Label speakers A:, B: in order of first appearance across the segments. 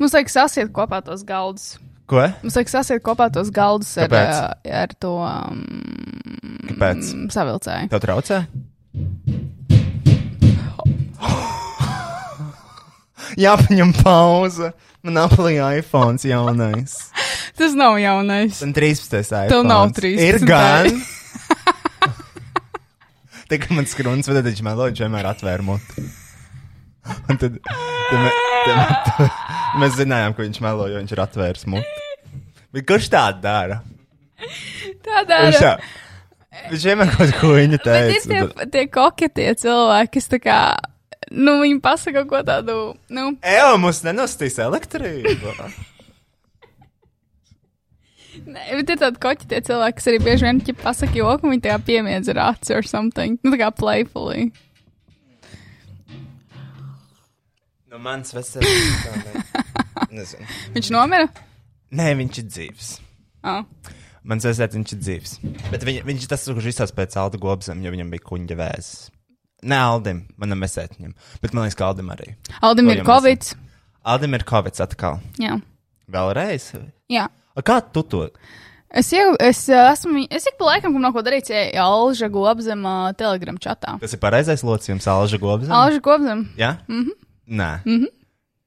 A: Mums vajag sasiet kopā tos galdus.
B: Ko?
A: Mums vajag sasiet kopā tos galdus ar,
B: Kāpēc?
A: ā, ar to um,
B: Kāpēc?
A: savilcēju.
B: Tev traucē? Jāpaņem pauze. Man aplīja iPhone jaunais.
A: Tas nav jaunais.
B: Un 13. iPhone.
A: Tev nav 13.
B: Ir gan. Tā kā man skruns, tad viņš melodiju vienmēr atvēra muti. Un tad, tad, me, tad, me, tad mēs zinājām, ka viņš melo, jo viņš ir atvēris muti. Bet kurš tā dara?
A: Tādā
B: Viņš, tā, viņš vienmēr kaut ko viņa
A: Bet ir
B: teica.
A: tie,
B: un tad-
A: tie koketie cilvēki, kas tā kā, nu, viņi pasaka kaut ko tādu, nu,
B: Eo, mums nenostīs elektrību.
A: ne, bet ir tādi koketie cilvēki, kas arī bieži vien ķip pasaka joku, un viņi tā kā piemiedz ar aci or something, nu, tā kā playfully.
B: no Nu, mans veselības. Nezinu.
A: Viņš nomira?
B: Nē, viņš ir dzīves.
A: Oh.
B: Man zvaigznājas, viņš ir dzīves. Bet viņ, viņš ir tas, kurš izsaka pēc Alda Gobsam, jo viņam bija kuņģa vēzis. Nē, Aldim, manam mesētņam. Bet man liekas, ka Aldim arī.
A: Aldim
B: Ko
A: ir
B: jau mēs-
A: covid.
B: Aldim ir Covid atkal.
A: Jā.
B: Vēlreiz.
A: Jā.
B: A, Kā tu to?
A: Es jau, es uh, esmu, es ik pa laikam, kam nav ko darīt, ja Alža Gobzem uh, telegram čatā.
B: Tas ir pareizais locījums, Alža Gobsam.
A: Alža Gobzem.
B: Jā? Mm -hmm. Nē. Mm -hmm.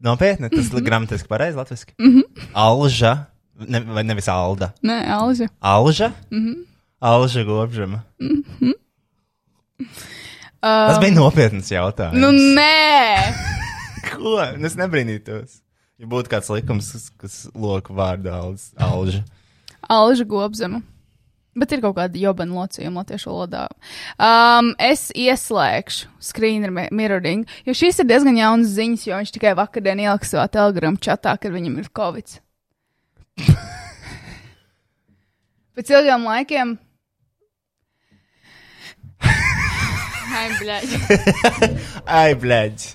B: Nopietni, tas ir gramatiski pareizi latviešu. Mm -hmm. Alža, ne, vai nevis Alda.
A: Nē, Alža.
B: Alža? Mm -hmm.
A: Mhm.
B: Alža Gobsam. Mm -hmm. Tas bija nopietns jautājums.
A: Um, Nu, nē!
B: Ko? Nu, Es nebrīnītos. Ja būtu kāds likums, kas, kas loku vārdu alž- alža.
A: Alža Gobzema. Bet ir kaut kāda jobana locījuma latviešu valodā. Um, es ieslēgšu screen mi- mirroring, jo šīs ir diezgan jaunas ziņas, jo viņš tikai vakardien ielika savā telegramu čatā, kad viņam ir covid. Pēc ilgiem laikiem. Ai, bļaļ.
B: Ai, blēģi!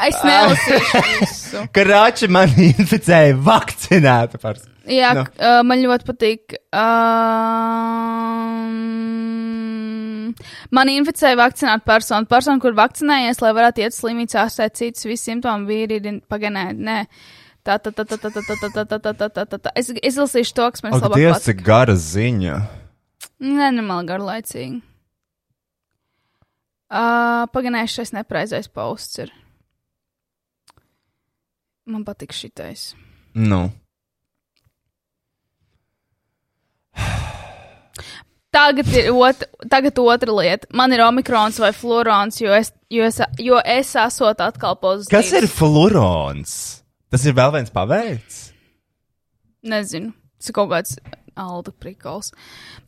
A: Es
B: Ah.
A: nelasīšu visu.
B: Karāči man inficēja vakcinēta par.
A: Jā,
B: Nu.
A: no. uh, man ļoti patīk. Um, man inficēja vakcinēta persona. Persona, kur vakcinējies, lai varētu iet uz slimnīcu, ārstēt citus visus simptomus, vīri ir pagaidinājumi. Nē, tā, tā, tā, tā, tā, tā, tā, tā, tā, tā, tā, tā, tā, tā. Es izlasīšu to, kas man
B: Ak,
A: labāk
B: Dievs,
A: patīk.
B: cik gara ziņa!
A: Nē, normāli garlaicīgi. Uh, Pagaidinājušais nepreizais posts ir. Man patīk šitais.
B: Nu,
A: Tagad ir ot, tagad otra lieta. Man ir omikrons vai florons, jo es, jo es, jo es esmu atkal pozitīvs.
B: kas ir fluorons? Tas ir vēl viens paveids.
A: Nezinu. Tas ir kaut kāds alda prikals.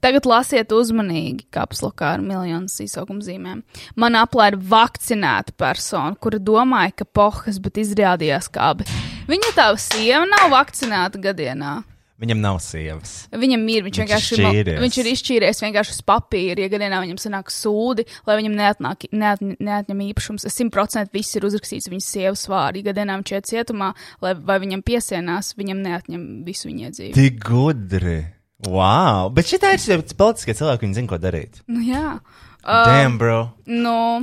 A: Tagad lasiet uzmanīgi, kapslokā ar miljonus izsaukumzīmēm. Man aplēra vakcinēta persona, kura domāja, ka pohas, bet izrādījās kā abi. Viņa tā sieva nav vakcinēta gadienā.
B: Viņam nav sievas.
A: Viņam ir, viņš,
B: Viņš
A: viņš vienkārši ir,
B: izšķīries.
A: mal- viņš ir izšķīries vienkārši uz papīra. Ja gadījumā viņam sanāk sūdi, lai viņam neatnāk, neat, neatņem īpašums, es simtprocentīgi viss ir uzrakstīts viņas sievas vārdā. Ja gadījumā viņš ir cietumā, lai vai viņam piesienās, viņam neatņem visu viņa dzīvi.
B: Tik gudri! Wow! Bet šī tā ir jau politiskie cilvēki, viņi zina, ko darīt.
A: Nu, jā,
B: Um, Damn, bro!
A: nu,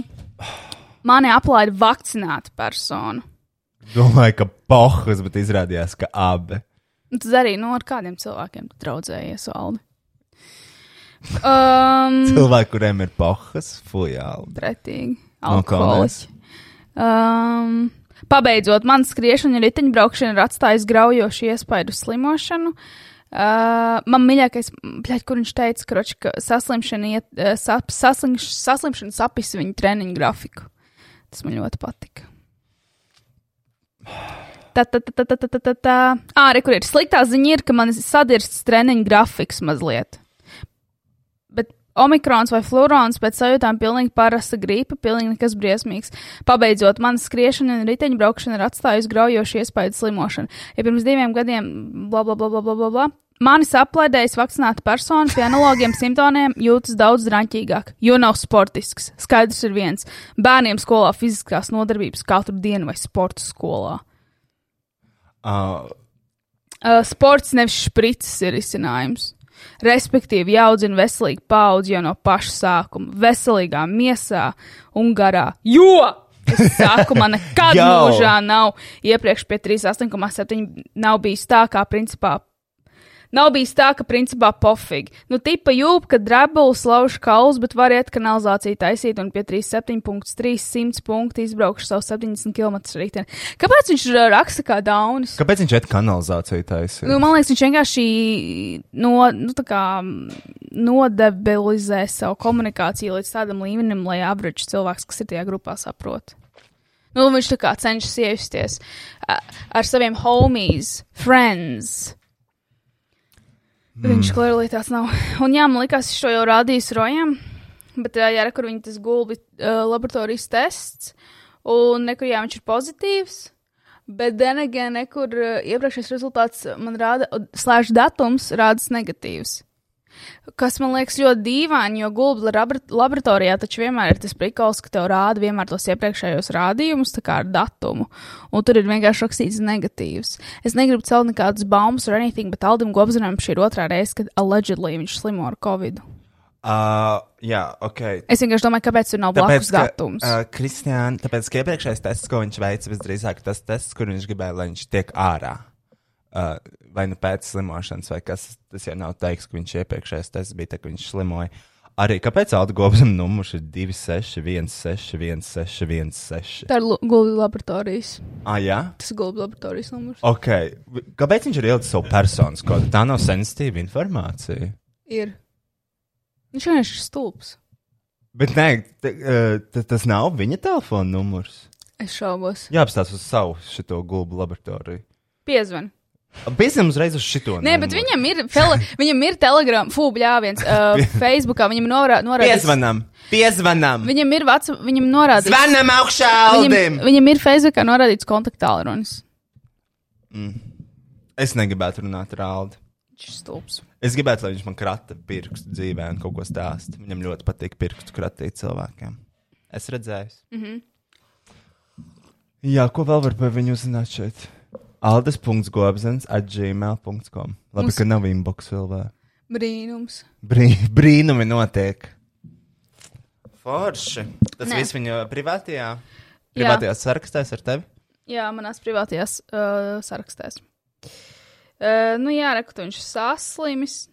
A: mani aplaida vakcinēta persona.
B: Domāju, ka pohas, bet izrādījās, ka abi.
A: Nu, Tad arī nu, ar kādiem cilvēkiem tu draudzējies, Aldi? Um,
B: Cilvēki, kuriem ir pohas, fujāli.
A: pretīgi.
B: No kā
A: Alkoholiķi. Um, pabeidzot, man skriešana un riteņbraukšana ir atstājusi graujošu iespaidu uz slimošanu. Uh, man mīļākais, bļaļ, kur viņš teica, kroči, ka saslimšana, iet, uh, sap, saslimš, saslimšana sapis viņu treniņu grafiku. Tas man ļoti patika. Tā, tā, tā, tā, tā, tā, tā, tā. Ā, re, kur ir sliktā ziņa, ir, ka man sadirsts treniņu grafiks mazliet. Bet omikrons vai florons pēc sajūtām pilnīgi parasta gripa, pilnīgi nekas briesmīgs. Pabeidzot, mana skriešana un riteņbraukšana ir atstājusi graujošu iespaidu slimošanu. Ja pirms diviem gadiem, bla, bla, bla, bla, bla, bla, bla. Mani saplēdējis vakcinēta persona pie analogiem simptomiem jūtas daudz drāmīgāk, jo nav sportisks. Skaidrs ir viens - bērniem skolā fiziskās nodarbības katru dienu vai sporta skolā.
B: Uh,
A: Uh, sports nevis spritzes ir izcinājums. Respektīvi, jāaudzina veselīga paudze jau no paša sākuma, veselīgā miesā un garā. Jo Es saku, man nekad
B: Jau.
A: mūžā nav iepriekš pie 38,7. Nav bijis tā, kā principā. Nav bijis tā, ka principā pofīgi. Nu, tipa jūpa, ka drebulis lauž kaulus, bet var iet kanalizāciju taisīt un pie 37,300 punktu izbraukšu savu 70 km rītdienu. Kāpēc viņš ra- raksta kā daunis?
B: Kāpēc viņš iet kanalizāciju taisīt?
A: Nu, man liekas, viņš vienkārši no, nu, tā kā, nodebilizē savu komunikāciju līdz tādam līmenim, lai average cilvēks, kas ir tajā grupā, saprot. Nu, viņš tā kā cenšas iejusties ā, ar saviem homies, friends. Mm. Viņš klāri tāds nav. Un jā, man liekas, es šo jau rādīju rojām. Bet, ā, jā, re, kur viņi tas gulbi uh, laboratorijas tests. Un nekur, jā, viņš ir pozitīvs. Bet denegē nekur uh, iepriekšējais rezultāts uh, man rāda, slēdz datums rādas negatīvs. Kas man liekas ļoti dīvaini, jo gulbi laboratorijā taču vienmēr ir tas prikals, ka tev rāda vienmēr tos iepriekšējos rādījumus, tā kā ar datumu. Un tur ir vienkārši rakstīts negatīvs. Es negribu celt nekādas baumas vai anything, bet Aldim Gobzinam šī ir otrā reize, kad allegedly viņš slimo ar covid.
B: Uh, jā, ok.
A: Es vienkārši domāju, kāpēc tur nav blakus
B: Tāpēc, ka,
A: datums.
B: uh, Kristiāna, tāpēc, ka iepriekšējais tests, ko viņš veica, visdrīzāk ir tas tests, kur viņš gribēja, lai viņš tiek ārā. Uh, vai nu pēc slimošanas, vai kas tas jau nav teiks, ka viņš iepriekšējais tests bija, tad viņš slimoja. Arī kāpēc Altgobsam numurs ir 26161616?
A: Tā ir lu- gulbi laboratorijas.
B: Ah, jā?
A: Tas ir gulbi laboratorijas numurs.
B: Ok. Kāpēc viņš ir ielicis savu personas kodu? Tā nav sensitīva informācija.
A: Ir. Viņš vienkārši ir stulbs.
B: Bet nē, t, uh, t, tas nav viņa telefona numurs.
A: Es šaubos.
B: Jā, apstāsta uz savu šito gulbu laboratoriju.
A: Piezvan.
B: Bīstam uzreiz uz šito.
A: Nē, bet viņam ir, fele, viņam ir telegram, fūbļā viens, uh, Facebookā viņam norā- norādīts.
B: Piezvanām! Piezvanām!
A: Viņam ir vats, viņam norādīts.
B: Zvanām augšā
A: Viņam,
B: Aldim!
A: viņam ir Facebookā norādīts kontaktālrunis.
B: Es negribētu runāt ar Aldi.
A: Viņš ir stulbs.
B: Es gribētu, lai viņš man krata pirkstu dzīvē un kaut ko stāsta. Viņam ļoti patīk pirkstu kratīt cilvēkiem. Es redzēju. Mm -hmm.
A: Mhm.
B: Jā, ko vēl var par viņu uzzināt šeit? Aldis.gobzens atgmail.com Labi, Mums... ka nav inbox vēl vēl.
A: Brīnums.
B: Brī, brīnumi notiek. Forši. Tas
A: Nē.
B: viss viņa privātajā,
A: Jā.
B: privātajā sarakstā ar tevi.
A: Jā, manās privātajās uh, sarakstēs. Uh, nu, jā, reku, viņš ir saslimis.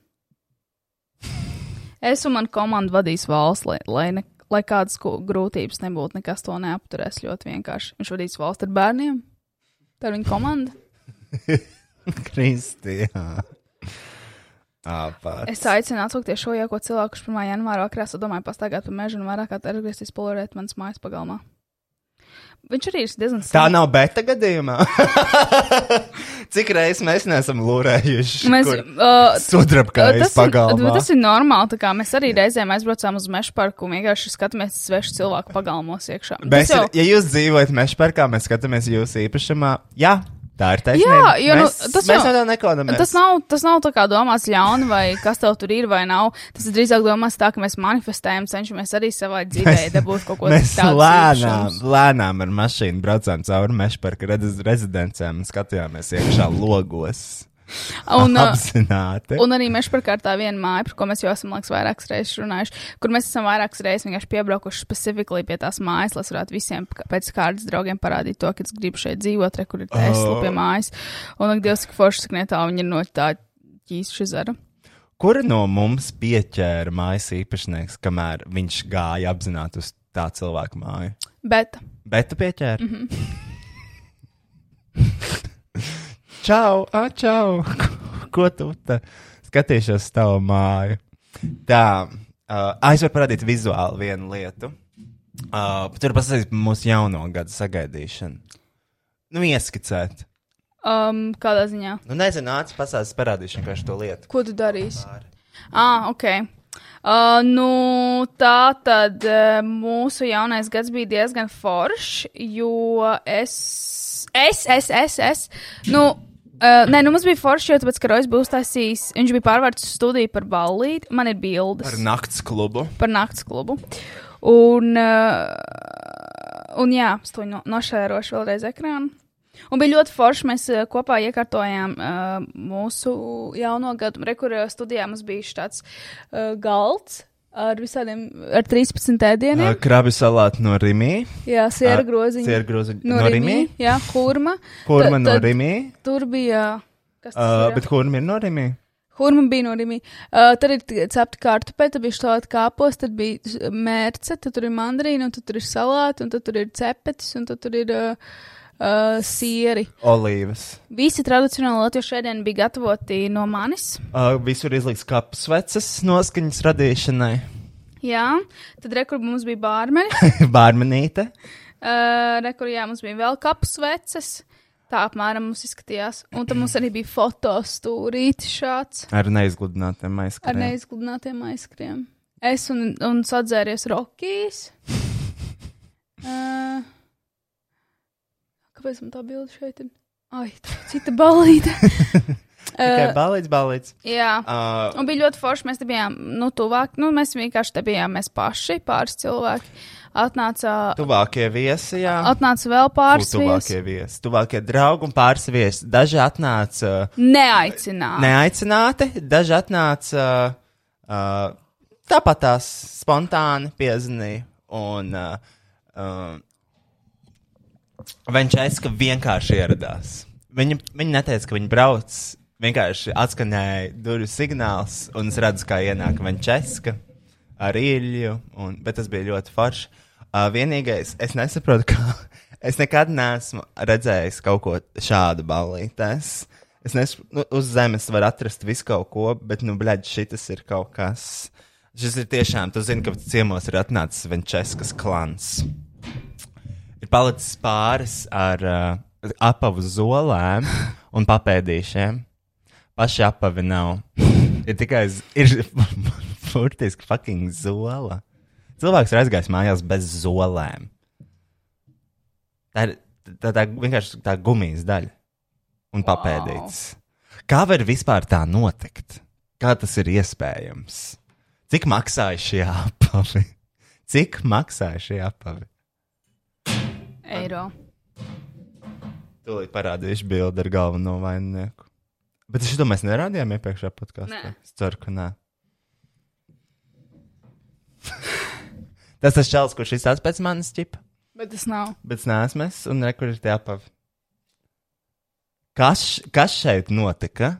A: Es un mana komanda vadīs valsts, lai, lai, ne, lai kādas ko- grūtības nebūtu, nekas to neapturēs ļoti vienkārši. Viņš vadīs valsts ar bērniem. Tā ir viņa komanda.
B: Kristija. Tāpat.
A: Es aicinu atsaukties šo jauko cilvēku, kurš 1. janvāra vakarā domāja pastaigāt pa mežu un vairāk kā atgriezties polārēt manas mājas pagalmā. Viņš arī ir diezgan
B: Tā nav beta gadījumā. Cik reizes mēs neesam lūrējuši?
A: Mēs,
B: kur
A: uh,
B: sudrabkājas
A: ir,
B: pagalmā.
A: tas ir normāli. tā kā Mēs arī reizēm aizbraucām uz meža parku un vienkārši skatāmies svešu cilvēku pagalmos iekšā.
B: Mēs,
A: Tas jau,
B: ja jūs dzīvojat meža parkā, mēs skatāmies jūsu īpašumā. Jā, tā ir taisnība.
A: Jā, jo, nu,
B: mēs,
A: tas
B: mēs
A: jau-
B: no tā nekodamies.
A: tas, nav, tas nav tā kā domāts ļauni, vai kas tev tur ir vai nav. Tas ir drīzāk domāts tā, ka mēs manifestējam, cenšamies arī savā dzīvē dabūt kaut ko
B: Mēs
A: tādu
B: lēnām,
A: īpašums.
B: lēnām ar mašīnu braucām cauri meža parka redz- rezidencēm un skatījāmies iekšā logos.
A: Un, uh,
B: Apzināti.
A: Un arī meža parkā ir tā viena māja, par ko mēs jau esam liekas, vairākas reizes runājuši, kur mēs esam vairākas reizes vienkārši piebraukuši specifikli pie tās mājas, lai es varētu visiem p- pēc kārtas draugiem parādīt to, ka es gribu šeit dzīvot, re, kur ir Tesla
B: Oh.
A: pie mājas. Un, ak, Dievs, cik forši skan tā, viņi ir no tā ķīsa šizera.
B: Kur no mums pieķēra mājas īpašnieks, kamēr viņš gāja apzināti uz tā cilvēka māju?
A: Bet
B: Bet tu pieķēri? Mm -hmm.
A: Mhm.
B: čau, ah, čau! Ko tu te skatīsies uz tavu māju? Tā, uh, es varu parādīt vizuāli vienu lietu. Uh, tur pasakās mūsu jauno gadu sagaidīšanu. Nu, ieskicēt.
A: um, kādā ziņā?
B: Nu, nezinu, nāc, pasakās, parādīšu vienkārši to lietu.
A: Ko tu darīsi? Ah, ok. Uh, nu, tā tad eh, mūsu jaunais gads bija diezgan foršs, jo es. Es, es, es, es. Nu, uh, nē, nu mums bija forši, jo tāpēc, ka Rojas bija uztaisījis. Viņš bija pārvērts uz studiju par ballīti. Man ir bildes
B: Par
A: par,
B: nakts klubu.
A: par nakts klubu. Un, uh, un jā, es to no, nošērošu vēlreiz ekrānu. Un bija ļoti forši. Mēs eh, kopā iekārtojām uh, eh, mūsu jauno gadu. Rekurā studijā mums bija šis tāds uh, eh, galds. ar visādiem, ar 13 ēdieniem.
B: Krabi salāti no Rimī.
A: Jā, sēra
B: ā,
A: groziņi.
B: Sēra groziņi
A: no Rimī. Jā, hurma.
B: Kurma
A: Tad-
B: no
A: tad
B: Rimī.
A: Tur bija. Kas tas
B: Uh,
A: ir?
B: bet kurma ir no Rimī?
A: Hurma bija no Rīgas. Uh, tad ir t- cepta kartupeļa, tad bija šāda kāpos, tad bija s- mērce, tad tur ir mandarīna, un tad tur ir salāti, un tad tur ir cepetis, un tad tur ir uh, uh, sieri.
B: Olīvas.
A: Visi tradicionāli latviešu ēdieni bija gatavoti no manis.
B: Uh, visur izliks kapsvecas noskaņas radīšanai.
A: Jā, tad rekur mums bija bārmeņi,
B: Bārmenīte.
A: uh, rekur jā, mums bija vēl kapus veces. Tā apmēram mums izskatījās. Un tad mums arī bija fotostūrītis šāds
B: Ar neizgludinātiem
A: ar
B: aizskrējumiem.
A: neizgludinātiem aizskriem. Es un, un sadzēries Rokijas. Uh, kāpēc man tā bilde šeit ir? Ai, tā cita balīte.
B: Tikai
A: uh,
B: balīdz, balīdz.
A: jā.
B: Uh,
A: Un bija ļoti forši. Mēs te bijām, nu, tuvāk. Nu, mēs vienkārši te bijām mēs paši, pāris cilvēki. Atnāca,
B: tuvākie viesi, jā.
A: atnāca vēl
B: Būtu
A: pāris cilvēki.
B: Tuvākie viesi. Tuvākie draugi un pāris viesi. Daži atnāca uh,
A: Neaicināja.
B: neaicināti, daži atnāca uh, uh, tāpat tās spontāni piezinīja. Un uh, uh, Venčēska vienkārši ieradās. Viņa, viņa neteica, ka viņa brauc. Vienkārši atskanēja durvju signāls, un es redzu, kā ienāk Venčēska ar īļu. Un, bet tas bija ļoti forši. Uh, vienīgais, es nesaprotu, kā es nekad neesmu redzējis kaut ko šādu ballītēs. Es nesaprotu, nu, uz zemes var atrast visu kaut ko, bet, nu, blēģi, šis ir kaut kas. Šis ir tiešām, tu zini, ka ciemos ir atnācis Venčēskas klans ir palicis pāris ar uh, apavu zolēm un papēdīšiem. Paši apavi nav. Ir tikai z- ir burtiski fucking zola. Cilvēks ir aizgājis mājās bez zolēm. Tā ir tā, tā vienkārši tā gumijas daļa un papēdīts. Wow. Kā var vispār tā notikt? Kā tas ir iespējams? Cik maksāja šie apavi? Cik maksāja šie apavi?
A: Eiro.
B: Tūlīt parādīšu bildi ar galveno vaininieku. Bet es domāju, mēs nerādījām iepriekšējā podkāstā.
A: Nē.
B: Es ceru, ka nē. tas tas čels, kurš izsācis pēc manas ķipa,
A: Bet tas nav.
B: bet es neesmu es un nekur ir tie apavi. Kas, š- kas šeit notika?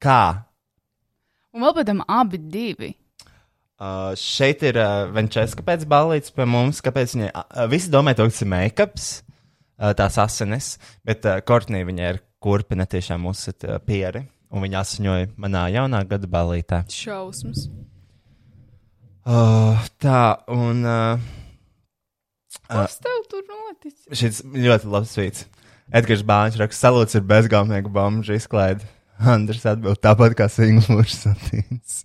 B: Kā?
A: Un vēl pēc tam abi divi.
B: Uh, šeit ir uh, Venčeska pēc balīdzes pie mums, kāpēc viņai uh, visi domā, to, ka tas ir make-ups, uh, tās asinis, bet uh, Kortnī viņai ir kurpina tiešām uzsit uh, pieri, un viņa asiņoja manā jaunā gada balītē.
A: Šausmas.
B: Uh, tā, un uh, Eh.
A: Kas tev tur noticis?
B: šis ļoti labs vīts. Edgars Bāņš raksta, salūts ir bezgalnieku bombu izklaide. Andrs atbild tāpat kā Singūrs Satīns.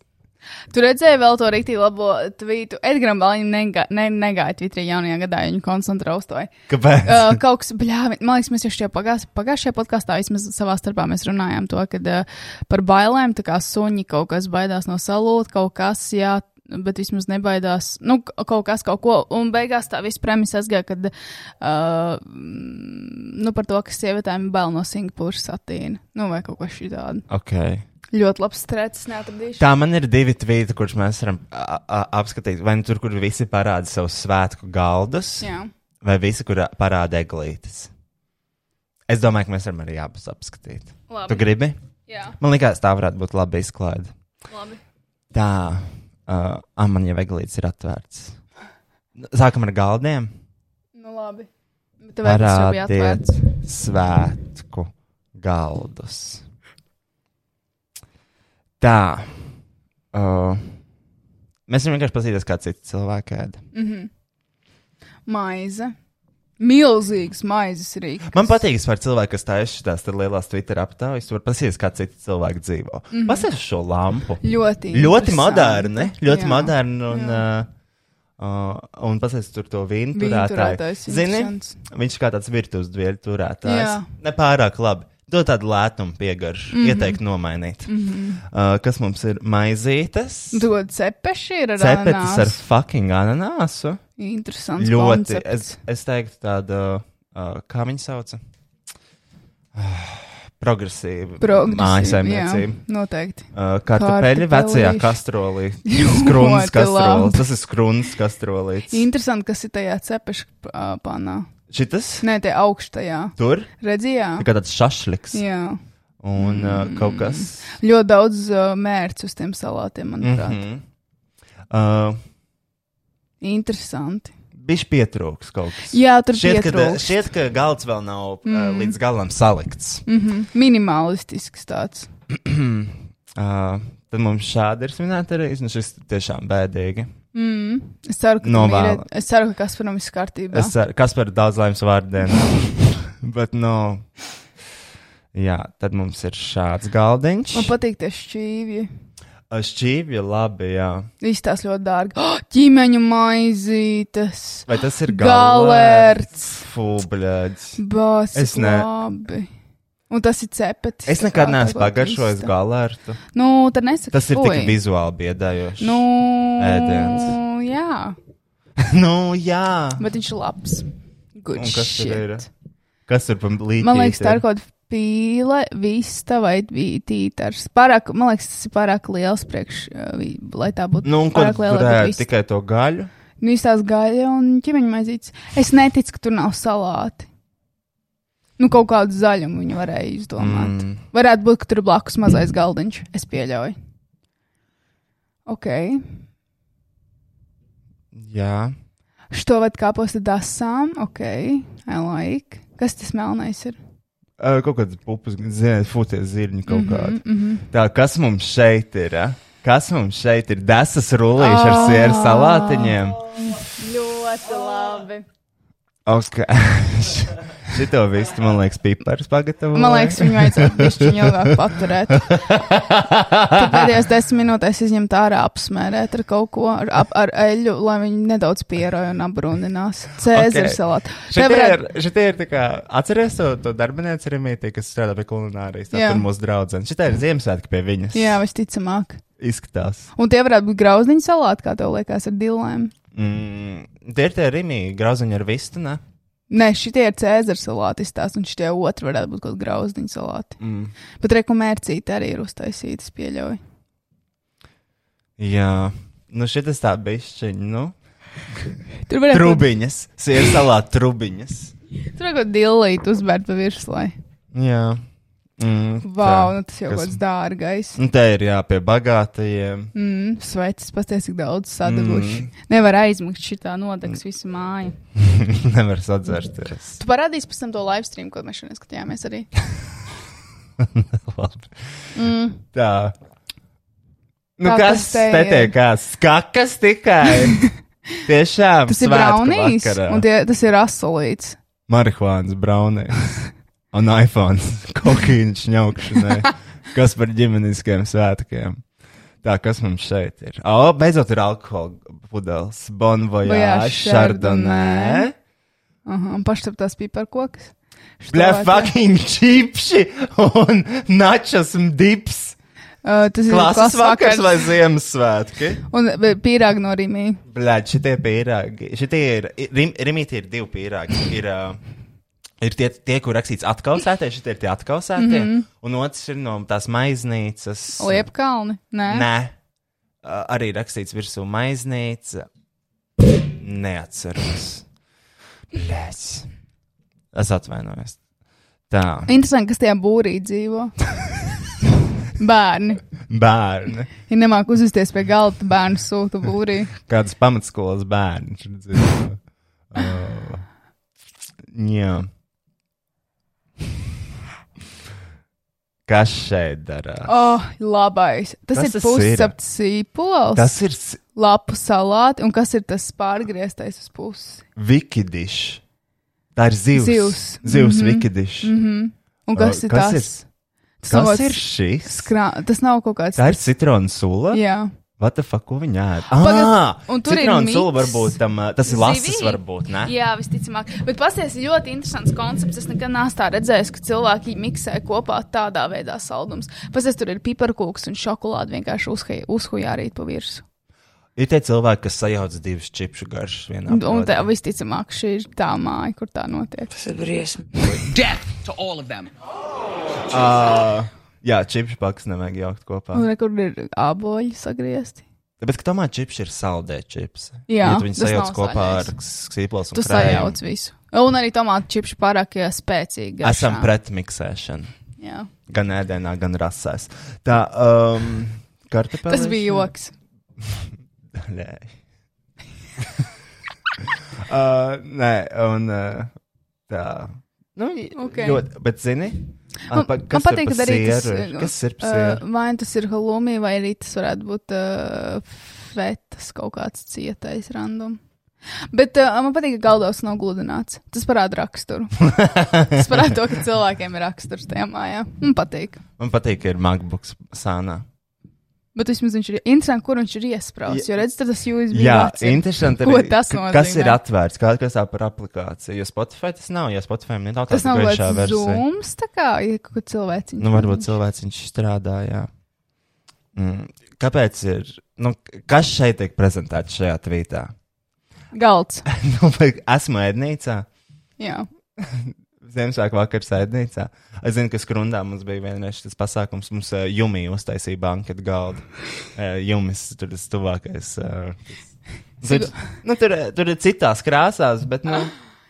A: Tu redzēji vēl to rīktī labo tvītu. Edgars Baliņš negā, ne, negāja Twitterī jaunajā gadā, ja viņu koncentrēja uz to.
B: Kāpēc?
A: Uh, kaut kas, bļāvi, man liekas, mēs jau šajā pagās- pagājušajā podkāstā vismaz savā starpā mēs runājām to, ka uh, par bailēm, tā kā suņi kaut kas baidās no salūta, kaut kas, jā, bet vismaz nebaidās, nu, k- kaut kas, kaut ko. Un beigās tā viss premisa aizgāja, kad, uh, mm, nu, par to, ka sievietēm ir bail no Singapūras satīna, nu, vai kaut ko šitādu.
B: Okay.
A: Ļoti labs strēts, neatradīšu.
B: Tā man ir divi tvīti, kurus mēs varam a, a, apskatīt. Vai nu tur, kur visi parāda savus svētku galdus,
A: Jā.
B: Jā. vai visi, kur parāda eglītes. Es domāju, ka mēs varam arī abus apskatīt. Tu
A: Labi.
B: gribi?
A: Jā,
B: Man liekas, tā varētu būt laba izklaide.
A: labi.
B: Tā, uh, ah, man jau eglītes ir atvērts. Sākam ar galdiem.
A: Nu, labi. Bet tev vajag jau bija
B: Parādiet.
A: atvērts.
B: Svētku galdus. Tā. Uh, mēs varam vienkārši paskatīties, kā citi cilvēki ēda.
A: Mhm. Maize. Milzīgs maizes rīks.
B: Man patīk, ka cilvēki, kas taisa šīs tādas lielās Twitter aptaujas, var paskatīties, kā citi cilvēki dzīvo. Mm -hmm. Paskaties uz šo lampu.
A: Ļoti, Mhm.
B: Ļoti
A: interesanti.
B: moderni, ļoti
A: Jā.
B: moderni un,
A: Jā.
B: uh, uh, un paskaties tur to vīnu
A: Viņa
B: turētāju.
A: turētājs
B: Zini,
A: interesants.
B: viņš kā tāds virtuves dvieļu turētājs.
A: Jā. Mhm.
B: Nepārāk labi. Dod tādu lētumu piegaršu, mm -hmm. ieteikt nomainīt. Mm -hmm. uh, kas mums ir maizītes?
A: Dod cepeši ir ar
B: Cepetis ar
A: ananāsu.
B: fucking ananāsu.
A: Interesants
B: Ļoti.
A: koncepts.
B: Es, es teiktu, tāda, uh, kā viņa sauca? Ah, progresīva
A: Progresīvi,
B: mājasemniecība.
A: jā, Noteikti.
B: Uh,
A: Kartupelīši.
B: Kartupeļi vecajā kastrolī.
A: Ļoti
B: Skruns kastrolī.
A: labi.
B: Tas ir skruns kastrolīts.
A: Interesanti, kas ir tajā cepešā panā.
B: Šitas
A: Nē, tie augšējā.
B: tur
A: Redzījā?
B: ir kā tāds šašliks
A: Jā.
B: un uh, kaut kas.
A: Ļoti daudz uh, mērķu uz tiem salātiem, manuprāt. Mm -hmm.
B: Mhm. Uh, Mhm.
A: Interesanti.
B: Bišķi pietrūks kaut kas.
A: Jā, tur
B: Šķiet, ka, da-
A: pietrūkst.
B: šķiet, ka galds vēl nav uh, līdz galam salikts.
A: Mm -hmm. Minimalistisks tāds.
B: Uh, tad mums šādi ir svinēta arī. Nu, šis tiešām bēdīgi.
A: Mm. Es ceru, ka tam
B: Novēlu.
A: ir. Es ceru, ka Kasparam viss kārtībā.
B: Es ceru, kas par daudz laimes vārdienu. Bet, nu, jā, tad mums ir šāds galdiņš.
A: Man patīk tie šķīvji.
B: Uh, Šķīvi, labi, jā.
A: Viss tās ļoti dārgi. Oh, ķīmeņa maizītes,
B: Vai tas ir galvārds?
A: galerts,
B: Fūbļēdz.
A: bāzes.
B: Es
A: Es
B: ne-
A: ne. Un tas ir cepetis.
B: Es
A: tā
B: nekad
A: kā
B: neesmu
A: tagad
B: pagaršojis
A: viss tā.
B: galvārdu.
A: Nu, tad nesaki.
B: Tas ir
A: fuj.
B: tik vizuāli biedējoši.
A: Nu,
B: ēdiens.
A: jā,
B: nu, jā.
A: bet viņš ir labs. Good
B: Un kas tur
A: shit.
B: ir? Kas tur pam līdzīgi?
A: Man liekas, tā ir kaut kāda pīle, vista vai tītars. Pārāk, man liekas, tas ir pārāk liels priekš, uh, vi- lai tā būtu.
B: Nu, un ko
A: pārāk
B: tu tur
A: lai būtu
B: ēd?
A: vista.
B: Tikai to gaļu?
A: Nu, iztās gaļa un ķimeņa maizītes. Es neticu, ka tur nav salāti. Nu, kaut kādu zaļumu viņi varēja izdomāt. Mm. Varētu būt, ka tur blakus mazais galdiņš. Es pieļauju. Ok.
B: jā.
A: Что вот капуста дасам, окей, I like. Kas tas melnais ir?
B: Uh, Kaut kāds pupas, ziniet, fūties zirņi kaut kādi.
A: Mm -hmm.
B: Tā, kas mums šeit ir? eh? Kas mums šeit ir? Desas rullīši
A: Ah.
B: ar sieru salātiņiem.
A: Ļoti labi.
B: Oskar, šito visu, man liekas, pipars pagatavoja.
A: Man liekas, viņu vajadzētu pišķiņu ilgāk paturēt. Tu Pēdējās desmit minūtēs izņemt ārā apsmērēt ar kaut ko, ar, ap, ar eļu, lai viņi nedaudz pieroja un abrūninās. Cēzara
B: Ok.
A: okay. salāta. Te
B: Šitie ir,
A: varētu-
B: šitie ir tā kā, atceries to, to darbinieci Rimītī, kas strādā pie kulinārijas, tā
A: Jā.
B: ir mūsu draudzene. Šitie ir Ziemassvētki pie viņas.
A: Jā, visticamāk.
B: Izskatās.
A: Un tie varētu būt grauzniņu salāti, kā tev liekas, ar dilēm.
B: Mm, tie ir tie Rimīgi, grauziņi ar vistu, ne?
A: Nē, šitie ir cēzara salāti izstāst, un šitie otri varētu būt kaut grauzniņu salāti.
B: Mm.
A: Bet rekomērcīti arī ir uztaisītas, pieļauju.
B: Jā. Nu, šitas tā bišķiņa, nu.
A: Tur varētu būt
B: Trubiņas, sieru salātu trubiņas.
A: Tur kaut kā dillīt uzbērt pa virslai.
B: Jā. Mm, tā.
A: Vau, nu tas jau
B: Kas-
A: kaut kāds dārgais.
B: Un te ir jā, pie bagātajiem.
A: Mm, Sveicis, pasties, cik daudz sadaguši. Mm. Nevar aizmigt šitā nodegs
B: Mm.
A: visu māju.
B: Nevar sadzērsties.
A: Tu parādīsi pēc tam to live stream, ko mēs šodien skatījāmies arī.
B: Labi.
A: Mm.
B: Tā. Nu,
A: Tā
B: kas
A: tas te
B: te
A: ir.
B: tiek kā skakas tikai? Tiešām.
A: Tas ir
B: svētku
A: braunīs,
B: vakarā.
A: un tie, tas ir asolīts.
B: Marihuāns, braunīs. Un iPhone. Kokīņš ņaukšanai. kas par ģimeniskiem svētkiem. Tā, kas mums šeit ir? O, beidzot ir alkohola pudeles. Bonvojā,
A: Voyage,
B: šardonē.
A: Chardonnay. Aha, un paštaptās piparkokas. Šito
B: Blē,
A: vajadzētu-
B: fucking čipši un načas un dips.
A: Uh, tas ir
B: Klases
A: klases vakars.
B: vakars vai Ziemassvētki?
A: Un e, pīrāgi no rīmī.
B: Blēd, šitie pīrāgi. Šitie ir, rim, rimīti ir divi pīrāgi. Ir, uh, ir tie, tie, kur rakstīts atkausētie, šitie ir tie atkausētie. Mm -hmm. Un otrs ir no tās maiznīcas.
A: Liepkalni? Nē.
B: Nē. Uh, arī rakstīts virsū maiznīca. Neatceros. Blēd. Es atvainojos. Tā.
A: Interesanti, kas tajā būrī dzīvo. Bērni.
B: Bērni.
A: Ja nemāku uzvesties pie galda, tad bērnu sūta būrī.
B: Kādas pamatskolas bērni tur dzīvo. Uh, jā. Kas šeit darās?
A: Oh, labais. Tas
B: Kas
A: kas ir
B: tas
A: pussapts sīpols,
B: Tas ir s-
A: lapu salāti, un kas ir tas pārgrieztais uz pusi?
B: Vikidišs. Tā ir zivs.
A: Zivs.
B: Zivs
A: Mhm.
B: mm -hmm. Vikidišs. Mm -hmm.
A: Un kas
B: Oh,
A: ir
B: kas
A: tas? Tas nav
B: Kas
A: kāds
B: ir šis?
A: Skrā... Tas nav kaut kāds.
B: Tā ir citronu sula.
A: Jā,
B: What the fuck, ko viņi ēd?
A: Pagas-
B: Ah,
A: un tur ir
B: citronu sula
A: miks.
B: varbūt tam, uh, tas ir lasis
A: Zivī?
B: varbūt, ne?
A: Jā visticamāk. Bet pasties ir ļoti interesants koncepts. Es nekad neesmu tā redzējis, ka cilvēki miksē kopā tādā veidā saldumus. Pasties tur ir piparkūks un šokolāde vienkārši uzhai- uzhujārīt pa virsmu.
B: Ir tie cilvēki, kas sajauc divus čipšu garšas vienā.
A: Un, un
B: plotnē.
A: tā, visticamāk, šī ir tā māja, kur tā notiek.
C: Death to all of them.
B: Uh, jā, čipšu pakas nevajag jaukt kopā.
A: Ah. Un re, kur ir aboļi sagriezti.
B: Tāpēc, ka tomēr čips ir saldēti čips.
A: Jā,
B: ja tu viņus
A: tas
B: sajauc
A: nav
B: kopā ar
A: saldēts.
B: sīpolus un
A: Tu sajauc visu. Un arī tomātu čipši pārāk jā, spēcīgi. garšā.
B: Esam pret miksēšanu.
A: Jā.
B: Gan ēdienā, gan rasēs. Tā, um, kartupelēs.
A: Tas bija joks.
B: Nē. uh, nē, un uh, tā. Nu,
A: Ok.
B: okay. ļoti, bet zini,
A: Man-
B: pa-
A: Nu, man
B: kas
A: patīk,
B: ir
A: ka
B: pa
A: arī tas,
B: sieru ir?
A: uh,
B: Kas ir
A: Uh,
B: psiera?
A: vai tas ir halūmija, vai arī tas varētu būt uh, fetas kaut kāds cietais random. Bet uh, man patīk, ka galdos nav gludināts. Tas parāda raksturu. tas parāda to, ka cilvēkiem ir raksturs tajā mājā. Man patīk.
B: Man patīk, ka ir MacBooks sānā.
A: Bet vismaz viņš ir interesants, kur viņš ir iesprāstīts. Jo redziet, tas jūtas
B: Jā,
A: ļoti
B: interesanti.
A: Ko
B: arī,
A: tas
B: ka- Kas ir
A: nozīmē?
B: atvērts? Kā, kas tā par aplikāciju? Jo Spotify tas nav, jo Spotify man ir tā
A: Tas nav
B: tāda gaišā
A: kaut kāds
B: versija.
A: zūms, tā kā ja kaut kāds cilvēks.
B: Nu, varbūt cilvēks viņš strādā, jā. Mm. Kāpēc ir? Nu, kas šeit tiek prezentēts šajā tvītā?
A: Galds.
B: Nu, vai Esmu ēdnīcā.
A: Jā.
B: Ziemassvētku vakarā sēdnīcā. Es zinu, ka skrundā mums bija vienreiz tas pasākums. Mums uh, jūmija uztaisīja banketu galdu. Uh, Jumis tur tas tuvākais. Uh, tas-
A: Cigu-
B: Tur, nu, tur, eh, tur ir citās krāsās, bet nu,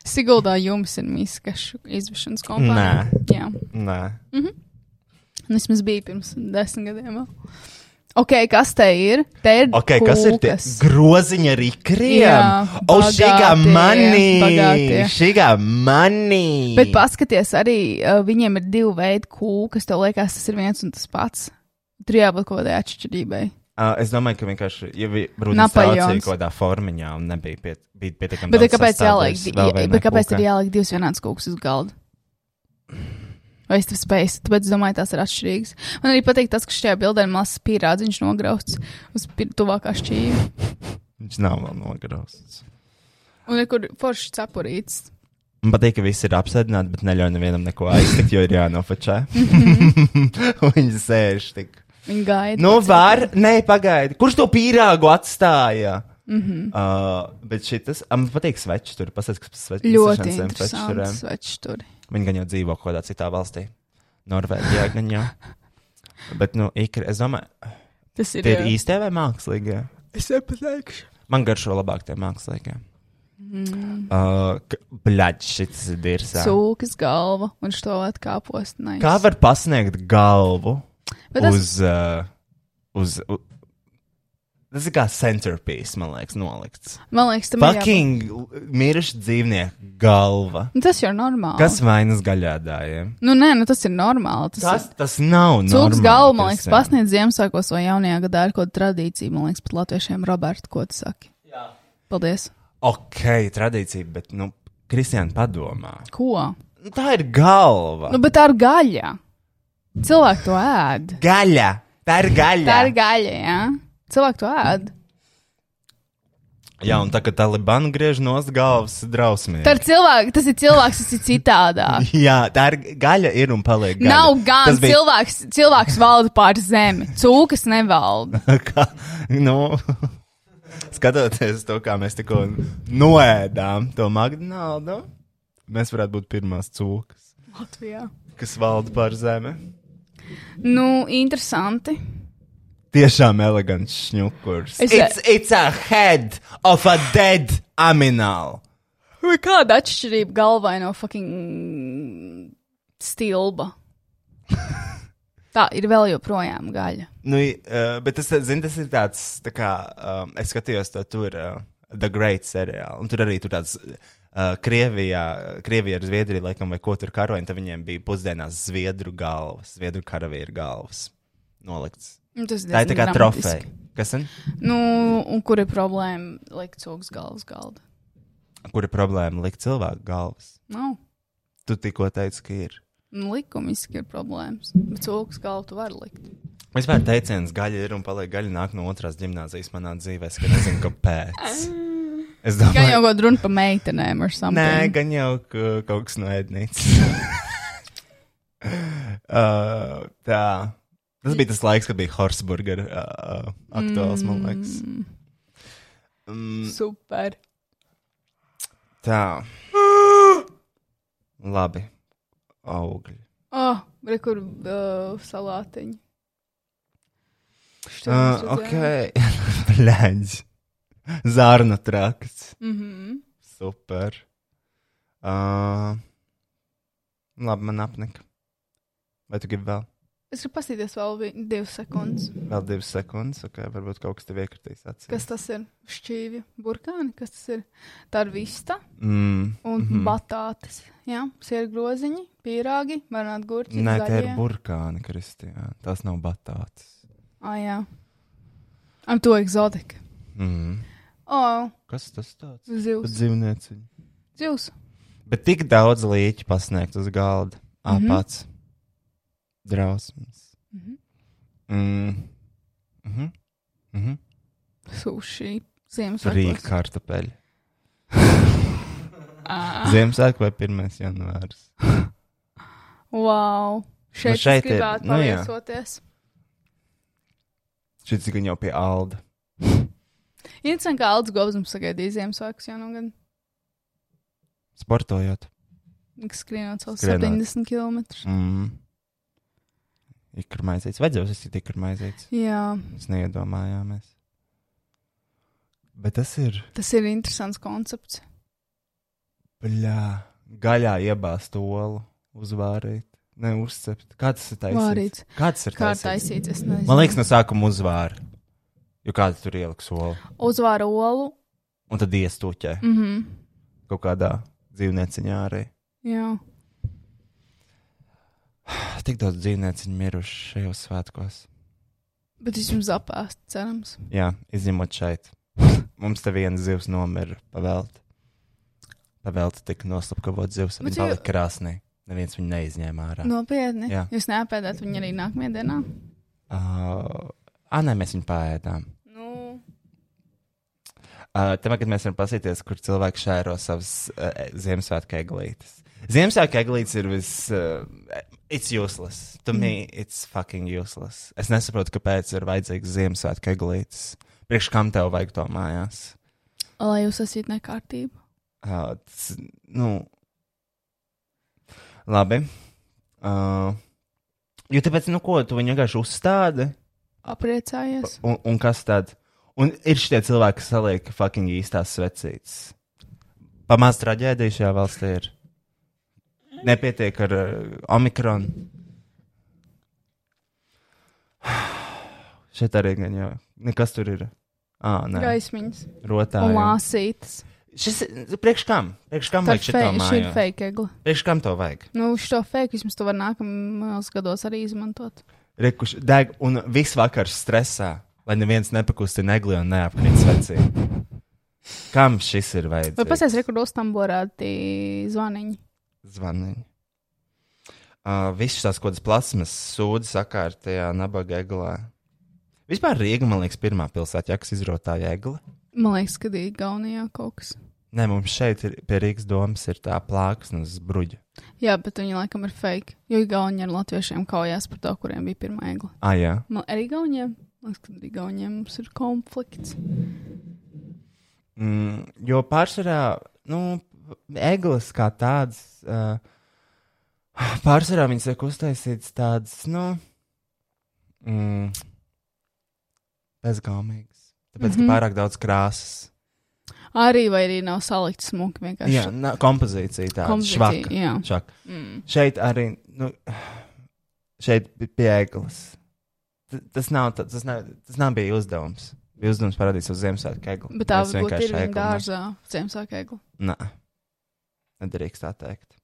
A: Siguldā jums ir miskašu izvešanas kompānija.
B: Nē.
A: Jā.
B: nē.
A: Un Nu, vismaz bija pirms desmit gadiem. Vēl. Ok, kas te ir? Te ir
B: Okay, kas ir tie
A: kūkas.
B: groziņa rīkriem?
A: Jā,
B: O, šī kā
A: bagātie, bagātie.
B: manī! Šī kā manī!
A: Bet paskaties, arī uh, viņiem ir divi veidi kūkas. Tev liekas, tas ir viens un tas pats. Tur jābūt kaut kādai atšķirībai.
B: Uh, es domāju, ka vienkārši ja bija
A: Napoleons.
B: runa par tādu formiņā, un nebija piet, bija pietiekami.
A: Bet tad
B: daudz
A: kāpēc, jāliek,
B: sastāvdaļas vēl vienai
A: bet kāpēc
B: kūkai.
A: ir jāliek divas vienādas kūkas uz galda? Vai es tam spēju? Tāpēc es domāju, tās ir atšķirīgas. Man arī patīk tas, ka šajā bildē ir mazs pierādziņš nograuts uz pir- tuvākā šķīvi.
B: Viņš nav vēl nograusts.
A: Un ir kur foršs cepurīts.
B: Man patīk, ka visi ir apsēdināti, bet neļauj nevienam neko aiztikt, jo ir jānofočē. Viņi sēž tik.
A: Viņa gaida.
B: Nu, var, nē, pagaidi. Kurš to pīrāgu atstāja? Mm
A: Mhm.
B: -hmm. uh, bet šitas, ah, man patīk svečs tur. Pasēc, kas svečs
A: Ļoti
B: svešanas tiem svečs turiem.
A: interesants večturi.
B: Viņi gan jau dzīvo kaut kādā citā valstī. Norvēģijā gan jau. Bet, nu, ikri, es domāju,
A: Tas ir,
B: tie ir īstie vai mākslīgie?
A: Es nepateikšu.
B: Man garšo labāk tie mākslinieki. Mm. Uh, Bļaģis, šis ir dirzā.
A: Cūkas galva un šo atkāpos. Nice.
B: Kā var pasniegt galvu
A: Bet tas-
B: uz, uh, uz, uz. Tas ir kā centerpiece, man liekas, nolikts.
A: Man liekas, tam ir. jābūt-
B: Fucking miruša dzīvnieka galva.
A: Nu, tas jau ir normāli.
B: Kas vainas gaļādājiem?
A: Nu, nē, nu, tas ir normāli. Tas
B: Tas, tas nav normāli.
A: Cūkas galva, man liekas,
B: Kristian.
A: pasniedz Ziemassvētkos vai jaunajā gadā ir kaut kāda tradīcija. Man liekas, pat latviešiem, Roberta, ko tu saki? Jā. Paldies.
B: Ok, tradīcija, bet, nu, Kristiāna padomā.
A: Ko?
B: Nu, Tā ir galva.
A: Nu, bet tā ir gaļa. Cilvēki to ēd.
B: Gaļa! Tā ir gaļa!
A: Tā ir gaļa, jā. Cilvēki to ēd.
B: Jā, un tā kā Taliban griež no galvas drausmīgi.
A: Tā ir cilvēki, tas ir cilvēks, tas ir citādāk.
B: Jā, tā ir gaļa, ir un paliek gaļa.
A: Nav gan
B: Tas bija-
A: cilvēks, cilvēks valda pār zemi. Cūkas nevalda.
B: kā, nu, skatoties to, kā mēs tikko noēdām to Magdānu, mēs varētu būt pirmās cūkas,
A: Latvijā.
B: kas valda pār zemi.
A: Nu, interesanti.
B: Tiešām elegants šņukurs.
A: Es-
B: It's, it's a head of a dead aminālu.
A: Vai kāda atšķirība galvā no fucking stilba? Tā ir vēl joprojām gaļa.
B: Nu, i- uh, bet tas, zin, tas ir tāds, tā kā um, es skatījos to tur, uh, The Great seriālu. Un tur arī tur tāds, uh, Krievijā, Krievija ar Zviedriju, laikam, vai ko tur karoja, un tad viņiem bija pusdienās Zviedru galvas, Zviedru karavīru galvas nolikts.
A: Nu, Tas
B: Tā ir tā kā
A: diezgan
B: trofeja.
A: dramatiski.
B: Kas ir?
A: Nu, un kur ir problēma likt cūkas galvas galda?
B: Kur ir problēma likt cilvēku galvas?
A: Nav.
B: Tu tikko teici, ka ir.
A: Nu, likumiski ir problēmas. Bet cūkas galvu tu vari likt.
B: Vispār teiciens gaļa ir un paliek gaļa nāk no otrās gimnāzijas manā dzīvē, es ka nezinu, kāpēc. Es
A: Gan
B: domāju,
A: jau kaut runa par meitenēm ar
B: Nē,
A: samērā.
B: gan jau ka- kaut kas no ēdnīcas. uh, tā. Tas bija tas laiks, kad bija Horsburger uh, aktuāls, mm. man liekas. Mm,
A: Super.
B: tā. Labi. Augļi.
A: Oh, Re, kur uh, salātiņa. Šķiet,
B: Uh,
A: mēs
B: ok,
A: redzējām.
B: blēņas. Zārna trakts.
A: Mhm.
B: Super. Uh, labi, man apnika. Vai tu gribi vēl?
A: Es gribu paskatīties vēl vi- divas sekundes.
B: Vēl divas sekundes, ok, varbūt kaut kas tev iekritīs acīs.
A: Kas tas ir? Šķīvi, burkāni, kas tas ir? Tā ir vista
B: Mm.
A: un mm -hmm. batātes. Jā, sēra groziņi, pīrāgi, marināt gurķi.
B: Nē, tie ir
A: zaļie.
B: burkāni, Kristija. Tās nav batātas.
A: Ah, jā. Am to eksotika.
B: Mm.
A: O, oh,
B: Kas tas tāds? Pat
A: zivs.
B: Dzīvnieciņi.
A: Zivs.
B: Bet tik daudz līķu pasniegt uz galda.
A: Mhm.
B: Apats. Mm -hmm. Drausmas.
A: Mhm.
B: Mm. Mhm. Mhm.
A: Suši. Ziemassvētkos.
B: Rīka kartupeļi.
A: Ah,
B: Ziemassvētku vai 1. janvārs.
A: wow. Šeit, nu
B: šeit
A: šeit
B: ir-
A: gribētu
B: nu jā.
A: paviesoties.
B: Šis gan jau pie Alda.
A: Interesanti, kā Aldis Govs sagaidīja Ziemassvētkus nu, jau no gada.
B: Sportojot.
A: Skrienot savus
B: Skrienot.
A: 70 km.
B: Mm. Ikur maizīts. Vajadzēja uzsākt ikur maizīts.
A: Jā,
B: Mēs neiedomājāmies. Bet tas ir.
A: tas ir interesants koncepts.
B: Bļā, gaļā iebāzt olu, uzvārīt, ne uzcept. Kā tas ir taisīts?
A: Vārīts.
B: Kāds ir
A: Kā
B: taisīts?
A: taisīts, es nezinu.
B: Man liekas, no sākuma uzvāra. Jo kāds tur ieliks olu
A: uzvāra olu.
B: un tad iestūķē
A: Mm -hmm.
B: kaut kādā dzīvnieciņā arī.
A: Jā,
B: Tik daudz dzīvnieciņu miruši šajos svētkos.
A: bet viņš jums apēst, cerams.
B: Jā, izņemot šeit. Mums te viena zivs nomira pavēlta. Pavēlta tika noslapkavot zivs,
A: Bet
B: viņa
A: jau-
B: palika krāsnī. Neviens viņu neizņēma ārā. No.
A: Nopietni.
B: Jā.
A: Jūs neapēdāt viņu arī nākamajā dienā.
B: Uh, ah, nē, mēs viņu pāēdām.
A: Nu,
B: Uh, Tomēr, kad mēs varam paskatīties, kur cilvēki šēro savas uh, Ziemassvētku eglītes. Ziemassvētku eglītes ir vis. Uh, it's useless. To mm. me, it's fucking useless. Es nesaprotu, kāpēc ir vajadzīgs Ziemassvētku eglītes. Priekš kam tev vajag to mājās?
A: lai jūs esat nekārtībā.
B: Uh, tas, nu, labi. Uh, jo tāpēc, nu, ko tu viņu vienkārši uzstādi?
A: Apriecājies.
B: Un, un kas tad? Un ir šie cilvēki, kas saliek fucking īstās svecītes. Pamāts traģēdija šajā valstī ir. Nepietiek ar uh, omikronu. Šeit arī gan jau. Nekas tur ir. Ah, nē,
A: Gaismiņas
B: rotā.
A: un lāsītas.
B: Šis ir priekš kam? Priekš kam
A: Tā
B: vajag
A: ir
B: šito
A: fake- šī ir
B: māju?
A: fake egla.
B: Priekš kam to vajag?
A: Nu, šo fake vismaz to var nākamajos gados arī izmantot.
B: Rekuši deg un viss vakars stresā, lai neviens nepakustina negli un neapkrīt svecī. Kam šis ir
A: Vai
B: vajadzīgs?
A: pasies rekordos tam borāti zvaniņi?
B: Zvaniņi. Uh, Visas tās kodas plasmas sūdzas sakārtajā nabaga eglā. Vispār Rīga, man liekas, pirmā pilsēta, ja, kas izrotāja egli.
A: Man liekas, ka bija Gaunijā kaut kas.
B: Nē, mums šeit ir pie Rīgas domas ir tā plāksnes bruģa.
A: Jā, bet viņi laikam ir fake. Jo Igauni ar latviešiem kaujās par to, kuriem bija pirmā egla.
B: Ah, jā.
A: Man arī Igauniem. Man liekas, ka ar Igauniem mums ir konflikts.
B: Mm, jo pārsvarā, nu, eglis kā tāds, uh, pārsvarā viņas tiek uztaisīts tāds, nu, mm, bezgaumīgs. Tāpēc, mm -hmm.
A: Mhm.
B: ka pārāk daudz krāsas.
A: Arī vai arī nav salikt smuki
B: Jā,
A: vienkārši.
B: nā, kompozīcija tāda
A: Kompozīcija,
B: švaka.
A: jā.
B: švaka.
A: Mm.
B: Šeit arī, nu, šeit bi- pie eglis. T- Tas nav, tā- tas nav, tas nav bija uzdevums. Bija uzdevums parādīt uz Ziemassvētku egli.
A: Bet tā
B: Mēs
A: varbūt
B: vienkārši
A: ir viņa
B: egli mēs-
A: dārzā. Ziemassvētku egla.
B: Nē, nedrīkst tā teikt.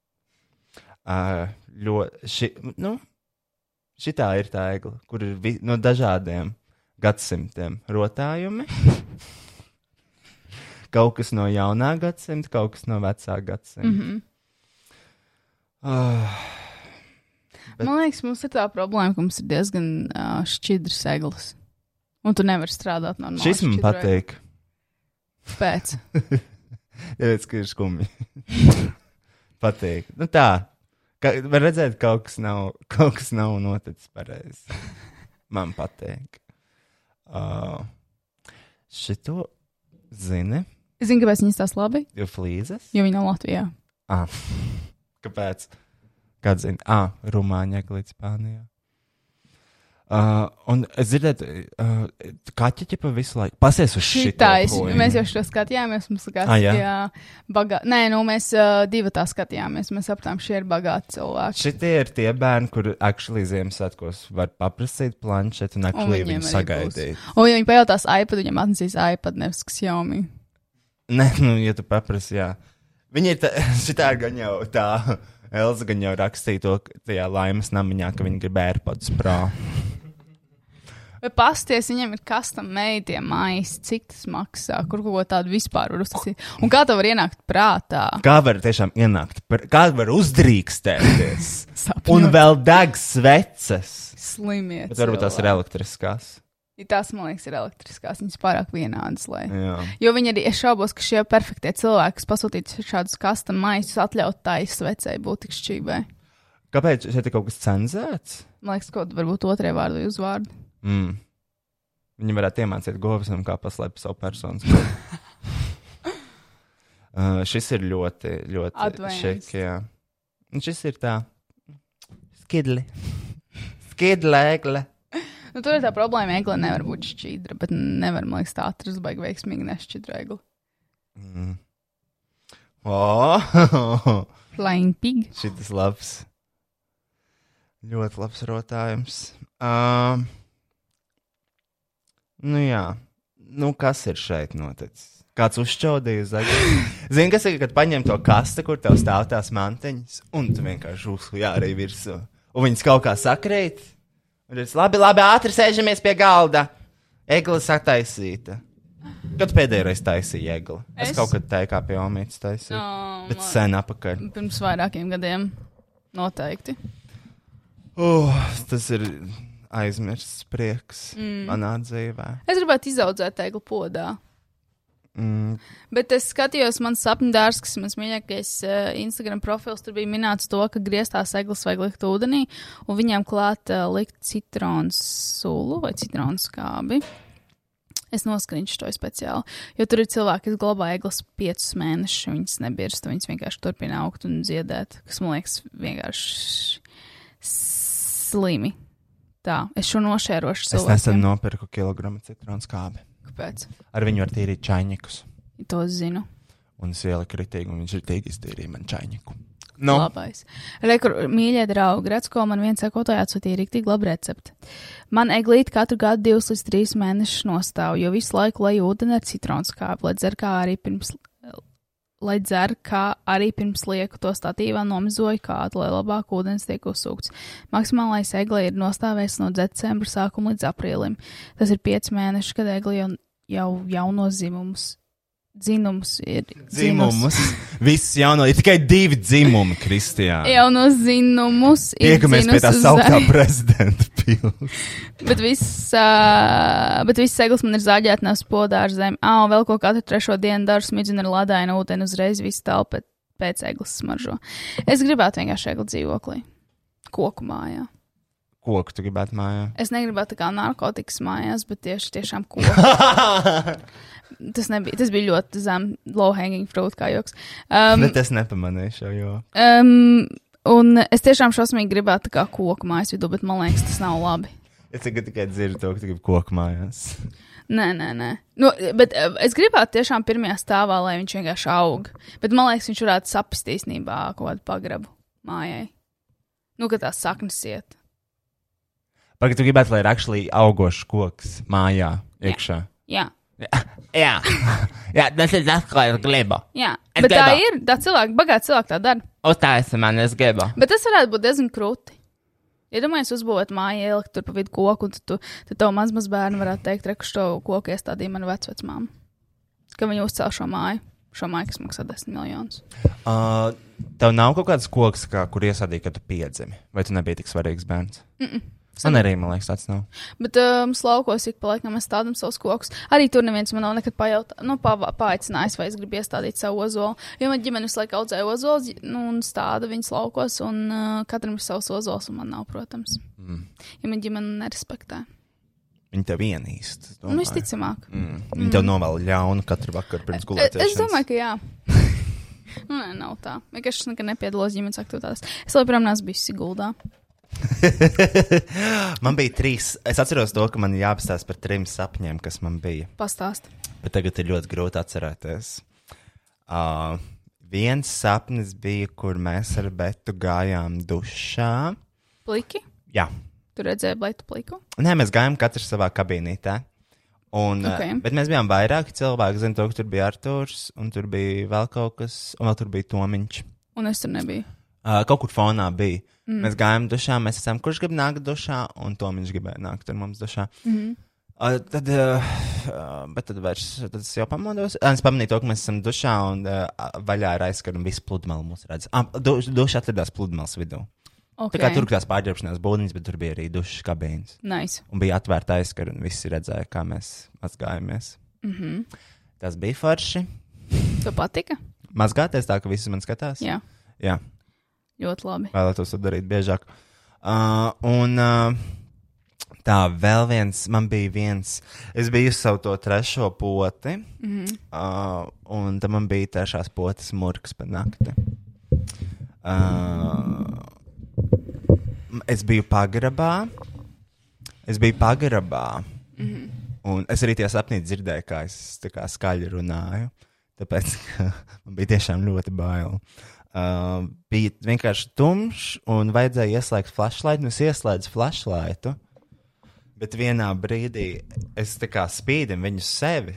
B: Uh, ļoti, ši, nu, šitā ir tā egla, kur ir vi, no dažādiem gadsimtiem rotājumi. kaut kas no jaunā gadsimta, kaut kas no vecā gadsimta.
A: Mm
B: Mm -hmm.
A: -hmm.
B: uh, Bet-
A: Man liekas, mums ir tā problēma, ka mums ir diezgan uh, šķidrs eglis. Un tu nevari strādāt no normāla.
B: šis man
A: šķidra
B: patīk.
A: egla. Pēc.
B: Tāpēc, ka ir skumji. patīk. Nu, tā. Ka, var redzēt, ka kaut kas nav, kaut kas nav noticis pareizi. Man patīk. Uh, šito zini,
A: Es zinu, kāpēc viņas tās labi,
B: jo flīzes.
A: jo viņi nav Latvijā.
B: Ah. Kāpēc? Kāds zina? Ah, Rumāņā, Eglīte, Spānijā. Uh, un es dzirdēju, uh, kaķi ķepa visu laiku pasies uz šī
A: Šitā es, mēs jau šo skatījāmies, mums likās,
B: Ah, jā?
A: ka bagā... Nē, nu mēs uh, divi tā skatījāmies, mēs aptām šie ir bagāti cilvēki.
B: Šitie ir tie bērni, kur aktuāli Ziemassvētkos var paprasīt planšetu un
A: Un
B: aktuāli
A: viņiem
B: viņu
A: arī
B: sagaidīt.
A: Un ja viņi pajautās iPad, viņam atnesīs iPad, nevis Xiaomi.
B: Nē, nu, ja tu paprasti, jā. Viņi ir tā, šitā gan jau tā. Elza gan jau rakstīja to ka tajā laimes namiņā, ka viņi grib AirPods Pro.
A: Vai pasties, viņam ir custom made mājas, cik tas maksā, kur kaut ko tādu vispār var uztaisīt. Un kā tev var ienākt prātā?
B: Kā var tiešām ienākt? par- Kā var uzdrīkstēties?
A: Sapņot.
B: Un vēl deg sveces.
A: Slimie.
B: Bet varbūt tās ir
A: cilvēki.
B: elektriskās.
A: Ja Tās, man liekas, ir elektriskās. Viņas pārāk vienādas. Lai...
B: Jā.
A: Jo viņi arī es šaubos, ka šie perfektie cilvēki, kas pasūtītu šādus kasta maisus, atļautu tā izsvecēji būt tik šķībai.
B: Kāpēc šeit ir kaut kas cenzēts?
A: Man liekas, kaut varbūt otrajā vārdu vai uzvārdu.
B: Mm. Viņi varētu iemācīt govsam, kā paslēpt savu personu. uh, šis ir ļoti, ļoti
A: Advanced.
B: šik, jā. Un šis ir tā. Skidli. Skidlēgle.
A: Nu, tur ir tā problēma, ka egle nevar būt šķīdra, bet nevar, man liekas, tā atrast baigi veiksmīgi nešķīdra egli.
B: Mm. Oh!
A: Flying pig.
B: Šis labs. Ļoti labs rotājums. Um, nu, jā. Nu, kas ir šeit noticis? Kāds uzšķaudīja zaļu? Zini, kas ir, kad paņem to kastu, kur tev stāv tās mantiņas, un tu vienkārši uzlūko arī virsū. Un viņas kaut kā sakrīt. Un tas labi, labi, ātri sēžamies pie galda. Eglis attaisīta. Kad pēdējo reizi taisīja egli? Es,
A: Es?
B: es kaut kad teikā pie omītas taisīju. No,
A: Um,
B: bet sen apakaļ.
A: pirms vairākiem gadiem noteikti.
B: Uh, tas ir aizmirsts prieks mm. manā dzīvē.
A: Es gribētu izaudzēt egli podā.
B: Mm.
A: Bet es skatījos, man sapņu dārsts, kas ir mans mīļākais uh, Instagram profils, tur bija minēts to, ka grieztās eglis vajag likt ūdenī, un viņiem klāt uh, likt citronu sulu vai citronu skābi. Es noskrīnšu to speciāli, jo tur ir cilvēki, kas glabā eglis piecus mēnešus, viņas nebirst, viņas vienkārši turpina augt un ziedēt, kas man liekas vienkārši slimi. Tā, es šo nošērošu
B: Es
A: cilvēku.
B: nesen nopirku kilogramu citronu skābi.
A: Kāpēc?
B: Ar viņu var tīrīt čaņikus.
A: To zinu.
B: Un es ieliku kritīgi, un viņš ir tīri iztīrījis man čaņiku. Nu,
A: Labais. Rekur, mīļie draugi, redz, ko man viens sekotāja atsūtīja rīktīgi labu recepti. Man eglīte katru gadu divus līdz trīs mēnešus nostāv, jo visu laiku lai ūdeni ar citronu skābi, lai dzer kā arī pirms. Lai dzer, kā arī pirms lieku to statīvā nomizoju kādu, lai labāk ūdens tiek uzsūkts. Maksimālais egle ir nostāvējis no decembra sākuma līdz aprīlim. Tas ir pieci mēneši, kad egle jau, jau jauno zimumus. Dzinums ir
B: dzimumus. Viss jauno, ir tikai divi dzimumi, Kristijā.
A: jau no zinumus ir
B: Iekamies pie tā
A: dzinus
B: sauktā
A: zaļ-
B: prezidenta pilsēta.
A: Bet viss, uh, bet viss seglis man ir zaļģētnās podā ar zemi. Ah, un vēl ko katru trešo dienu daru smidzinu ar ladāinu ūdeni uzreiz visu telpu pēc eglis smaržo. Es gribētu vienkārši egli dzīvoklī. Koku mājā.
B: Koku tu gribētu mājā?
A: Es negribētu tā kā narkotikas mājās, bet tieši tiešām koku.
B: Um,
A: Tas, nebija, tas bija ļoti zem, low hanging fruit kā joks. Um,
B: Bet es nepamanīšu, jo.
A: um, un es tiešām šausmīgi gribētu tā kā koku mājas vidū, bet man liekas, tas nav labi.
B: Es tagad tikai dzirdu to, ka tu gribi koku mājās.
A: Nē, nē, nē. Nu, bet eh, es gribētu tiešām pirmajā stāvā, lai viņš vienkārši aug. Bet man liekas, viņš varētu saprast īstenībā kaut kādu pagrabu mājai. Nu, ka tās saknes iet.
B: Pagaid, tu gribētu, lai ir akšlī augošs koks mājā iekšā.
A: Jā,
B: Jā, Jā tas ir tas, ko es gribu.
A: jā.
B: Es
A: bet tā
B: gribētu.
A: ir. Tā cilvēka, bagāta cilvēka tā dara.
B: Uztājas man, es gribu.
A: Bet tas varētu būt diezgan krūti. Iedomājieties, ja uzbūvēt māju, ielikt tur pa vidu koku, un tad, tu, tad tev mazmazbērni varētu teikt, ka šo koku iestādīja mana vecvecmāma. Ka viņi uzcēla šo māju. Šo māju, kas maksā 10 miljonus.
B: Uh, tev nav kaut kāds koks, kā, kur iesādīja, kad tu piedzimi. Vai tu nebija tik svarīgs bērns? Mm -mm. Man arī, man liekas, tāds nav.
A: Bet uh, mums laukos ik pa laikam mēs stādām savus kokus. Arī tur neviens man nav nekad pajautā, nu, pava- paaicinājis, vai es gribu iestādīt savu ozolu. Jo man ģimenes laikā audzēja ozolus, nu, un stāda viņas laukos, un uh, katram ir savs ozols, un man nav, protams.
B: Mm.
A: Ja man ģimene nerespektē.
B: Viņi tev ienīst.
A: Nu, visticamāk.
B: Mm. Viņi tev novēl ļaunu katru vakaru pirms
A: Es,
B: gulēšanas.
A: es domāju, ka jā. Nu, nē, nav tā. Vienkārši es nekad nepiedalos ģimenes aktivitātēs. Es joprojām neesmu bijis Siguldā.
B: Man bija trīs. Es atceros to, ka man jāpastāsta par trim sapņiem, kas man bija.
A: Pastāst.
B: Bet tagad ir ļoti grūti atcerēties. Uh, viens sapnis bija, kur mēs ar Betu gājām dušā.
A: Pliki?
B: Jā,
A: Tu redzēji blētu pliku?
B: Nē, mēs gājām katrs savā kabinītē. Un, okay.
A: Ok.
B: Bet mēs bijām vairāki cilvēki. Zinu, to, ka tur bija Arthurs, un tur bija vēl kaut kas, un vēl tur bija Tomiņš.
A: Un es tur nebiju.
B: Uh, kaut kur fonā bija. Mm. Mēs gājām dušā, mēs esam, kurš grib nākt dušā, un Tomiņš gribēja nākt ar mums dušā.
A: Mm.
B: Uh, tad, uh, uh, bet tad, vairs, tad es jau pamodos. Uh, es pamanīju to, ka mēs esam dušā un uh, vaļā ir aizskara un viss pludmale mūs redz. Ah, du, duša atradās pludmales vidū. Okay. Tā kā tur bija tās pārģērbšanās būdnes, bet tur bija arī dušas kabīnes.
A: Nice.
B: Un bija atvērta aizskara un visi redzēja, kā mēs mazgājamies.
A: Mm -hmm.
B: Tas bija forši.
A: Tev patika?
B: Mazgāties tā, ka visi man skatās.
A: Jā,
B: Jā.
A: ļoti labi.
B: vēlētos to darīt biežāk. Uh, un uh, tā vēl viens, man bija viens, es biju uz savu to trešo poti, mm -hmm. uh, un tad man bija trešās potes murgs pa nakti. Uh, m- es biju pagrabā, es biju pagrabā, mm -hmm. un es arī tajā sapnī dzirdēju, kā es tā kā skaļi runāju. Tāpēc ka man bija tiešām ļoti bail. Uh, bija vienkārši tumšs, un vajadzēja ieslēgt flashlight. nu Es ieslēdzu flashlight, bet vienā brīdī es tā kā spīdinu viņu sevi,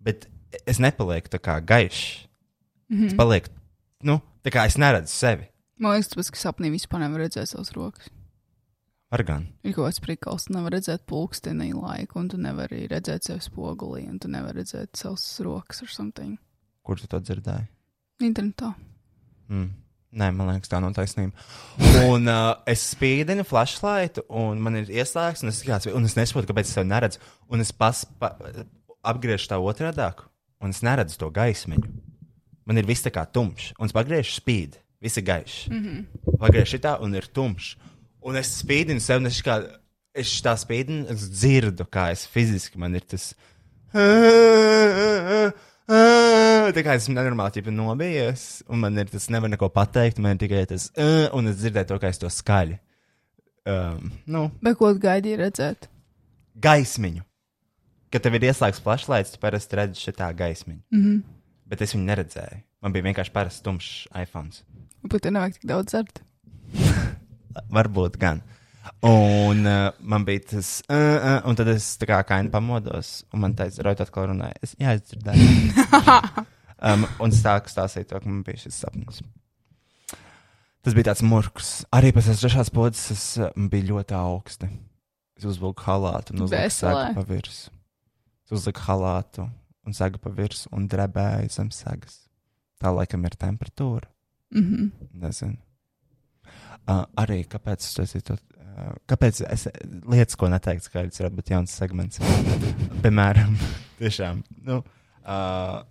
B: bet es nepalieku tā kā gaišs. Mm -hmm. Es palieku, nu, tā kā es neredzu sevi.
A: Man liekas, tas, ka sapnī vispār nevar redzēt savas rokas.
B: Argan.
A: Ir kaut kāds prikals, tu nevari redzēt pulksteni laiku, un tu nevari redzēt sevi spogulī, un tu nevari redzēt savas rokas ar something.
B: Kur tu to dzirdēji?
A: Internetā.
B: Mm. Nē, man liekas, tā nav taisnība. Un uh, es spīdinu flashlight, un man ir ieslēgts, un es, kāds, un es nesaprotu, kāpēc es to neredzu. Un es pas, pa, apgriežu tā otrādi, un es neredzu to gaismiņu. Man ir viss tā kā tumšs, un es pagriežu spīd, viss ir gaišs. Mm -hmm. Pagriežu tā, un ir tumšs. Un es spīdinu sev, un es, kā, es tā spīdinu, es dzirdu, kā es fiziski man ir tas. Tā kā es nenormāli tipu nobijies, un man ir tas nevar neko pateikt, man ir tikai tas, "Ā", un es dzirdēju to, kā es to skaļi. Um, nu,
A: Bet ko tu gaidīji redzēt?
B: gaismiņu. Kad tev ir ieslēgts flashlight, tu parasti redzi šitā gaismiņu. Mm -hmm. Bet es viņu neredzēju. Man bija vienkārši parasts tumšs iPhone.
A: Bet tev nevajag tik daudz zert.
B: Varbūt gan. Un uh, man bija tas, uh, uh, un tad es tā kā kaini pamodos, un man teica, Roja, atkal runāja. Es, jā, es dzirdēju. um, un stāku stāstīja to, ka man bija šis sapnis. Tas bija tāds murgs. Arī pēc tās trešās podas es uh, man biju ļoti augsti. Es uzvilku halātu un uzliku
A: Veselē.
B: segu pa virsmu. Es uzliku halātu un segu pa virsmu un drebēju zem segas. Tā laikam ir temperatūra.
A: Mm -hmm.
B: Nezinu. Uh, arī kāpēc es to teicu? Uh, kāpēc es lietas, ko neteiktu, ka tas varētu būt jauns segments? Piemēram, tiešām. Nu, uh,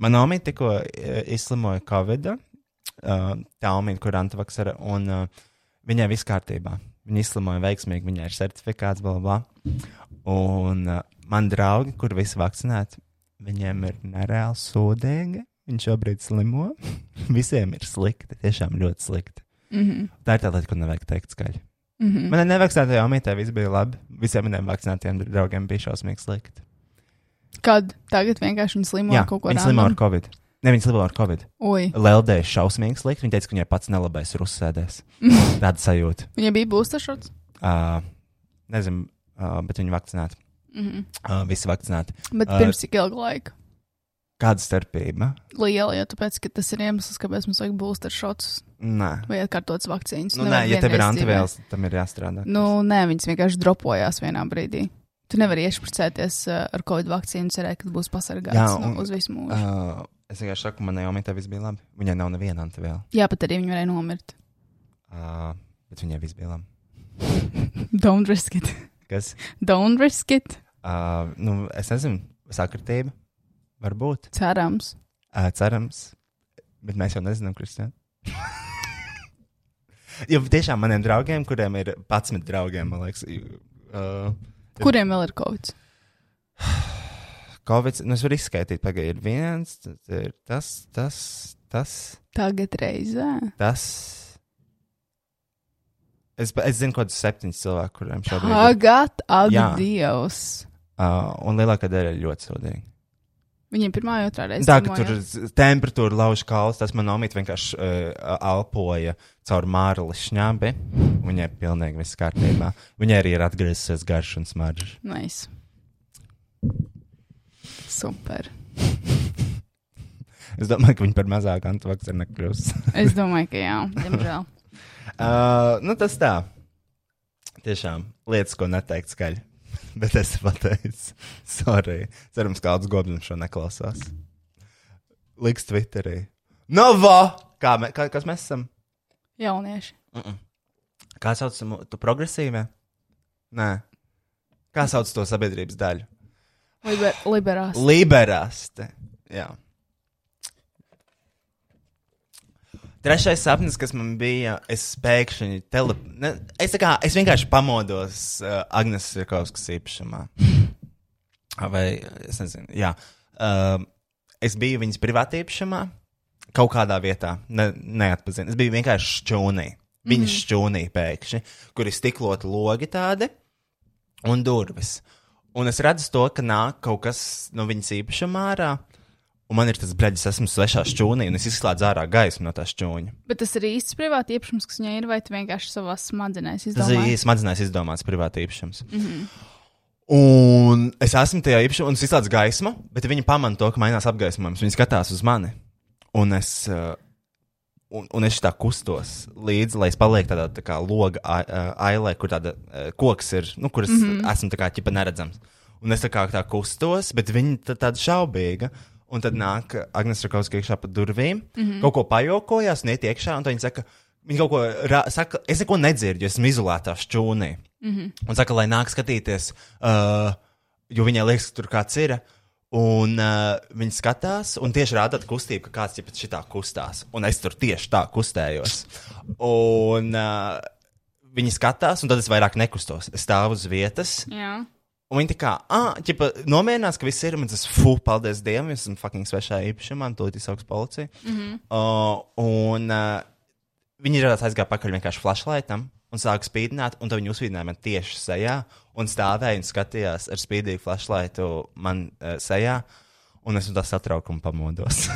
B: Manā mamā tikko uh, izslimoja Covid. Uh, tā mamma, kur antivaksera, un uh, viņai viss kārtībā. Viņa izslimoja veiksmīgi, viņai ir certifikāts, bla, bla. bla. Un uh, man draugi, kur visi vakcinēti, viņiem ir nereāli sūdīgi. Viņi šobrīd slimo. Visiem ir slikti, tiešām ļoti slikti.
A: Mm -hmm.
B: Tā ir tā lieta, ko nevajag teikt skaļi.
A: Mm -hmm.
B: Manai nevakcinātajai mītē viss bija labi. Visiem maniem vakcinātajiem draugiem bija šausmīgi slikti.
A: Kad tagad vienkārši viņi slimo
B: Jā,
A: ar kaut ko
B: viņi slimo ar
A: tādu?
B: covid. Ne, viņi slimo ar covid.
A: Oi,
B: Leldēja šausmīgi slikti. Viņa teica, ka viņai pats nelabais ir uzsēdēs. Tāda sajūta.
A: viņai bija būstašots.
B: Uh, nezinu, uh, bet viņi vakcinēti.
A: Mm -hmm.
B: Uh, visi vakcinēti.
A: Bet
B: Ā.
A: pirms cik ilga laika?
B: Kāda starpība?
A: Liela, jo tāpēc, ka tas ir iemesls, kāpēc mums vajag būstašots
B: Nē,
A: vai atkārtotas vakcīnas.
B: nu, nē ja tev ir
A: vienreiz dzīvē.
B: antivielas, tad tam ir jāstrādā.
A: Nu, nē, viņas vienkārši dropojās vienā brīdī. Tu nevari iešpricēties ā, ar Covid vakcīnu, cerēt, ka būs pasargāts
B: Jā,
A: Jā, un...
B: un-
A: nu, uz visu mūžu.
B: uh, es vienkārši saku, manai mītē viss bija labi. Viņai nav neviena antiviela.
A: Jā, pat arī viņi varēja nomirt.
B: Uh, bet viņai viss bija labi.
A: Don't risk it.
B: Kas?
A: Don't risk it.
B: Uh, nu, es nezinu, sakritība. Varbūt.
A: Cerams.
B: Uh, cerams. Bet mēs jau nezinām, Kristija. jo tiešām maniem draugiem, kuriem ir 11 draugiem, man liekas, uh,
A: Kuriem vēl ir Covid?
B: Covid, nu, es varu izskaidrot, pagaidi, ir viens, tad ir tas, tas, tas,
A: Tagad reizē.
B: tas. Es, pa- es zinu, kaut kādus septiņus cilvēkus, kuriem šobrīd ir.
A: Tagad
B: Jā.
A: adios.
B: Uh, un lielākā daļa ir ļoti sūdīga.
A: Viņiem pirmā, otrā reize.
B: Tā kā tur z- temperatūra lauž kalns, tas man omīt vienkārši uh, alpoja caur mārli šņābi. Viņai pilnīgi viss kārtībā. Viņai arī ir atgriezusies garš un smaržs.
A: Nice. Super.
B: Es domāju, ka viņi par mazāk antivakcinu nekļūs.
A: Es domāju, ka jā, diemžēl.
B: uh, nu, tas tā. Tiešām lietas, ko neteikt skaļi. Bet es pateicu, sorry. Cerams, ka kāds goblis šo neklausās. Liks Twitterī. Nova! Kā me, kā, kas mēs esam?
A: Jaunieši.
B: Kā sauc mu- tu progresīvē? Nē. Kā sauc to sabiedrības daļu?
A: Liber liberās.
B: Liberāste. Jā. Trešais sapnis, kas man bija, es pēkšņi tele... ne, es, tā kā, es vienkārši pamodos uh, Agnēs Sirkovskas īpašumā. Vai es nezinu, jā. Uh, es biju viņas privātā īpašumā, kaut kādā vietā, ne, neatpazinu. Es biju vienkārši šķūnī. Viņa mm. šķūnī pēkšņi, kur ir stiklot logi tādi un durvis. Un es redzu to, ka nāk kaut kas no viņas īpašumā ārā. Un man ir tas brīdis, es esmu svešā šķūnī, un es izslēdzu ārā gaismu no tā šķūņa.
A: Bet tas ir īsts privāti iepšums, kas viņai ir, vai tu vienkārši savā smadzenēs
B: Tas
A: izdomāji?
B: ir smadzenēs izdomāts privāti īpašums. Mm -hmm. Un es esmu tajā īpašumā, un es izslēdzu gaismu, bet viņi pamana to, ka mainās apgaismojums. Viņi skatās uz mani, un es, uh, un, un es tā kustos līdzi, lai es palieku tādā tā kā loga ai- ā, ailē, kur tāda uh, koks ir, nu, kur es mm -hmm. esmu tā kā ķipa neredzams. Un es tā kā tā kustos, bet viņa tā, tāda šaubīga. Un tad nāk Agnēs Rakauska iekšā pa durvīm, mm -hmm. kaut ko pajokojās, neiet iekšā, un tad viņa saka, viņa kaut ko ra- saka, es neko nedzirdu, jo esmu izolētā šķūnī. Mm -hmm. Un saka, lai nāk skatīties, uh, jo viņai liekas, ka tur kāds ir. Un uh, viņi skatās, un tieši rāda tādu kustību, ka kāds jau pēc šitā kustās. Un es tur tieši tā kustējos. Un uh, viņi skatās, un tad es vairs nekustos. Es stāvu uz vietas,
A: Jā.
B: Un viņi tā kā, ah, ķipa, nomierinās, ka viss ir, un tas, fu, paldies Dievam, es esmu fucking svešā īpašumā, un tūlīt izsauks policiju. Mm -hmm.
A: Mhm.
B: uh, un uh, viņi ir aizgājuši pakaļ vienkārši flashlightam un sāka spīdināt, un tad viņi uzspīdināja man tieši sejā, un stāvēja un skatījās ar spīdīgu flashlightu man uh, sejā, un es no tā satraukuma pamodos.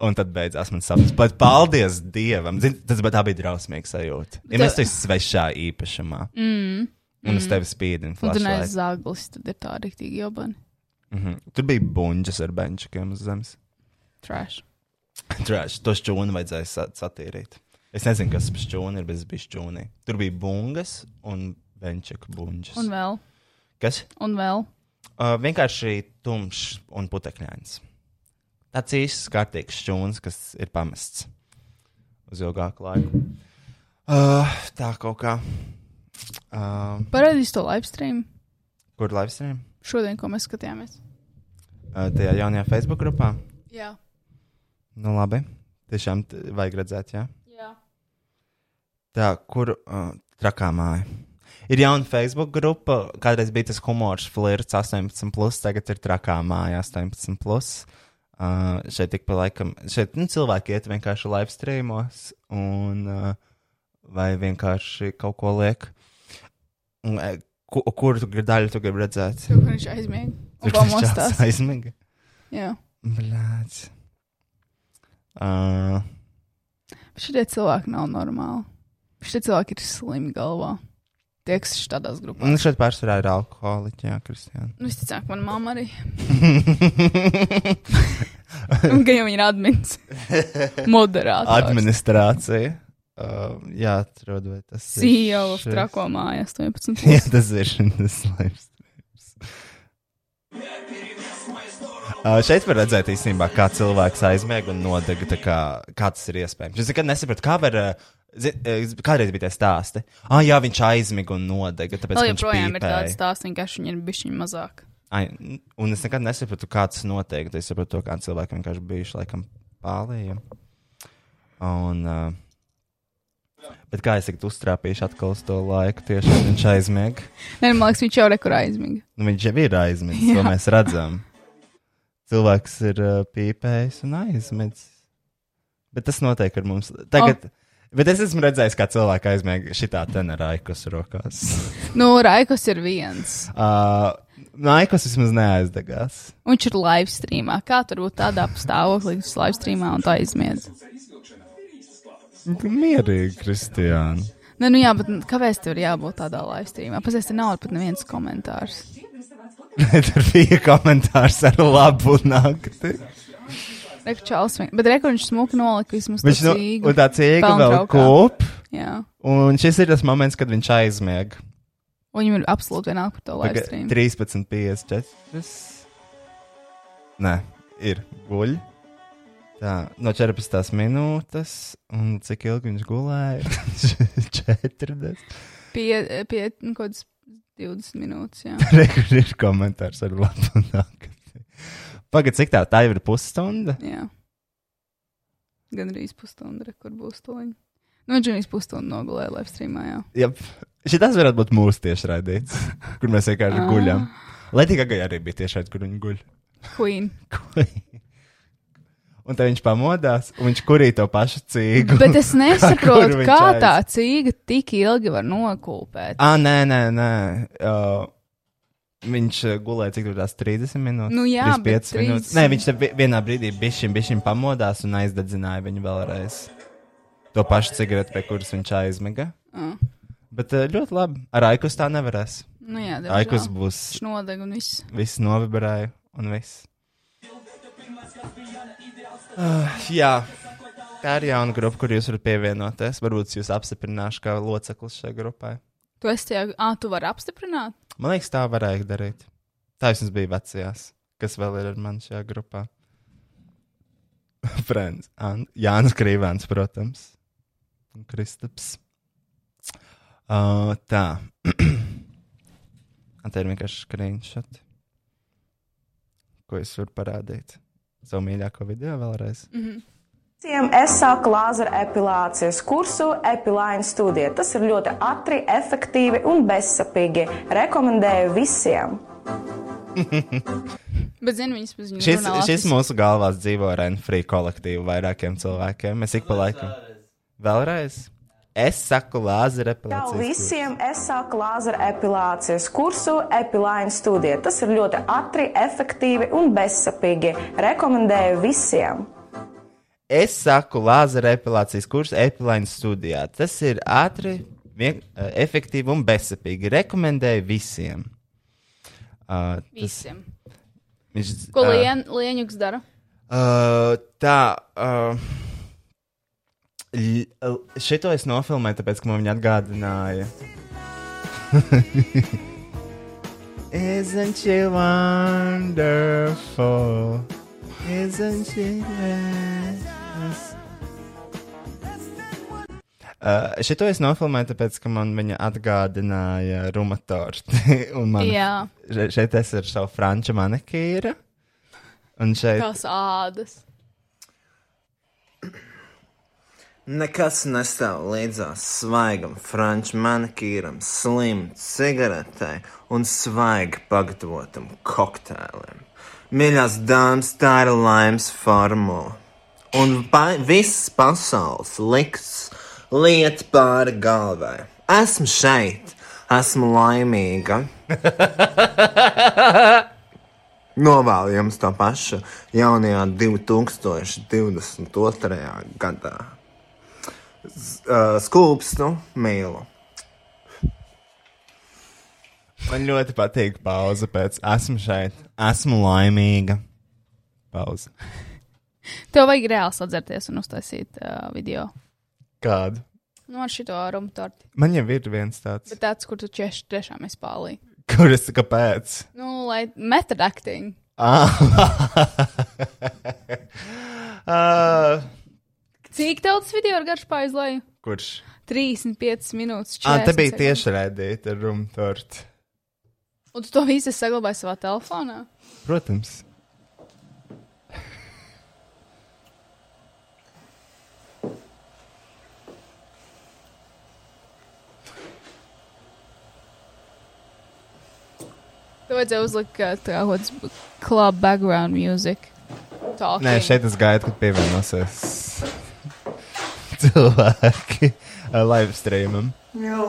B: Un tad beidzās mans sapnis. Bet paldies Dievam! Zin, tas bet tā bija drausmīga sajūta. Ja
A: Tev-
B: mēs te esam svešā īpašumā, mm. un uz tevis spīdina
A: Mhm. Un tu neesi
B: flashlight.
A: zāglis, tad ir tā rīktīgi jobani.
B: Mhm. Tur bija buļbuļs ar benčiem uz zemes.
A: Trash.
B: Trāši, to šķūni vajadzēja sa- satīrīt. Es nezinu, kas par šķūni ir, bet es biju šķūnī. Tur bija bungas un benčika buļbuļs.
A: Un vēl,
B: Kas?
A: un vēl.
B: Uh, vienkārši tumšs un putekļains. Tāds īsts, kārtīgs šķūns, kas ir pamests uz ilgāku laiku. Uh, tā kaut kā. Uh,
A: Parādīs to live stream
B: kur live stream?
A: šodien, ko mēs skatījāmies.
B: Uh, tajā jaunajā Facebook grupā.
A: Jā.
B: Nu labi, tiešām t- vajag redzēt, jā. Ja?
A: Jā.
B: Tā, kur uh, trakā māja? Ir jauna Facebook grupa, kādreiz bija tas humors, flirts 18, plus, tagad ir trakā māja 18. Plus. Uh, šeit tik pa laikam, šeit nu, cilvēki iet vienkārši live streamos un uh, vai vienkārši kaut ko liek. Un, eh, Ku, kuru tu gr- daļu tu gribi redzēt?
A: Tur viņš aizmiega. Un pamostās.
B: aizmigā.
A: Jā.
B: Blāts. Uh,
A: Šie cilvēki nav normāli. Šie cilvēki ir slimi galvā. Tie, kas ir tādās grupās.
B: nu, šeit pārsvarā ir alkoholiķi, jā, Kristiāna.
A: Nu, Visticamāk, mana mamma arī. Un Gan jau viņa ir admins. Moderātors.
B: administrācija. Uh, jā, atrod, vai tas
A: CEO E of
B: šis.
A: trako mājas 18.
B: Jā, tas ir šis laiks. Uh, šeit var redzēt īstenībā, kā cilvēks aizmieg un nodeg. tā Kā, kā tas ir iespējams? Es nekad nesapratu, kā var. ā, zi- ā, Kādreiz bija tie stāsti. Ah, jā, viņš aizmiga un nodega. Tāpēc
A: Vēl
B: ka viņš
A: joprojām ir
B: pīpēja.
A: tāds stāsts, vienkārši viņi ir bišķiņi mazāk.
B: Ai, n- un es nekad nesapratu, kā tas notiek. Tad Es sapratu, to, kā cilvēki vienkārši bijuši laikam pārējie. Un. Uh, Bet kā es tagad uztrāpīšu atkal uz to laiku, tieši viņš aizmiega.
A: nu, Nē, man liekas, viņš jau rekur aizmiga.
B: Nu, viņš jau ir aizmigs, to
A: Jā.
B: mēs redzam. cilvēks ir uh, pīpējis un aizmidzis. Bet tas notiek ar mums. Tagad, oh. Bet es esmu redzējis, kā cilvēki aizmiega šitā tenā raikus rokās.
A: Nu, Raikos ir viens.
B: uh, Naikus vismaz neaizdegās.
A: Un Viņš ir live streamā. Kā tur būt tādā stāvoklī, kas live streamā un tā aizmiedz?
B: Mierīgi, Kristiāna.
A: Nē, nu jā, bet kāpēc tur jābūt tādā live streamā? Pēc tam nav pat neviens komentārs.
B: Tur bija komentārs ar labu nakti.
A: Reku čalsmiņ. Bet reku viņš smuki nolika vismaz
B: Viņš
A: to
B: nu,
A: cīgu.
B: un tā cīga
A: pelnu
B: vēl
A: traukā.
B: kūp,
A: Jā.
B: un šis ir tas moments, kad viņš aizmieg.
A: Un viņam ir absolūti vienalga par to live
B: Tagad
A: streamu.
B: 13,54. Nē, ir guļ. Tā, no 14 minūtes, un cik ilgi viņš gulēja? 40.
A: Pie, pie nu, kaut kādas 20 minūtes, jā.
B: Re, kur ir komentārs ar labu nakti. Pagaidiet, cik tā, tā jau ir pusstunda?
A: jā. Gan arī pusstunda, re, kur būs to viņa. Nu, viņš gan pusstundu nogulēja live streamā, jā.
B: Jā, šis varētu būt mūsu tieši raidīts, kur mēs
A: Ah.
B: vienkārši guļam. Latvijas Banka arī bija tieši šeit, kur viņa guļ.
A: Queen.
B: un tad viņš pamodās, un viņš kurīja to pašu cīgu.
A: Bet es
B: kur
A: nesaprotu,
B: viņš
A: kā
B: aiz-
A: tā cīga tik ilgi var nokūpēt.
B: Ah, nē, nē, nē. Uh, viņš uh, gulēja cik tur tās 30 minūtes.
A: Nu jā, bet
B: 35 minūtes.
A: 30.
B: Nē, viņš te vi- vienā brīdī bišķiņ, bišķiņ pamodās un aizdedzināja viņu vēlreiz. To pašu cigareti, pie kuras viņš aizmiga.
A: Ah.
B: Bet uh, ļoti labi. Ar Aikus tā nevarēs.
A: Nu, jā, diemžēl.
B: Aikus būs
A: Viņš nodeg un viss.
B: Viss novibrēja, un viss. Uh, jā, tā ir jauna grupa, kur jūs varat pievienoties. Varbūt es jūs apstiprināšu kā loceklis šai grupai.
A: Tu esi tajā, ah, tu vari apstiprināt?
B: Man liekas, tā varēja darīt. Tā vismaz bija vecajās, kas vēl ir ar mani šajā grupā. Friends, An Jānis Krīvāns, protams, un Kristaps. Uh, tā. Un Te ir vienkārši screenshot, ko es varu parādīt. Savu mīļāko video vēlreiz.
C: Visiem es sāku lāzera epilācijas kursu Epiline studija. Tas ir ļoti ātri, efektīvi un bezsapīgi. Rekomendēju visiem!
A: Bet zinu, viņas pēc viņas
B: Šis,
A: runā
B: šis
A: latvijas-
B: mūsu galvās dzīvo Renfrī kolektīvu vairākiem cilvēkiem. Mēs ik pa laikam. Vēlreiz. Es saku lāzera
C: Jau
B: epilācijas.
C: visiem es sāku lāzera epilācijas kursu Epiline studija. Tas ir ļoti ātri, efektīvi un bezsapīgi. Rekomendēju visiem!
B: kursu. Es saku lāzera epilācijas kursu Epilāna studijā. Tas ir ātri, vien, eh, efektīvi un bezsapīgi. Rekomendēju visiem. Uh,
A: Visiem.
B: viņš, ah,
A: Ko
B: ā,
A: lien, Lieņuks dara?
B: Uh, tā. Uh, ļ- l- Šito es nofilmēju, tāpēc, ka man viņa atgādināja. Isn't she wonderful? Isn't she precious? Uh, šito es nofilmēju, tāpēc, ka man viņa atgādināja rumatorti. un man
A: Jā,
B: Še- šeit es ar savu franču manikīru. Un šeit
A: tās ādas.
D: Nekas nestāv līdzās svaigam franču manikīram, slimam cigaretei un svaigi pagatavotam kokteilim. Mīļās dāmas, tā ir laimes formula. Un pa viss pasaules liks liet pāri galvai. Esmu šeit, esmu laimīga. Novēlu jums to pašu jaunajā 2022. gadā. Z- Uh, Skulpstu mīlu.
B: man ļoti patīk pauze pēc esmu šeit, esmu laimīga. Pauze.
A: Tev vajag reāli sadzerties un uztaisīt uh, video.
B: Kādu?
A: Nu, ar šito rumu torti.
B: Man jau ir viens tāds,
A: Bet tāds, kur tu češi tiešām esi pālī.
B: kur es kāpēc?
A: Nu, lai method acting.
B: Ah,
A: Cik tev tas video ir garš pāri leju?
B: kurš?
A: 35 minūtes.
B: Ah,
A: 40
B: te bija
A: sekundes.
B: tieši redzēta ar rumtortu.
A: Un tu to visu esi saglabājis savā telefonā?
B: Protams.
A: Tev vajadzēja uzlikt kā tā kā kaut kāds club background music. Talking.
B: Nē, šeit es gaidu, kad pievienosies cilvēki ar live streamam.
D: Jā.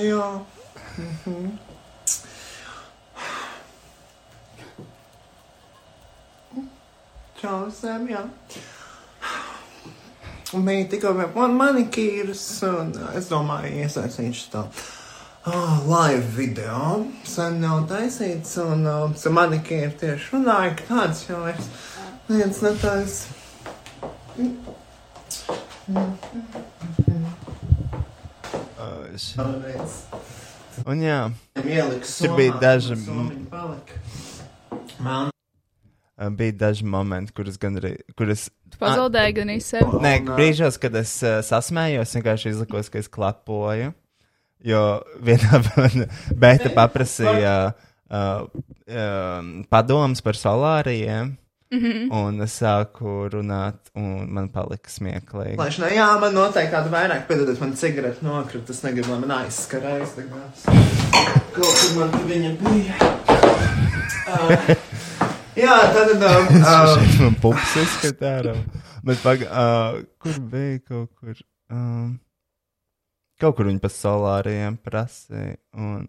D: Jā. Mhm. Čau, Sam, jā. Bija tikko vēl man manikīrs, un uh, es domāju, iesaistīšu to oh, live video. Sen nav taisīts, un um, ar manikīru tieši runāju, ka tāds jau es viens netais. Vēlreiz.
B: Un jā,
D: Ieliks
B: Tur bija
D: somā,
B: daži-
D: un somiņi palika. Man
B: bija daži momenti, kurus gan arī. Kur es...
A: Tu pazaudēji gan arī sevi.
B: Nē,
D: Un, ā,
B: brīžos, kad es uh, sasmējos, vienkārši izlikos, ka es klapoju. Jo vienā beigā paprasīja uh, um, padomus par solārijiem, mm -hmm. un es sāku runāt, un man palika smieklīgi.
D: Laišanā, jā, man noteikti kāda vairāk piedodiet, man cigarete nokrita. Es negribu, lai man aizskarējas. Kaut kur man te viņa bija. Ā, Jā, tad um, um,
B: Šeit man pupas izskat ārā. Bet pag, uh, kur bija kaut kur? Um, kaut kur viņi par solārijiem prasīja. Un...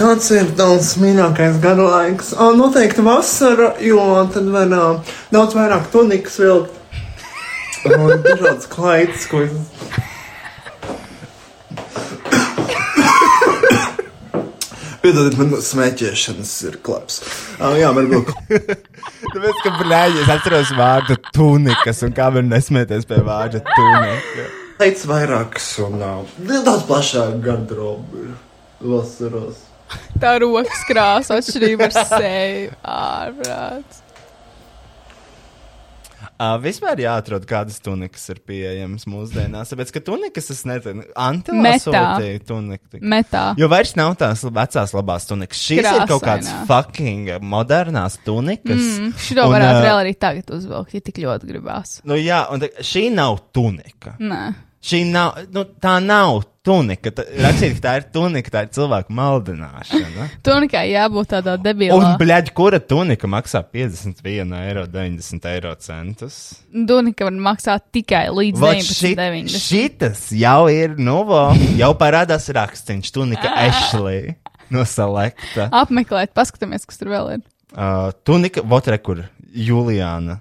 D: kāds ir tavs mīļākais gada laiks? O, noteikti vasara, jo tad var uh, daudz vairāk tunikas vilkt. Un dažādas klaidas, ko es. Piedodiet, man smēķēšanas ir klaps. Uh, jā, man bija.
B: Tāpēc, ka blēņi, es atceros vārdu tunikas, un kā var nesmieties pie vārda tunika.
D: Teicu vairākas un nav. Daudz plašāk garderobu ir vasaros.
A: Tā rokas krāsa atšķirība ar seju. Ārprāts.
B: Uh, vispār jāatrod, kādas tunikas ir pieejamas mūsdienās, tāpēc, ka tunikas es nezinu, antilā
A: Metā.
B: sūtīja tuniku.
A: Metā.
B: Jo vairs nav tās vecās labās tunikas. Šīs Krāsainā. ir kaut kādas
A: Krāsainā.
B: fucking modernās tunikas.
A: Mm, Šito
B: Un,
A: varētu
B: ā,
A: vēl arī tagad uzvilkt, ja tik ļoti gribās.
B: Nu, jā, un tā, šī nav tunika.
A: Nē.
B: Šī nav, nu, tā nav tunika. Tā, rakstīt, ka tā ir tunika, tā ir cilvēku maldināšana.
A: Tunikai jābūt tādā
B: Un,
A: debilā.
B: blēģi, kura tunika maksā 51,90 eiro, 90 eiro centus?
A: Dunika var maksāt tikai līdz
B: Vot
A: 19,90.
B: šitas jau ir novo, jau parādās rakstīns tunika Ashley no Selekta.
A: Apmeklēt, paskatāmies, kas tur vēl ir.
B: Uh, tunika, votre, kur Juliana.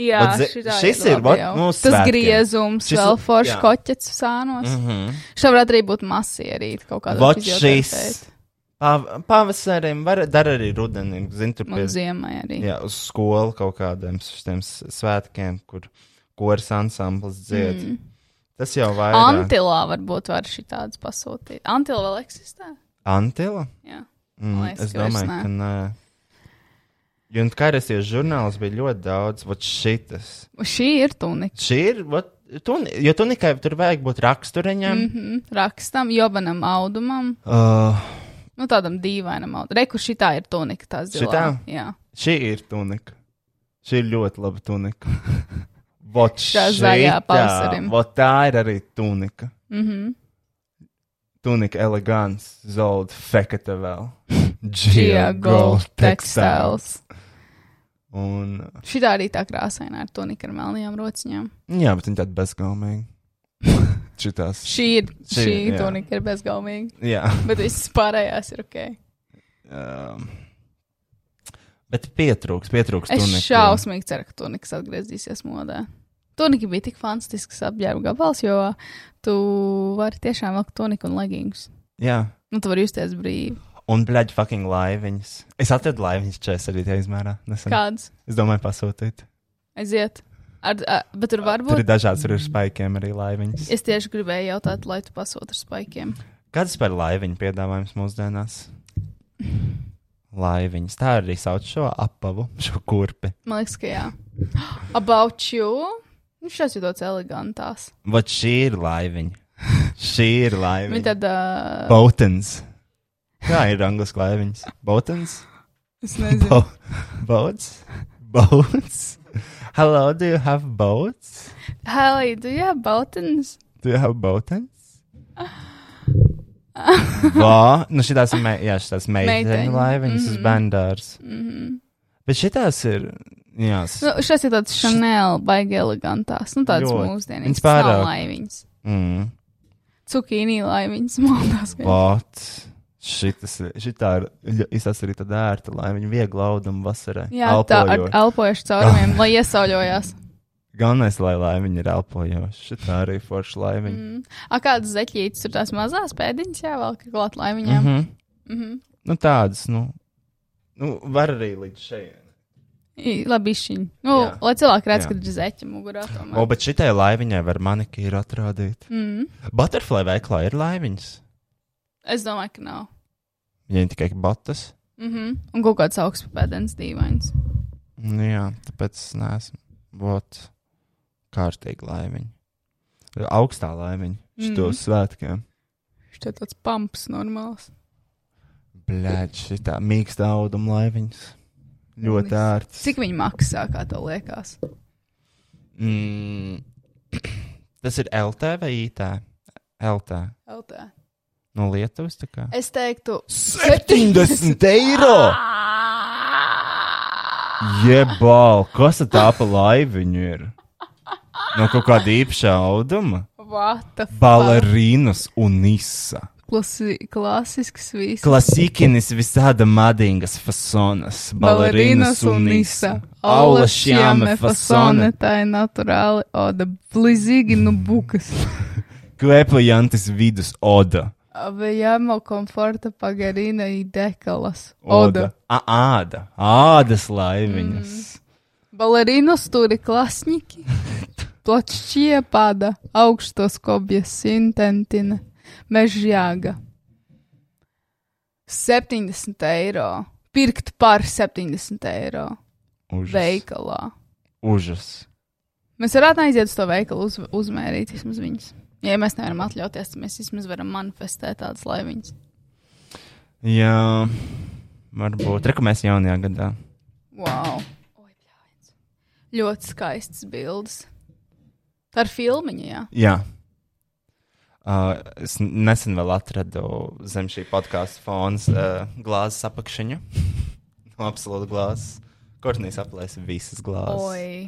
A: Jā,
B: Vot ze-
A: šitā
B: šis ir,
A: labi
B: vot,
A: jau.
B: nu,
A: tas
B: svētkiem.
A: griezums,
B: Šis-
A: šis, vēl foršs
B: jā.
A: koķets sānos. Mm -hmm. Šā varētu arī būt masīva arī kaut kāda.
B: Vot šis. Pav pavasarim, var, dar arī rudenim, zin, tur
A: Man
B: pie
A: ziemai arī.
B: jā, uz skolu kaut kādiem šiem svētkiem, kur koris ansamblis dzied. Mm. Tas jau vairāk.
A: Antilā varbūt var šī tādas pasūtīt. Antila vēl eksistē?
B: Antila?
A: Jā.
B: Mm,
A: liekas,
B: es
A: ka vairs
B: domāju,
A: nē.
B: ka nē. Jo nu, kairēsiešu žurnāls bija ļoti daudz, vot šitas.
A: Šī ir tunika.
B: Šī ir, vot, tun, jo tu tikai tur vajag būt raksturiņam. Mm.
A: Mhm. Rakstam, jobanam audumam,
B: Uh,
A: nu tādam dīvainam audumam. Reku šitā ir tunika, tās zilā.
B: Šitā?
A: Jā.
B: šī ir tunika. Šī ir ļoti laba tunika. Vot
A: Šā zaļā
B: šitā,
A: pavasarim.
B: Vot tā ir arī tunika.
A: Mhm.
B: Tunika elegants, zelta, fekete vēl.
A: Gia
B: Gia
A: Gold Textiles.
B: Un,
A: Šitā arī tā krāsainā ar tunika ar melnajām rociņām.
B: jā, bet viņi tādi bezgalīgi. Šitās.
A: Šī ir
B: Šī,
A: šī,
B: jā.
A: šī tunika ir bezgalīga,
B: Jā.
A: bet viss pārējās ir ok.
B: Um, bet pietrūks, pietrūks.
A: Es
B: tunika.
A: šausmīgi ceru, ka tuniks atgriezīsies modē. Tunika bija tik fantastisks apģērba gabals, jo tu vari tiešām vilkt tuniku un leggings.
B: Jā.
A: Nu, tu vari justies brīvi.
B: Un, blēģi, fucking laiviņas. Es atradu laiviņas 42. izmērā. Nesen.
A: Kāds
B: Es domāju, pasūtīt.
A: aiziet? Ar, a, bet tur
B: Tur
A: varbūt
B: ir dažādas, tur ir spaikiem arī laiviņas.
A: es tieši gribēju jautāt, lai tu pasūti ar spaikiem.
B: Kāds par laiviņu piedāvājums mūsdienās? Laiviņas. Tā arī sauc šo apavu, šo kurpi.
A: Man liekas, ka jā. About you? Nu, šis ir tāds elegants.
B: Vat šī ir laiviņa. šī ir
A: Viņa
B: laiviņa.
A: tāda.
B: Botens. Kā ir angliski laiviņas? Botens?
A: Es nezinu.
B: Bo boats? Boats? Hello, do you have boats?
A: Hallie, do you have buttons?
B: Do you have buttons? Vā, nu šitās ir, mei- jā, šitās meiteņu
A: Meiteņu.
B: laiviņas
A: Mm-hmm.
B: uz bandārs.
A: Mhm.
B: Bet šitās ir, jā, s-
A: Nu, šis ir tāds Chanel, baigi elegantās. Nu, tāds
B: Ļoti.
A: mūsdienīgs.
B: Viņas pārāk.
A: Nav Laiviņas.
B: mm,
A: Cukīnī laiviņas. Maldās.
B: vāt. Šitas, ir- šitā ir, ļo- iztās arī tad ērta, lai viņi viegli laudumu vasarā.
A: Jā, tā ar
B: elpojoši.
A: elpojušu caurumiem, lai iesauļojās.
B: Galvenais, lai laimiņi ir elpojoši. Šitā arī forša laimiņa.
A: Mhm. A kādas zeķītes ir tās mazās pēdiņas jāvelk klāt
B: Mm
A: laimiņām?
B: -hmm.
A: Mhm.
B: Nu, tādas, nu, nu, var arī līdz šeit.
A: I- Labi, šī. Nu,
B: Jā.
A: lai cilvēki redz,
B: Jā.
A: ka ir zeķa mugurā.
B: O, bet šitai laiviņai var manikīru atrādīt.
A: Mm.
B: Butterfly veiklā ir laiviņas.
A: Es domāju, ka nav.
B: Viņai tikai batas.
A: Mm -hmm. Un kaut kāds augsts pēdējais dīvains.
B: Nu, jā, tāpēc es neesmu. Vot, kārtīgi laimiņa. Augstā laimiņa. Šitos mm. svētkiem.
A: Šķiet tāds pumps normāls.
B: Blēģ, šitā mīksta auduma laiviņas. Ļoti ērts.
A: Cik viņi maksā, kā tev liekas?
B: Mm. Tas ir LT vai IT? LT.
A: LT.
B: No Lietuvas tā kā.
A: Es teiktu,
B: 70
A: Ah!
B: eiro! Jebal, kas tā pa laiviņu ir? No kaut kāda īpaša auduma.
A: vata.
B: Balerīnas un nisa.
A: Klasi klasisks viss.
B: Klasikinis visāda madīgas fasonas. Balerīnas un nisa. Aula šiame fasone.
A: Tā ir naturāli. O, da blizīgi nu bukas.
B: Kvepajantis vidus oda.
A: Vējamo komforta pagarina i dekalas. Oda.
B: A, āda. Ādas laiviņas.
A: Balerīnos tur ir klasniki. Plačšie pada, augstos kobjas, sintentina, mežģīga. 70 eiro. Pirkt par 70 eiro
B: Užas.
A: veikalā.
B: Užas.
A: Mēs varētu aiziet uz to veikalu, uz, uzmērīt vismaz viņas. Ja mēs nevaram atļauties, tad mēs vismaz varam manifestēt tādas laiviņas.
B: Jā. Varbūt. Rekomēs jaunajā gadā.
A: Wow! Oi, bļāviens. Ļoti skaistas bildes. Tā ir filmiņa, jā.
B: Jā. Uh, es nesen vēl atradu zem šī podkāstu fona uh, glāzes apakšņu. no absolūti glāzes. Kortnīs aplēsa visas glāzes
A: Oi,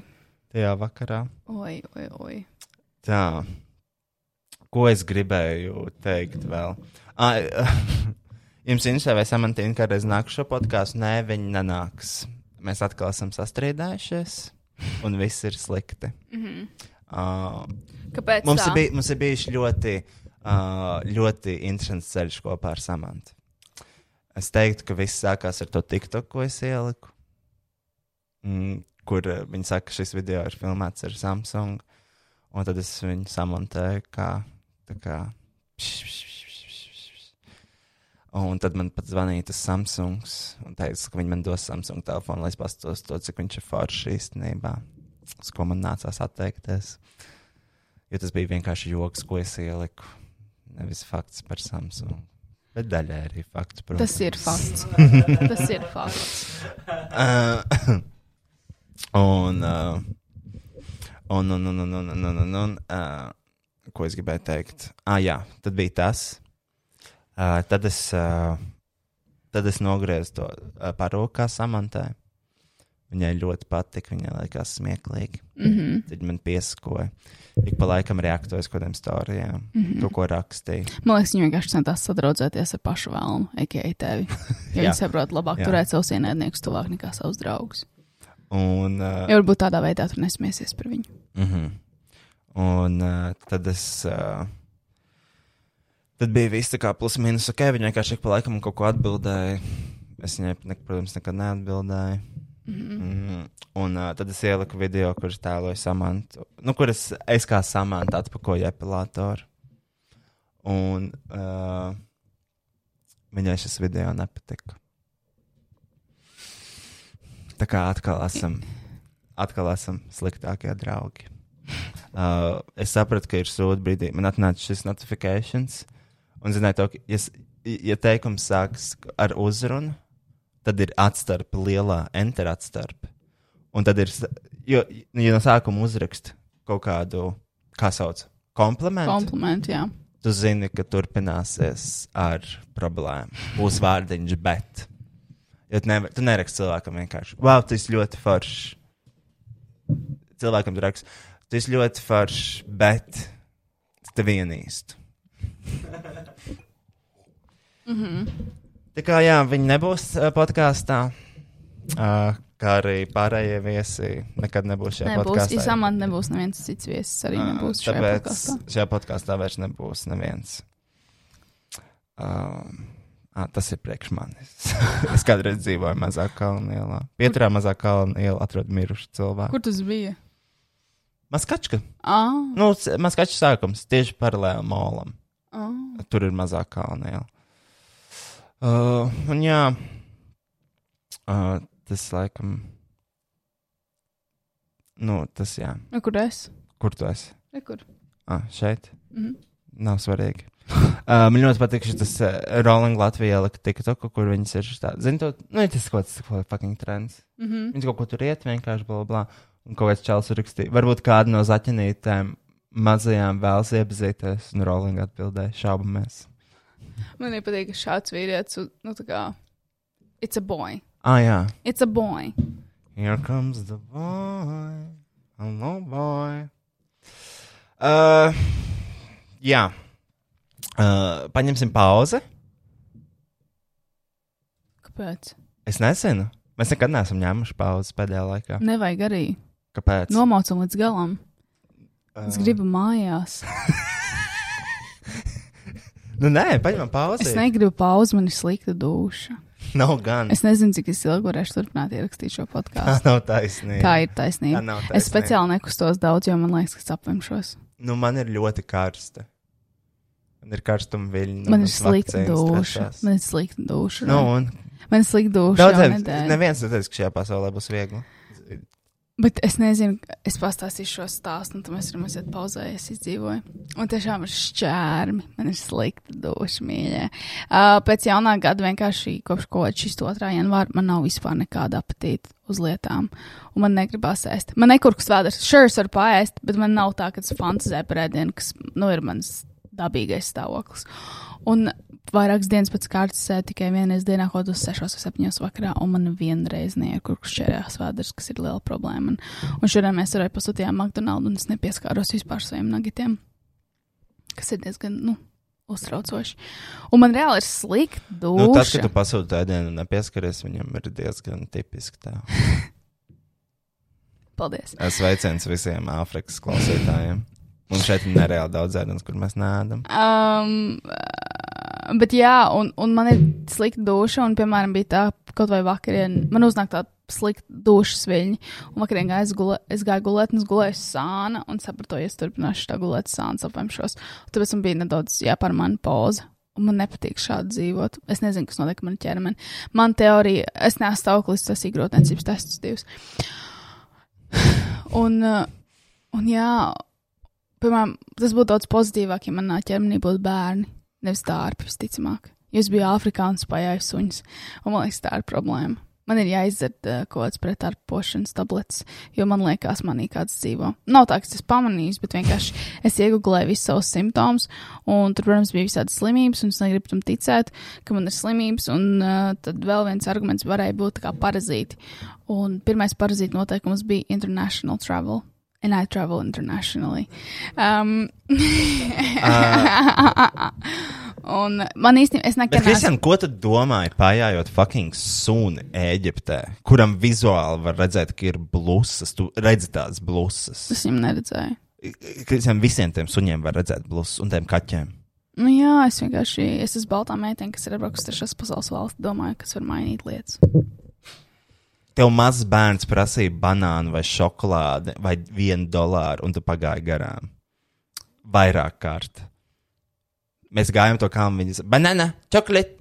B: tajā vakarā.
A: oi, oi. oi.
B: Tā. Ko es gribēju teikt vēl? Ai, Jums interesē, vai Samantīna kādreiz nāks šo podkāstu? Nē, viņa nenāks. Mēs atkal esam sastrīdējušies, un viss ir slikti. Mm -hmm. uh,
A: Mhm. Kāpēc?
B: Mums
A: tā?
B: ir, bij, mums ir bijis ļoti, uh, ļoti interesants ceļš kopā ar Samantu. Es teiktu, ka viss sākās ar to TikTok, ko es ieliku, mm, kur uh, viņi saka, ka šis video ir filmēts ar Samsung. Un tad es viņu samontēju, kā. tā kā Un tad man pat zvanīja tas Samsungs un teica, ka viņi man dos Samsung telefonu, lai es paskatos to, cik viņš ir foršs īstenībā. Uz ko man nācās atteikties. Jo tas bija vienkārši joks, ko es ieliku. Nevis fakts par Samsung. Bet daļai arī fakts. Protams.
A: Tas ir fakts. Tas ir fakts.
B: Uh, Un, uh, un, un, un, un, un, un, un, un, un uh, ko es gribēju teikt? Ah, jā, tad bija tas. Uh, tad, es, uh, tad es nogriezu to uh, parokā samantai. Viņai ļoti patika, viņai likās smieklīgi. Mm
A: Mhm.
B: -hmm. Tad viņa man piesakoja. Ik pa laikam reaktojas kaut kādiem stāstiem, mm
A: Mhm.
B: -hmm. to, ko rakstīja.
A: Man liekas, viņi vienkārši centās sadraudzēties ar pašu vēlmu, ekei, tevi. Jo
B: Jā.
A: viņi saprot, labāk
B: Jā.
A: turēt savus ienaidniekus tuvāk nekā savus draugus.
B: Un, uh,
A: Ja varbūt tādā veidā tur nesmiesies par viņu.
B: Mm -hmm. Un uh, tad es. Uh, tad bija viss tā kā plus mīnus ok, viņa vienkārši ik pa laikam kaut ko atbildēja. Es viņai, ne, protams, nekad neatbildēju. Mm
A: Mhm.
B: -hmm. Un uh, tad es ieliku video, kurš tēloja samantu. Nu, kur es, es kā samantu atpakoju epilātoru. Un uh, viņai šis video nepatika. Tā kā atkal esam atkal esam sliktākie draugi. Uh, es sapratu, ka ir sūdi brīdī. Man atnāca šis notifikācijas, un zināju, to, ka, ja, s- ja teikums sākas ar uzrunu, tad ir atstarpe, lielā enter atstarpe. Un tad ir, s- jo, nu, ja no sākuma uzrakst kaut kaut kādu, kā sauc, komplimentu,
A: Komplimenti, jā.
B: tu zini, ka turpināsies ar problēmu. Būs vārdiņš, bet. Jo tu, nevar, tu neraksti cilvēkam vienkārši, wow, tas ļoti foršs. Cilvēkam tu raksti, tas ļoti foršs, bet tev vienīst. mm -hmm. Tā kā jā, viņi nebūs uh, podkāstā. Uh, kā arī pārējie viesi nekad nebūs šajā
A: Nebūs,
B: podkāstā.
A: Isamant nebūs neviens cits viesis, arī nebūs šajā
B: Ah, Tāpēc
A: podkāstā.
B: šajā podkāstā vairs nebūs neviens. Um, ā, tas ir priekš manis. es kādreiz dzīvoju mazā kalnu ielā. Pieturā mazā kalnu ielā atradu mirušu cilvēku.
A: Kur tas bija?
B: Maskačka.
A: Ah,
B: Nu, s- maskačka sākums tieši paralēli molam.
A: ah.
B: Tur ir mazā kalnu iela. Uh, un jā, uh, tas laikam. Nu, tas jā.
A: Nu, kur es?
B: Kur tu esi?
A: Rekur.
B: Ah, šeit.
A: Mhm.
B: Nav svarīgi. Uh, man ļoti patīk šis uh, Rolling Latvijā ielika TikTok, kur viņas ir tādas, zinu, to, nu, ir tas kaut kāds ko- fucking trends.
A: Mhm.
B: Viņas kaut ko tur iet, vienkārši bla bla. bla. Un kaut kāds čels rakstīja, varbūt kāda no zaķenītēm mazajām vēlas iepazīties, un Rolling atbildēja, šaubamies.
A: Man nepatīk, ka šāds vīrietis, un, nu, tā kā. It's a boy.
B: Ah, jā.
A: It's a boy.
B: Here comes the boy. Hello, boy. Uh, jā. Uh, paņemsim pauzi.
A: Kāpēc?
B: Es nezinu. Mēs nekad neesam ņēmuši pauzes pēdējā laikā.
A: Nevajag arī.
B: Kāpēc?
A: Nomaucam līdz galam. Es
B: Ā.
A: gribu mājās.
B: Nu, nē, paņemam pauzi.
A: Es negribu pauzi, man ir slikta duša.
B: Nav gan. Es...
A: Es nezinu, cik es ilgi varēšu turpināt ierakstīt šo
B: Tā
A: podkāstu.
B: nav taisnība.
A: Tā ir taisnība.
B: Tā nav
A: Es
B: taisnība.
A: speciāli nekustos daudz, jo man liekas, ka es apvimšos.
B: Nu, man ir ļoti karsta. Man ir nu, karstuma viļņa.
A: Man ir slikta duša. Man ir slikta duša.
B: Nu, un
A: Man ir slikta duša. jau
B: daudziem
A: nedēļu.
B: neviens neteiks, ka šajā pasaulē būs viegli.
A: Bet es nezinu, es pastāstīšu šo stāstu, un tas ir mazliet pauzējies, izdzīvoju. Un tiešām ir šķērmi, man ir slikti duši, mīļie. Uh, pēc jaunā gada vienkārši kopš kaut šīs 2. janvāra man nav vispār nekāda apetīta uz lietām, un man negribas ēst. Man nekurks vēders, sure, es varu paēst, bet man nav tā, ka tas fantazē par ēdienu, kas, nu, ir mans dabīgais stāvoklis. Un vairākas dienas pēc kārtas sēž tikai vienā dienā, kaut uz 6 vai 7 vakarā, un man vienreiz neiekurks šķērās vēders, kas ir liela problēma. Un, un šodien mēs arī pasūtījām McDonald's, un es nepieskāros vispār saviem nagitiem, kas ir diezgan, nu, uztraucoši. Un man reāli ir slikti.
B: Nu, tad,
A: duša.
B: kad tu pasūti ēdienu un nepieskaries, viņam ir diezgan tipiski tā.
A: Paldies!
B: Sveiciens visiem Āfrikas klausītājiem. Mums šeit ir nereāli daudz ēdienas, kur mēs nēdam.
A: Um, uh, bet jā, un, un man ir slikta duša, un, piemēram, bija tā, kaut vai vakarien, man uznāk tā slikta dušas viļņa, un vakarien gāju es, gulē, es gāju gulēt, un es gulēju sāna, un sapratu, ja es turpināšu tā gulēt sāna, apemšos. Tāpēc man bija nedaudz jāpārmana pauze. Un man nepatīk šādi dzīvot. Es nezinu, kas notiek ar manu ķermeni. Man teorija, es neesmu stāvoklis, tas ir grūtniecības tests divs. Un, uh, un jā, Piemēram, tas būtu daudz pozitīvāk, ja manā ķermenī būtu bērni, nevis dārbi, visticamāk. Jūs bijāt Āfrikā un spējājāt suņus, un man liekas, tā ir problēma. Man ir jāizdzer uh, kaut kāds pretarpošanas tablets, jo man liekas, manī kāds dzīvo. Nav tā, ka es pamanīju, bet vienkārši es iegūlēju visus savus simptomus, un tur, protams, bija visādas slimības, un es negribu tam ticēt, ka man ir slimības, un uh, tad vēl viens arguments varēja būt tā kā parazīti. Un pirmais parazīta noteikums bija international travel. And I travel internationally. Um, un man īstenībā, es
B: Ah. Bet,
A: nekad neesmu.
B: Kristian, ko tu domāji, pajājot fucking suni Eģiptē, kuram vizuāli var redzēt, ka ir blūzas, tu redzi tās blūzas.
A: Es viņam neredzēju.
B: Kristian, visiem tiem suņiem var redzēt blūzas un tiem kaķiem.
A: Nu, jā, es vienkārši es esmu baltā meitene, kas ir atbraukusi trešās pasaules valsts. Domāju, kas var mainīt lietas.
B: Tev mazs bērns prasīja banānu vai šokolādi vai vienu dolāru, un tu pagāji garām. Vairāk kārt. Mēs gājām to kā viņas. Banāna, čokolāde,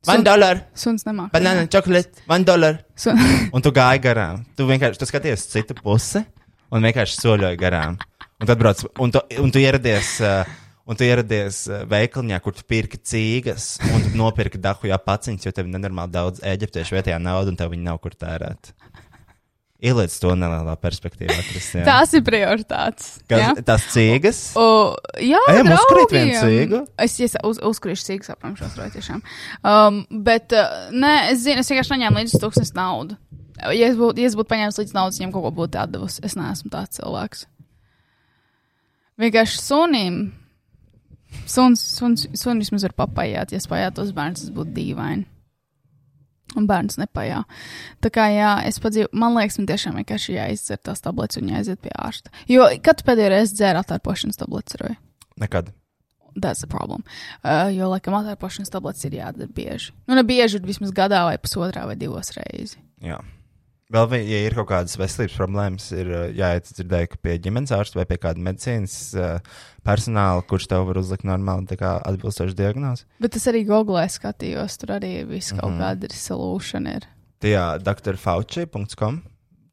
A: Sun-
B: one dollar,
A: Suns nemāķis.
B: banāna, čokolāde, one dollar.
A: Sun...
B: Un tu gāji garām. Tu vienkārši tu skaties uz citu pusi un vienkārši soļoji garām. Un tad brauc, un tu, un tu ieradies. Uh, Un tu ieradies uh, veikaliņā, kur tu pirki cīgas, un tu nopirki dahu jāpaciņas, jo tev ir nenormāli daudz eģiptiešu vietējā naudas, un tev viņa nav kur tērēt. Ieliec to nelielā perspektīvā. Kristiāna.
A: Tās ir prioritātes. jā?
B: Kas, tās cīgas.
A: O, jā,
B: Ejam,
A: draugiem.
B: uzkrīt vienu cīgu.
A: Es, es uz, uzkrīšu cīgu, apņemšos, vai tiešām. Um, bet, uh, nē, es zinu, es vienkārši neņēmu līdzi tūkstnes naudu. Ja es būtu ja es būtu paņēmis līdzi naudu, viņam kaut ko būtu atdevusi. Es neesmu tāds cilvēks. Vienkārši sunim. Suns, suns, sunis vismaz var papajāt. Ja es pajātos bērns, tas būtu dīvaini. Un bērns nepajā. Tā kā jā, es padzīvoju, man liekas, man tiešām vienkārši jāizdzer tās tabletes un jāiziet pie ārsta. Jo kad tu pēdējo reizi dzēri atārpošanas tabletes, Roja?
B: Nekad.
A: That's the problem. Uh, jo, laikam, atārpošanas tabletes ir jādara bieži. Nu, ne bieži, bet vismaz gadā vai pusotrā vai divos reizes.
B: Jā. Vēl, vi- ja ir kaut kādas veselības problēmas, ir ā, jāiet, es dzirdēju, ka pie ģimenes ārsta vai pie kāda medicīnas ā, personāla, kurš tev var uzlikt normāli tā kā atbilstošu diagnozi.
A: Bet es arī googlēju, skatījos, tur arī viss
B: Mhm.
A: kaut mm -hmm. kāda resolution ir.
B: Tajā drfauci.com,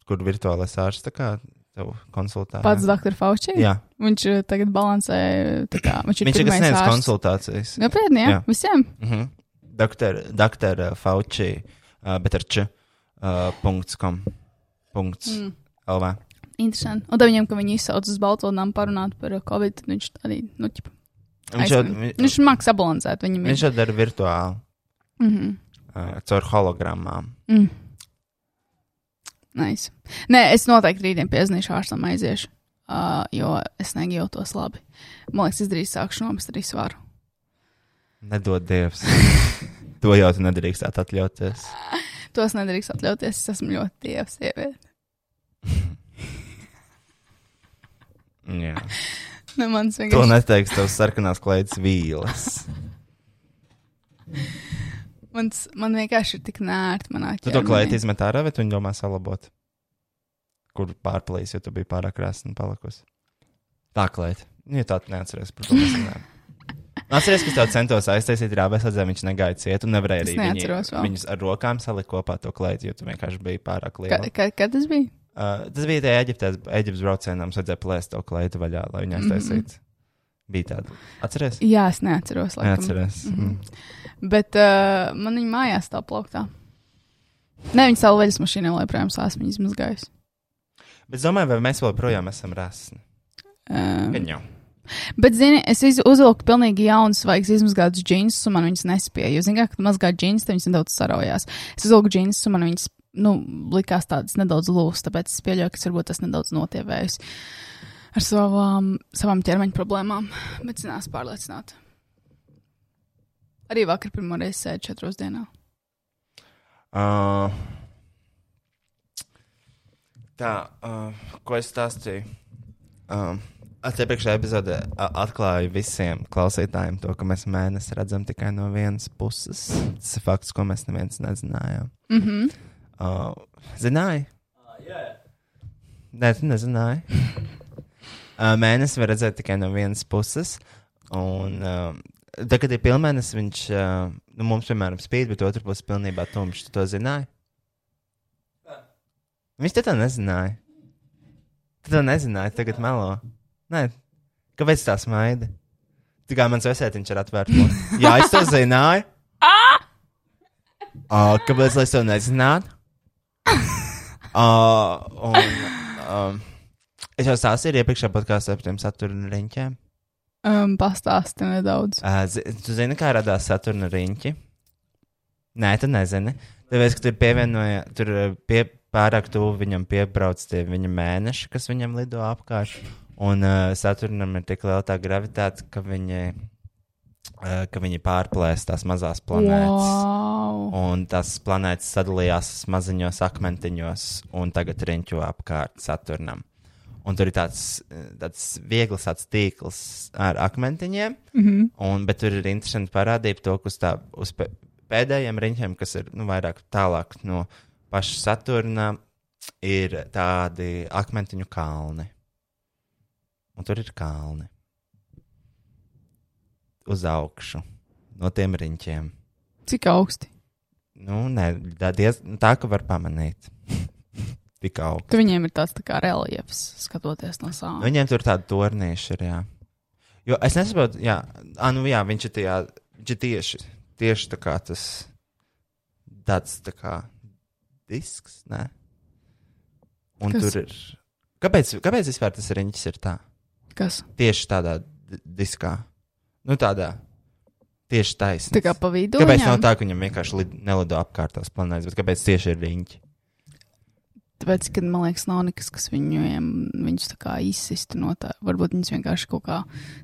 B: kur virtuālais ārsts tā kā tev konsultē.
A: Pats Dr. Fauci.
B: Jā,
A: Viņš uh, tagad balansē, tā kā viņš ir.
B: viņš ir
A: pirmais
B: kas sniedz
A: ārsts.
B: konsultācijas.
A: Nopietni, jā, jā.
B: Jā.
A: visiem.
B: Mhm. Doktor, doktor uh, Fauci, uh, bet ar č. Uh, punkts com. Punkts. Mm. LV.
A: Interesanti. Un tad viņam, ka viņi izsauc uz balto namu parunāt par uh, covid, tad viņš arī, nu, ķip,
B: Viņš jau,
A: aizmigr.
B: vi-
A: viņš māks sabalansēt viņam.
B: viņš jau dara virtuāli,
A: mm -hmm.
B: uh, caur hologrammām.
A: Mm. Nice. Nē, es noteikti rītdien piezīmēšu ārstam aiziešu, uh, jo es nejūtos labi. Man liekas, es drīz sākšu nomest arī svaru.
B: Nedod Dievs. to jau tu nedrīkstāt atļauties.
A: Tos nedrīkst atļauties. Es esmu ļoti dievs, sieviete.
B: Jā.
A: Ne Nu, mans
B: To
A: vienkārši.
B: neteiks tev sarkanās klaidas vīles.
A: Mans, man vienkārši ir tik nērti manā
B: Tu to klaidu izmet ārā, bet viņi domā salabot. Kur pārplīs, jo tu biji pārāk krāsni palikusi. Tā klaidu. Ja tā tu neatceries par to. mēs runājam. Atceries, ka es tev centos aiztaisīt rābēs, redzēju, viņš negaidīja ciet un nevarēja
A: Es
B: arī viņu,
A: neatceros vēl.
B: viņus ar rokām salikt kopā to klaidu, jo tu vienkārši biji pārāk liela.
A: Kad, kad, kad tas bija?
B: Uh, tas bija tajā Eģiptē, Eģiptes braucienā. Mums vajadzēja plēst to klaidu vaļā, lai viņa aiztaisītu. Mm -hmm. Bija tāda. Atceries?
A: Jā, es neatceros. Laikam.
B: Neatceries. Mm -hmm.
A: Bet uh, man viņa mājās tā plauktā. Nē, viņa savu veļas mašīnu vēl joprojām sāsmu izmazgājusi.
B: Bet es domāju, vai mēs vēl projām esam rasni.
A: Um,
B: Gan jau.
A: Bet, zini, es iz- uzvilku pilnīgi jaunas, svaigas izmazgātas džinsus, un man viņas nespēja. Jo, zini, kā, kad mazgā džins, tad viņas nedaudz sarojās. Es uzvilku džinsus, un man viņas, nu, likās tādas nedaudz lūsas, tāpēc es pieļauju, ka es varbūt tas nedaudz notievējis ar savām, savām ķermeņa problēmām. Bet, zinās, pārliecināt. Arī vakar pirmo reizi sēdēju četros dienā.
B: Uh, tā, uh, ko es stāstīju? Um, Iepriekšējā epizodē uh, atklāju visiem klausītājiem to, ka mēs mēnesi redzam tikai no vienas puses. Tas ir fakts, ko mēs neviens nezinājām.
A: Mm -hmm.
B: Uh, zināji? Nē, tu nezināji. Uh, Mēnesis var redzēt tikai no vienas puses. Un, uh, tad, kad ir pilnmēnesis, viņš uh, nu, mums, piemēram, spīd, bet otrs puses pilnībā tumšs. Tu to zināji? Viņš te to nezināja. Tu to nezināji, tagad melo. Nē, kāpēc tā smaida? Tikai mans vesētiņš ir atvērts. Jā, es to zināju. Uh, kāpēc lai es to nezinātu? Uh, un, um, es jau stāstīju iepriekšējā podkāstā par tiem saturnu riņķiem.
A: um, Pastāsti nedaudz.
B: Uh, zi- tu zini, kā radās saturna riņķi? Nē, tu nezini. Tāpēc, ka tur pievienoja, tur uh, pie, pārāk tuvu viņam piebrauc tie viņa mēneši, kas viņam lido apkārt. Un uh, Saturnam ir tik liela tā gravitāte, ka viņi, uh, ka viņi pārplēs tās mazās planētas.
A: Wow.
B: Un tas planētas sadalījās maziņos akmentiņos, un tagad riņķo apkārt Saturnam. Un tur ir tāds, eh, tāds viegls tāds tīkls ar akmentiņiem, mm
A: Mhm.
B: -hmm. un, bet tur ir interesanti parādība to, kas tā uz pē- pēdējiem riņķiem, kas ir nu, vairāk tālāk no paša Saturna, ir tādi akmentiņu kalni. Un tur ir kalni uz augšu no tiem riņķiem.
A: Cik augsti?
B: Nu, nē, tā diez, nu, tā ka var pamanīt. Tik augstu.
A: Tu viņiem ir tāds tā kā reliefs, skatoties no sāla.
B: Viņiem tur tādi tornīši ir. Jā. Jo es nesaprotu, jā, à, nu, jā viņš ir tajā, viņš ir tieši, tieši tā kā tas tāds tā kā disks. Nē. Un
A: Kas?
B: Kas? tur ir. Kāpēc, kāpēc vispār tas riņķis ir tā?
A: Kas?
B: Tieši tādā di- diskā. Nu, tādā. Tieši taisnība.
A: Tā kā pa vidu.
B: Kāpēc
A: viņam?
B: nav tā, ka viņam vienkārši lid, nelido apkārt tās planētas, bet kāpēc tieši ir riņķi?
A: Tāpēc, kad man liekas, nav nekas, kas viņiem, viņus tā kā izsistu no tā. Varbūt viņus vienkārši kaut kā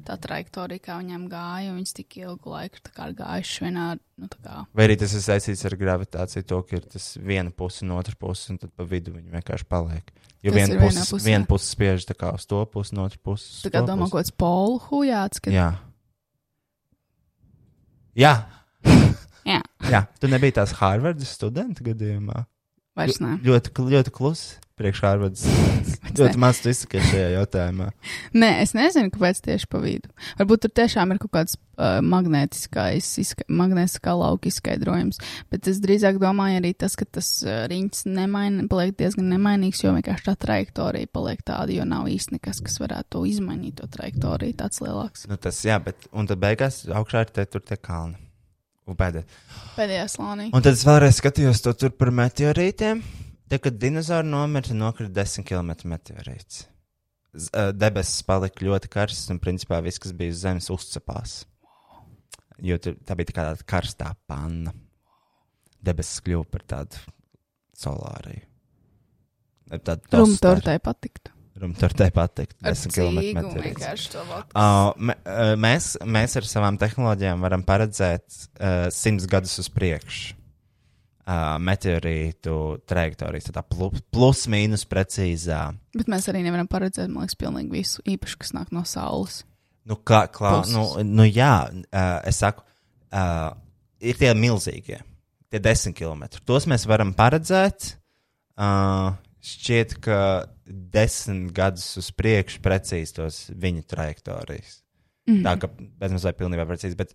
A: tā trajektorija, kā viņiem gāja, un viņus tik ilgu laiku tā kā ir gājuši vienā, nu tā kā.
B: Vai arī tas ir saistīts ar gravitāciju, to, ka ir tas viena puse un otra puse, un tad pa vidu viņi vienkārši paliek. Jo
A: Kas
B: viena
A: ir vienā
B: puse,
A: pusē?
B: viena puse spiež tā kā uz to pusi, un otra puse. uz
A: Tā kā
B: to
A: domā,
B: pusi.
A: kaut kāds polu hujāts, ka
B: Jā. Jā.
A: Jā.
B: Jā. Tu nebija tās Harvardas studenta gadījumā.
A: vairs nē.
B: Ļoti, kl- ļoti klusi priekš Harvardas. students. ļoti maz tu izsakies šajā jautājumā.
A: Nē, es nezinu, kāpēc tieši pa vidu. Varbūt tur tiešām ir kaut kāds uh, magnētiskais, izska- magnētiskā lauka izskaidrojums. Bet es drīzāk domāju arī tas, ka tas uh, riņķis nemaina, paliek diezgan nemainīgs, jo vienkārši tā trajektorija paliek tāda, jo nav īsti nekas, kas varētu to izmainīt, to trajektoriju tāds lielāks.
B: Nu, tas, jā, bet un tad beigās augšā ir te tur tie kalni. Un pēdējais.
A: Pēdējā slānī.
B: Un tad es vēlreiz skatījos to tur par meteorītiem. Tad, kad dinozauri nomira, nokrita 10 km meteorīts. Z- ā, Debesis palika ļoti karsts, un principā viss, kas bija uz zemes, uzcēpās. Jo tur, tā bija tā kā tāda karstā panna. Debesis kļuva par tādu solāriju. Ar Tādu
A: Rumtortai patiktu.
B: Rumtortai patika.
A: Ar
B: 10 km
A: cīgu
B: meteorīts.
A: vienkārši to valku.
B: Uh, me- uh, mēs, mēs ar savām tehnoloģijām varam paredzēt uh, simts gadus uz priekšu uh, meteorītu trajektorijas, tā plu- plus-mínus precīzā.
A: Bet mēs arī nevaram paredzēt, man liekas, pilnīgi visu īpašu, kas nāk no saules.
B: Nu, kā, klā,
A: Puses.
B: nu, nu, jā, uh, es saku, uh, ir tie milzīgie, tie desmit km. Tos mēs varam paredzēt. Uh, šķiet, ka desmit gadus uz priekšu precīzi tos viņa trajektorijas. Mm. Tā kā bezmazliet pilnībā precīzi. Bet,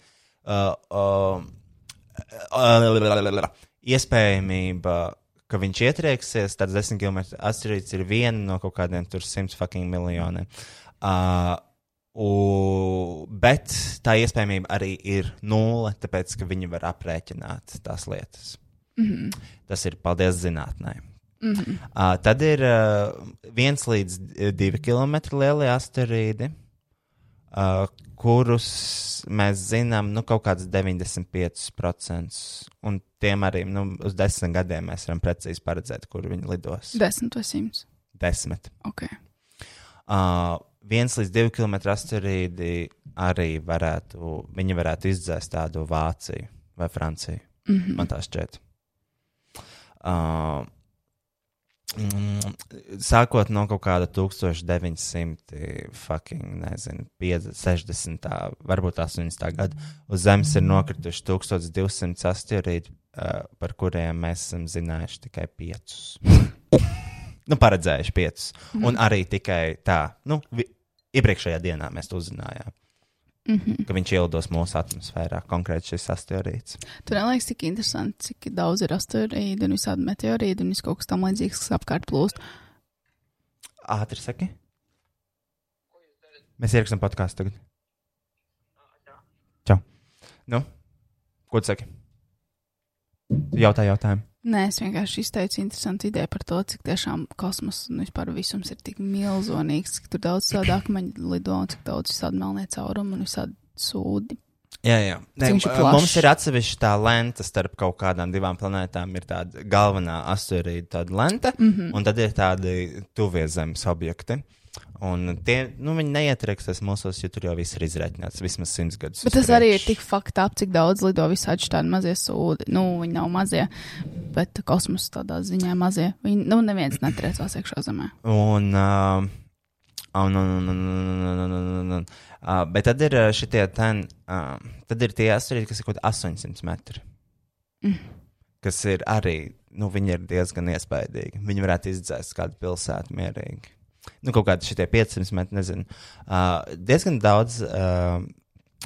B: uh, uh, uh, iespējamība, ka viņš ietrieksies, tāds 10 km atšķirīgs ir viena no kaut kādiem tur 100 fucking miljoniem. Uh, U, bet tā iespējamība arī ir nulle, tāpēc ka viņi var aprēķināt tās lietas. Mm -hmm. Tas ir paldies zinātnē. Mm -hmm. uh, tad ir uh, viens līdz eh, divi kilometri lielie asteroīdi, uh, kurus mēs zinām nu, kaut kāds 95%. Un tiem arī nu, uz desmit gadiem mēs varam precīzi paredzēt, kur viņi lidos.
A: Desmit vai simts.
B: Desmit.
A: Ok.
B: Uh, viens līdz divi kilometri asteroīdi arī varētu, viņi varētu izdzēst tādu Vāciju vai Franciju. Mm -hmm.
A: Mhm.
B: Man tā šķiet. Uh, mm, Sākot no kaut kāda 1900, fucking, nezinu, 50, 60, varbūt 80 gada, uz Zemes ir nokrituši 1200 asteroīdi, uh, par kuriem mēs esam zinājuši tikai 5 nu, paredzējuši piecus. Mm. Un arī tikai tā, nu, vi, iepriekšējā dienā mēs to uzzinājām,
A: Mm -hmm.
B: ka viņš ielidos mūsu atmosfērā, konkrēti šis asteroīds.
A: Tur neliekas tik interesanti, cik daudz ir asteroīdu un visādi meteorīdu un viss kaut kas tam līdzīgs, kas apkārt plūst.
B: Ātri saki. Mēs ierakstām podkāstu tagad. Čau. Nu, ko tu saki? Tu jautā jautājumu.
A: Nē, es vienkārši izteicu interesantu ideju par to, cik tiešām kosmos un vispār visums ir tik milzīgs, cik tur daudz sāda akmeņu lido un cik daudz visādi melnie caurumi un visādi sūdi.
B: Jā, jā. Nē,
A: Cik viņš ir plašs?
B: mums ir atsevišķa tā lenta starp kaut kādām divām planētām. Ir tāda galvenā asteroīda lenta, mm
A: Mhm.
B: -hmm. un tad ir tādi tuvie zemes objekti. Un tie, nu, viņi neietrieksies mūsos, jo tur jau viss ir izreikināts vismaz simts gadus.
A: Bet
B: uz
A: tas arī ir
B: priekšu.
A: tik fakta ap, cik daudz lido visādi šādi mazie sūdi. Nu, viņi nav mazie, bet kosmos tādā ziņā mazie. Viņi, nu, neviens netriecās iekšā zemē.
B: Un, nu, uh, un, un, un, un, un, un, un, un, un, un. Uh, bet tad ir uh, šitie ten, uh, tad ir tie asteroīdi, kas ir kaut kādi 800 metri. Mm. Kas ir arī, nu, viņi ir diezgan iespaidīgi. Viņi varētu izdzēst kādu pilsētu mierīgi. Nu, kaut kādi šitie 500 metri, nezinu. Uh, diezgan daudz. Uh,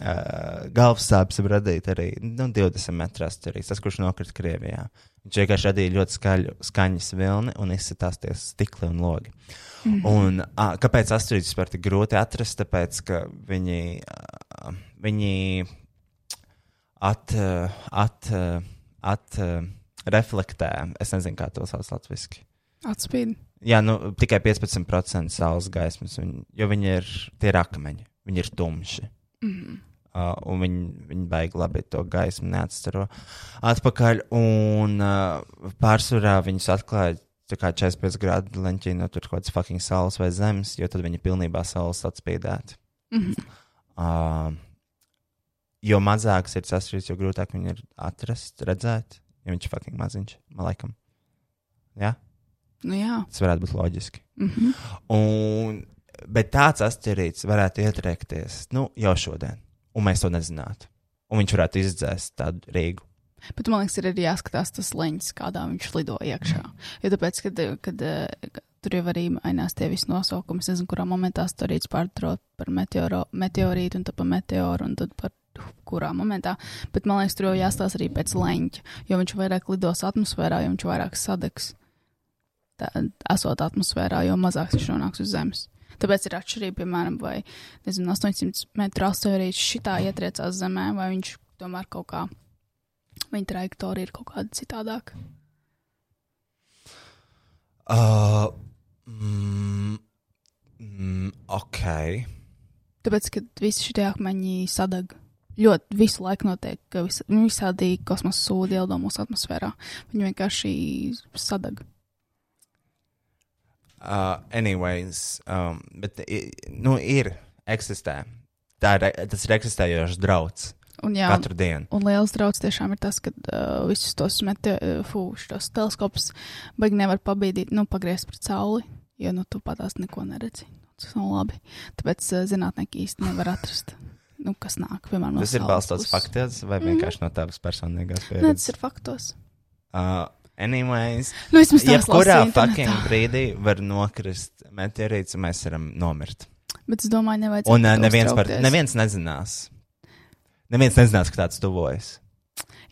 B: Uh, galvas sāpes var radīt arī nu, 20 metru asteroīds, tas, kurš nokrita Krievijā. Viņš vienkārši radīja ļoti skaļu skaņas vilni un izsitās tie stikli un logi. Mm -hmm. un, a, kāpēc asteroīdus vispār tik grūti atrast? Tāpēc, ka viņi, a, viņi at, a, at, a, at a, reflektē, es nezinu, kā to sauc latviešu.
A: Atspīd.
B: Jā, nu, tikai 15% saules gaismas, un, jo viņi ir tie ir akmeņi, viņi ir tumši. Mm -hmm. uh, un viņi, viņi baigi labi to gaismu neatstaro. Atpakaļ, un uh, pārsvarā viņus atklāja tā kā 45 grādu leņķī, no tur kaut kādas fucking saules vai zemes, jo tad viņi pilnībā saules atspīdēti. Mm -hmm. uh, jo mazāks ir tas rīts, jo grūtāk viņu ir atrast, redzēt, ja viņš ir fucking maziņš, man laikam. Jā? Ja?
A: Nu, jā. Mhm.
B: Tas varētu būt loģiski. Mm -hmm. un, bet tāds asteroīds varētu ietriekties nu, jau šodien, un mēs to nezinātu. Un viņš varētu izdzēst tādu Rīgu.
A: Bet man liekas, ir arī jāskatās tas leņķis, kādā viņš lido iekšā. Jo tāpēc, kad, kad eh, tur jau arī mainās tie visi nosaukumi, es nezinu, kurā momentā storīts pārtraukt par meteoro, meteorītu un tad par meteoru un tad par kurā momentā. Bet man liekas, tur jau jāstāsta arī pēc leņķa, jo viņš vairāk lidos atmosfērā, jo viņš vairāk sadegs. Tā, esot atmosfērā, jo mazāk viņš nonāks uz zemes. Tāpēc ir atšķirība, piemēram, vai nezinu, 800 metru asteroīds šitā ietriecās zemē, vai viņš tomēr kaut kā, viņa trajektorija ir kaut kāda citādāka.
B: Uh, mm, mm, ok.
A: Tāpēc, kad visi šie akmeņi sadeg. Ļoti visu laiku notiek ka vis- visādi kosmosa sūdi ielido mūsu atmosfērā. Viņi vienkārši sadeg.
B: Uh, anyways, um, bet i- nu, ir, eksistē. Tā ir, e- tas ir eksistējošs draudz
A: Un, jā,
B: katru dienu.
A: Un liels draudz tiešām ir tas, ka uh, visus tos meteorus, teleskopus baigi nevar pabīdīt, nu, pagriezt pret sauli, jo nu, tu patās neko neredzi. Tas nav labi. Tāpēc uh, zinātnieki īsti nevar atrast, nu, kas nāk. Piemēram, no Mhm.
B: Tas ir
A: saules
B: balstīts
A: puses.
B: faktos vai vienkārši no tavas personīgās
A: Nē, tas
B: pieredzes.
A: ir faktos.
B: Uh, anyways,
A: Nu, vismaz tādā
B: jebkurā fucking
A: formā.
B: brīdī var nokrist meteorīts un mēs varam nomirt.
A: Bet es domāju, nevajag.
B: Un uh, neviens, par, neviens nezinās. Neviens nezinās, ka tāds tuvojas.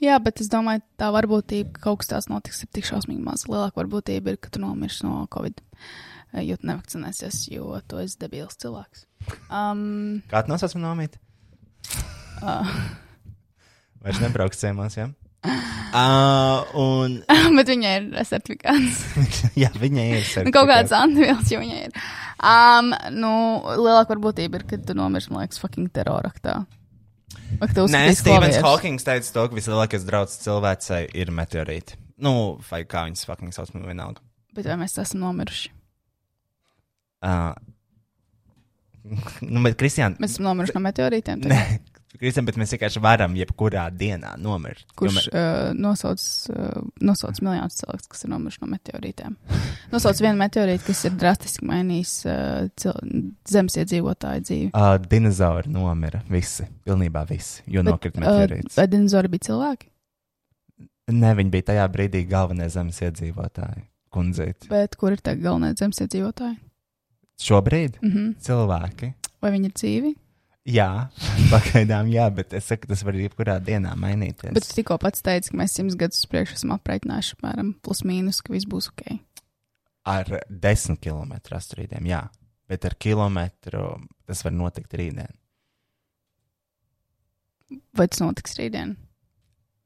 A: Jā, bet es domāju, tā varbūtība, ka kaut kas tāds notiks, ir tik šausmīgi maz. Lielāka varbūtība ir, ka tu nomirsi no Covid, eh, jo tu nevakcinēsies, jo tu esi debils cilvēks. Um,
B: Kā tu nosauc manu mītu?
A: Ah.
B: Vairs nebrauks ciemos, jā. Uh, un
A: bet viņai ir certifikāts.
B: jā, viņa ir.
A: Nu, kaut kāds antivils, jo viņai ir. Um, nu, lielāka varbūtība ir, ka tu nomirsi, man liekas, fucking teroraktā. Vai ka tu
B: Nē,
A: uzskatīsi
B: Stevens
A: klavierus?
B: Hawkings teica, to, ka vislielākais draudz cilvēcei ir meteorīti. Nu, vai kā viņas fucking sauc, man vienalga.
A: Bet vai mēs esam nomiruši?
B: Uh, nu, bet, Kristian,
A: Mēs esam nomiruši no meteorītiem. tagad?
B: nē, Kristian, bet mēs vienkārši varam jebkurā dienā nomirt. Jo
A: Kurš uh, nosauc, uh, nosauc miljonus cilvēku, kas ir nomiruši no meteorītiem? Nosauc vienu meteorītu, kas ir drastiski mainījis uh, cil- zemes iedzīvotāju dzīvi.
B: Uh, dinozauri nomira visi, pilnībā visi, jo nokrita meteorīts.
A: vai dinozauri bija cilvēki?
B: Nē, viņi bija tajā brīdī galvenie zemes iedzīvotāji, kundzīt.
A: Bet kur ir tagad galvenie zemes iedzīvotāji?
B: Šobrīd
A: Mm -hmm.
B: cilvēki.
A: Vai viņi ir dzīvi?
B: Jā, pagaidām, jā, bet es saku, tas var jebkurā dienā mainīties.
A: Bet tu tikko pats teici, ka mēs simts gadus uz priekšu esam aprēķinājuši apmēram plus mīnus, ka viss būs ok.
B: Ar desmit km astrīdiem, jā, bet ar kilometru tas var notikt rītdien.
A: Vai tas notiks rītdien?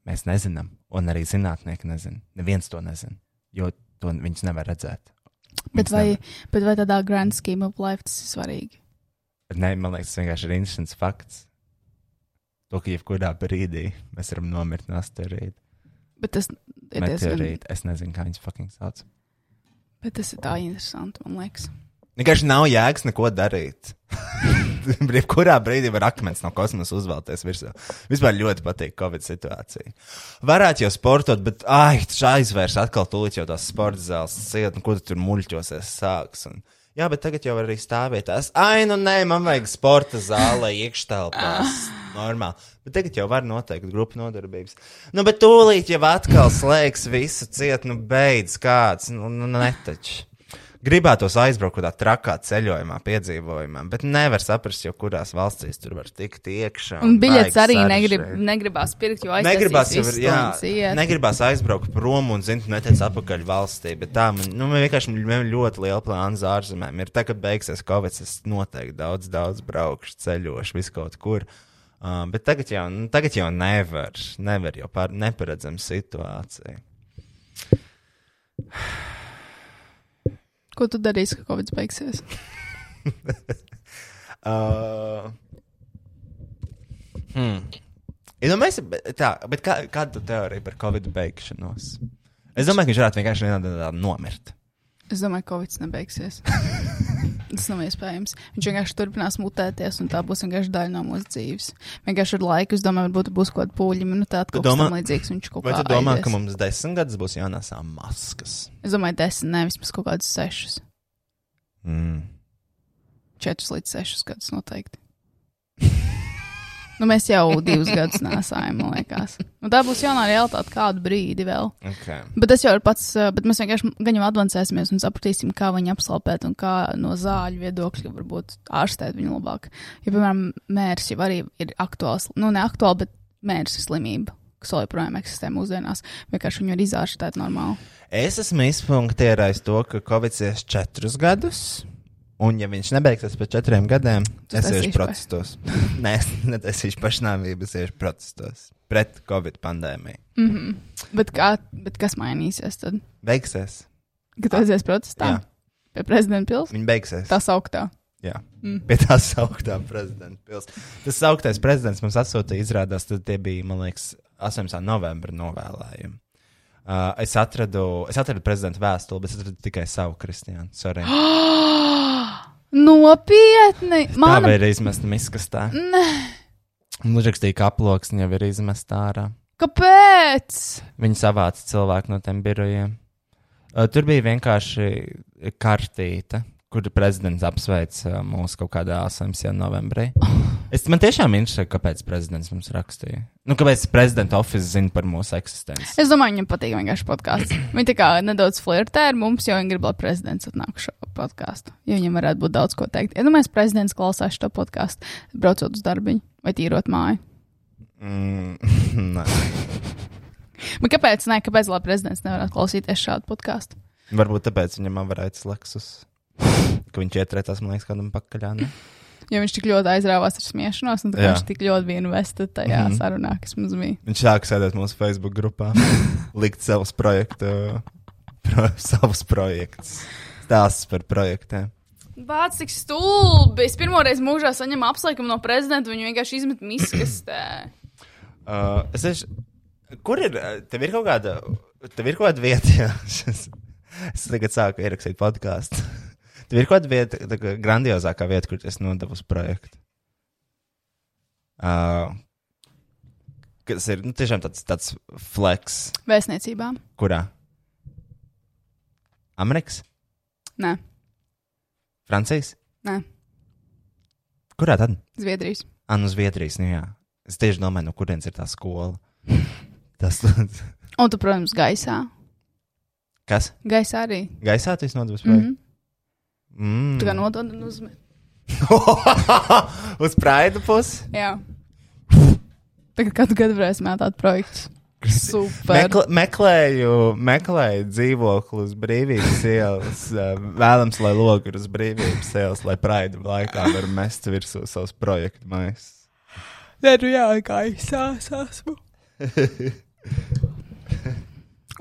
B: Mēs nezinām, un arī zinātnieki nezina. Neviens to nezina, jo to viņus nevar redzēt.
A: Bet
B: Viņus
A: vai,
B: nevar.
A: bet vai tādā grand scheme of life tas ir svarīgi?
B: Nē, man liekas, tas vienkārši ir interesants fakts. To, ka jebkurā brīdī mēs varam nomirt no asteroīda.
A: Bet tas ir diezgan.
B: Meteorīta. Es nezinu, kā viņas fucking sauc.
A: Bet tas ir tā interesanti, man liekas.
B: Vienkārši nav jēgas neko darīt. Jebkurā brīdī var akmens no kosmosa uzvelties virsū. Vispār ļoti patīk Covid situācija. Varētu jau sportot, bet ai, tas aizvērs atkal tūlīt jau tās sporta zāles ciet, un kur tu tur muļķosies sāks. Un... Jā, bet tagad jau var arī stāvēt tās. Ai, nu nē, man vajag sporta zālē, iekštelpās. Normāli. Bet tagad jau var noteikt grupu nodarbības. Nu, bet tūlīt jau atkal slēgs visu ciet, nu beidz kāds, nu, nu netaču. Gribētos aizbraukt kādā trakā ceļojumā, piedzīvojumā, bet nevar saprast, jo kurās valstīs tur var tikt iekšā.
A: Un biļets
B: baigi
A: arī
B: sarežģīti.
A: negrib, nu, negribās pirkt, jo aizsākt.
B: Negribās, jau, jā,
A: iet.
B: negribās aizbraukt prom un, zinu, netiec atpakaļ valstī. Bet tā, man, nu, man vienkārši man- man ļoti liela plāna uz ārzemēm. Ir tā, ka beigsies Covid, es noteikti daudz, daudz braukšu, ceļošu, visu kaut kur. Uh, bet tagad jau, nu, tagad jau nevar, nevar jau par neparedzama situācija.
A: Ko tu darīsi, kad Covid beigsies?
B: Uh, hmm. Ja nu mēs, bet tā, bet kā, kāda ir teorija par Covid beigšanos? Es domāju, ka viņš varētu vienkārši vienā dienā nomirt.
A: Es domāju, ka Covid nebeigsies. Tas nav iespējams. Viņš vienkārši turpinās mutēties, un tā būs vienkārši daļa no mūsu dzīves. Vienkārši ar laiku, es domāju, varbūt būs kaut kāda pūļa minūtāte,
B: Tu
A: kaut kas
B: domā-
A: tam līdzīgs. Viņš kaut
B: Vai
A: kā
B: tu domā,
A: aizies.
B: ka mums desmit gadus būs jānāsā maskas?
A: Es domāju, desmit, nevis vismaz kaut kādus sešus.
B: Mm.
A: Četrus līdz sešus gadus noteikti. Nu, mēs jau divus gadus nesājām, man liekas. Nu, tā būs jaunā realitāte kādu brīdi vēl.
B: Okay.
A: Bet tas jau ir pats, eh, bet mēs vienkārši gaņam advancēsimies un sapratīsim, kā viņu apslāpēt un kā no zāļu viedokļa varbūt ārstēt viņu labāk. Ja, piemēram, mērs jau arī ir aktuāls, nu, ne aktuāli, bet mērs ir slimība, kas vēl joprojām eksistē mūsdienās. Vienkārši viņu ir izārstēt normāli.
B: Es esmu izpunktierējis to, ka Covid ies četrus gadus. Un, ja viņš nebeigsies pēc četriem gadiem,
A: Tu
B: es
A: taisīši
B: iešu protestos. Nē, es netaisīšu pašnāvības, iešu protestos pret Covid pandēmiju.
A: Mm -hmm. bet, kā, bet kas mainīsies tad?
B: Beigsies.
A: Kad aizies protestā?
B: Ah. Jā.
A: Pie prezidenta pilsētas?
B: Viņa beigsies.
A: Tā sauktā.
B: Jā,
A: Mm.
B: mm. pie tā sauktā prezidenta pilsēta. Tas augstais prezidents mums atsūtīja, izrādās, tad tie bija, man liekas, 18. novembra novēlējumi. Uh, es, atradu, es atradu prezidenta vēstuli, bet es atradu tikai savu Kristiānu. Sorry.
A: Nopietni!
B: Mana... Tā
A: Mana...
B: vai ir izmesta miskastā? Nē. Viņš rakstīja, ka aploksne jau ir izmesta ārā.
A: Kāpēc?
B: Viņi savāca cilvēku no tiem birojiem. Uh, tur bija vienkārši kartīte, kur prezidents apsveic uh, mūs kaut kādā 18. novembrī. Es, man tiešām interesē, kāpēc prezidents mums rakstīja. Nu, kāpēc prezidenta oficiāls zina par mūsu eksistenci?
A: Es domāju, viņam patīk vienkārši podkāsts. Viņa tā kā nedaudz flirtē ar mums, jo viņa grib, lai prezidents atnāk šo podkāstu. Jo viņam varētu būt daudz ko teikt. Iedomājieties, prezidents klausās šo podkāstu, braucot uz darbu vai tīrot māju.
B: Mm, nē.
A: Bet kāpēc? Nē, kāpēc lai prezidents nevarētu klausīties šādu podkāstu?
B: Varbūt tāpēc viņam avarēts leksus. Ka viņš ietrēcās, man liekas, kādam pakaļā. nu. Ne?
A: Jo viņš tik ļoti aizrāvās ar smiešanos, un tā kā
B: Jā.
A: viņš tik ļoti bija investēts tajā mm
B: Mhm.
A: -hmm. sarunā, kas mums bija.
B: Viņš sāka sēdēt mūsu Facebook grupā, likt savus projektus, pro, savus projektus, stāstus par projektiem.
A: Bācis tik stulbi. Es pirmoreiz mūžā saņemu apsveikumu no prezidenta, viņu vienkārši izmet miskastē.
B: Uh, es tieši, kur ir? uh, Tev ir kaut kāda, tev ir kaut kāda vieta, jā. šis- es tagad sāku ierakstīt podkāstu. Tev ir kaut kāda vieta, tā kā grandiozākā vieta, kur tu esi nodevus projektu. Uh, kas ir nu, tiešām tāds, tāds flex,
A: Vēstniecībā?
B: kurā? Amerikas?
A: Nē,
B: Francijas?
A: nē,
B: Kurā tad?
A: Zviedrijas.
B: Ah, no Zviedrijas. Nu, jā. es tieši domāju, no kurienes ir tā skola. Tas,
A: Un tu, protams, gaisā.
B: kas
A: Gaisā arī.
B: gaisā tas nodevis?
A: Mm -hmm.
B: Mm.
A: Tu kā nodod un uzmet.
B: Uz prāta puses.
A: Jā. Tagad katru gadu varēsim mētāt projektus. Super.
B: Mekl meklēju, meklēju dzīvokli uz brīvības ielas. eh, Vēlams, lai logi ir uz brīvības ielas, lai prāta laikā var mest virsū savus projektu maisus.
A: Nē, nu jā, gaisā es esmu.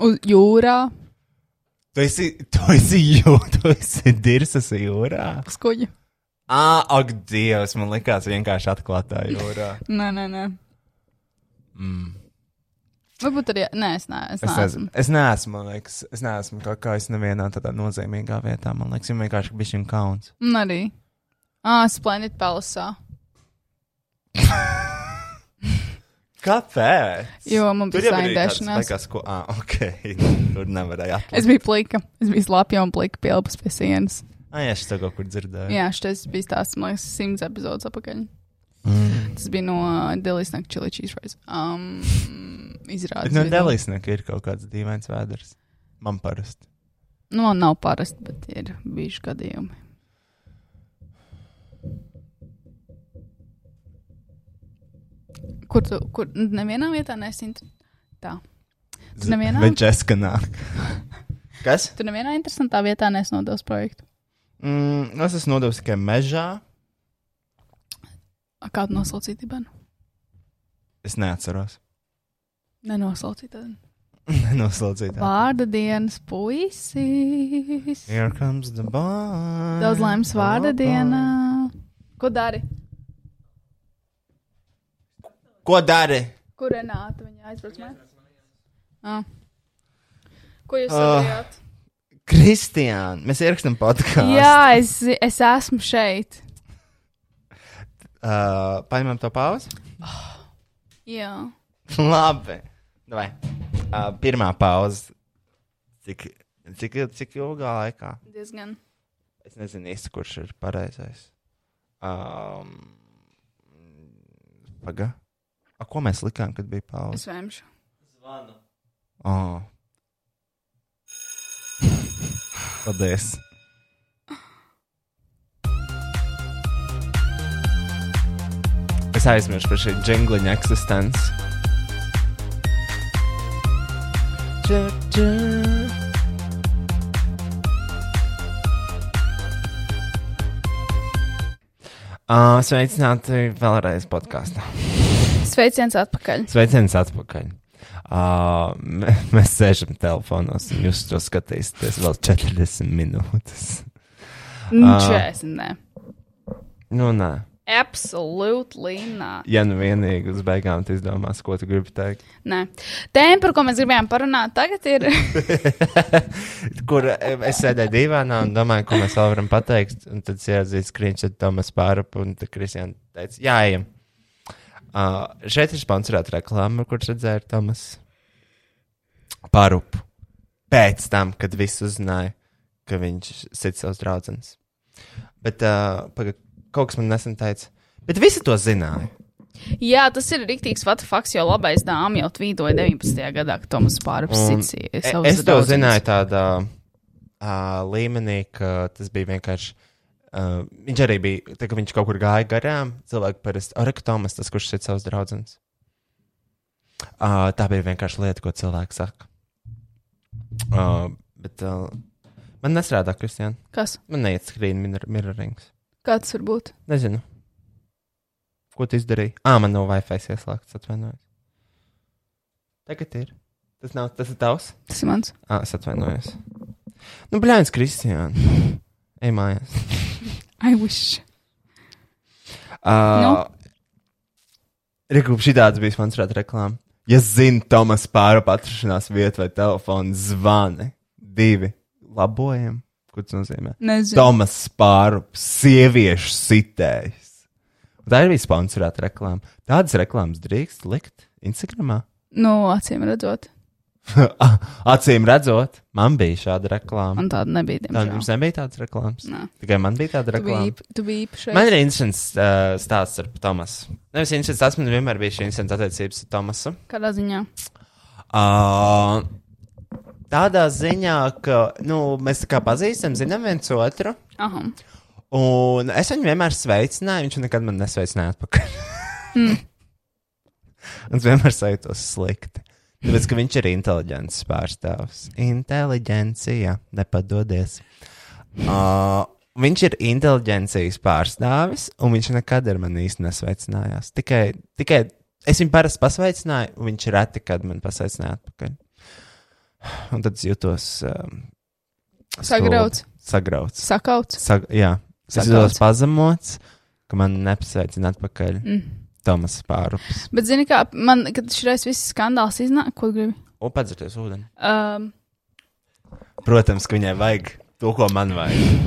A: Uz jūrā,
B: Tu esi, tu esi, jū, tu esi dirsas jūrā.
A: uz kuģa.
B: Ah, ak, Dievs, man likās vienkārši atklātā jūrā.
A: Nē, nē, nē.
B: Mm.
A: Varbūt arī. Nē, es, nē, es
B: Es
A: neesmu.
B: neesmu, es neesmu, man liekas, es neesmu kaut kā es nevienā tādā nozīmīgā vietā. Man liekas, viņam vienkārši bija šim kauns.
A: Un arī. Ah, Splendid Palace.
B: Kāpēc?
A: Jo man bija saindēšanās.
B: Kas, ko, ah, ok, tur nevarēja atrast.
A: Es biju plika. Es biju slapja un plika pielpas pie sienas.
B: Ah, jā, šis to kaut kur dzirdēju.
A: Jā, šis bija tās, man liekas, simts epizodes apakaļ.
B: Mm.
A: Tas bija no Delijas naktas chili cheese fries. Um,
B: Bet
A: izrādās.
B: no
A: bija-
B: Nu, Delijas nekā ir kaut kāds dīvains vēders. Man parasti.
A: Nu, man nav parasti, bet ir bijuši gadījumi. Kur tu, kur, nevienā vietā nesinti. Tā. Tu nevienā?
B: Bet Jessica nāk. Kas?
A: Tu nevienā interesantā vietā nesnodos projektu.
B: Mm, es esmu nodevis tikai mežā.
A: A, Kādu nosaucīt, Iban?
B: Es neatceros.
A: Nenosaucīt. tad.
B: Nenoslaucītā.
A: Vārda dienas puisis.
B: Here comes the bar.
A: Daudz laimes vārda dienā. Ko dari?
B: Ko dari?
A: Kur Renāta viņa aizbrauc? mājās? Ā. Ko jūs
B: Ā.
A: darījāt?
B: Kristiāna, mēs ierakstām podkāstu.
A: Jā, es, zi- es esmu šeit.
B: Uh, paņemam to pauzi.
A: Jā.
B: Labi. Davai. Uh, pirmā pauze. Cik, cik, cik ilgā laikā?
A: Diezgan.
B: Es nezinu īsti, kurš ir pareizais. Um, Pagaid. Ko mēs likām, kad bija pauze?
A: Es vēmšu.
B: Oh. Paldies. Es aizmirsu par šī jingliņa eksistenci. Dža, dža. Ā, Sveicināti vēlreiz podkāstā.
A: Sveiciens atpakaļ.
B: Sveiciens atpakaļ. Uh, mēs sēžam telefonos, un jūs to skatīsieties vēl 40 minūtes.
A: Nu, 40. nē.
B: Nu, nē,
A: Absolutely not.
B: ja nu vienīgi uz beigām tu izdomās, ko tu gribi teikt.
A: Nē. Tēma, par ko mēs gribējām parunāt, tagad ir.
B: Kur eh, es sēdēju divānā un domāju, ko mēs vēl varam pateikt. Un tad ieraudzīju skriņš, tad Tomas pārapa un tad Kristiāna teica, jā, ejam. Uh, šeit ir sponsorēta reklāma, kurš redzēja ar Tomas pārupu. Pēc tam, kad viss uzzināja, ka viņš sit savus draugus. Bet uh, paga, kaut kas man nesen teica, bet visi to zināja.
A: Jā, tas ir rīktīgs vatafaks, jo labais dāmas jau tvītoja 19. gadā, kad Tomas
B: Un
A: pārapsits.
B: e- Es to zināju tādā uh, līmenī, ka tas bija vienkārši. Uh, viņš arī bija, tā, ka viņš kaut kur gāja garām. Cilvēki parasti ir Tomas, tas, kurš ir savs draugs. Uh, tā bija vienkārši lieta, ko cilvēks saka. Uh, bet uh, man nestrādā, Kristija.
A: Kas?
B: Man neiet skrīna mirror, mirrorings.
A: Kāds var būt?
B: Nezinu. Ko tu izdarīji? Ā, man nav Wi-Fi ieslēgts, atvainojos. Tagad ir. Tas nav, tas ir tavs.
A: Tas ir mans.
B: Ah, es atvainojos. Nu, blēņas, Kristija. Ej mājās.
A: I wish.
B: Uh, Reikūp, šī tāds bija sponsorēta reklāma. Ja zini, Tomas pārapa atrašanās vietu vai telefonu zvani, divi labojam. Ko tas nozīmē?
A: Nezinu.
B: Tomas pārapa, sieviešu sitējs. Un Tā ir bija sponsorēta reklāma. Tādas reklāmas drīkst likt Instagramā.
A: Nu, acīm redzot,
B: Acīm redzot, man bija šāda reklāma.
A: man tāda nebija.
B: Tā
A: diemžēl.
B: jums Nu, nebija tādas reklāmas.
A: Nē.
B: Tikai man bija tāda
A: Tu biji
B: reklāma.
A: īp- Tu biji īpašais.
B: Man ir interesants uh, stāsts ar Tomasu. Nevis interesants stāsts, man vienmēr bija šī interesanta attiecības ar Tomasu.
A: Kādā ziņā?
B: Uh, tādā ziņā, ka nu, mēs tā kā pazīstam, zinām viens otru.
A: Aha.
B: Un es viņu vienmēr sveicināju, viņš nekad man nesveicināja atpakaļ. Un es vienmēr sajūtos slikti. Tāpēc, ka viņš ir inteliģents pārstāvs. Inteliģencija, nepadodies. Uh, viņš ir inteliģencijas pārstāvis, un viņš nekad ar mani īsti nesveicinājās. Tikai, tikai es viņu parasti pasveicināju, un viņš reti kad man pasveicināja atpakaļ. Un tad es jutos. Um,
A: Sagrauts.
B: stulbi. Sagrauts.
A: Sakauts.
B: Sag, jā, es
A: Sakauts.
B: jūtos pazemots, ka man nepasveicina atpakaļ mm. Tomas Pārups.
A: Bet, zini, kā man, kad šis viss skandāls iznāk, ko gribi?
B: O, padzirties ūdeni.
A: Um,
B: Protams, ka viņai vajag to, ko man vajag.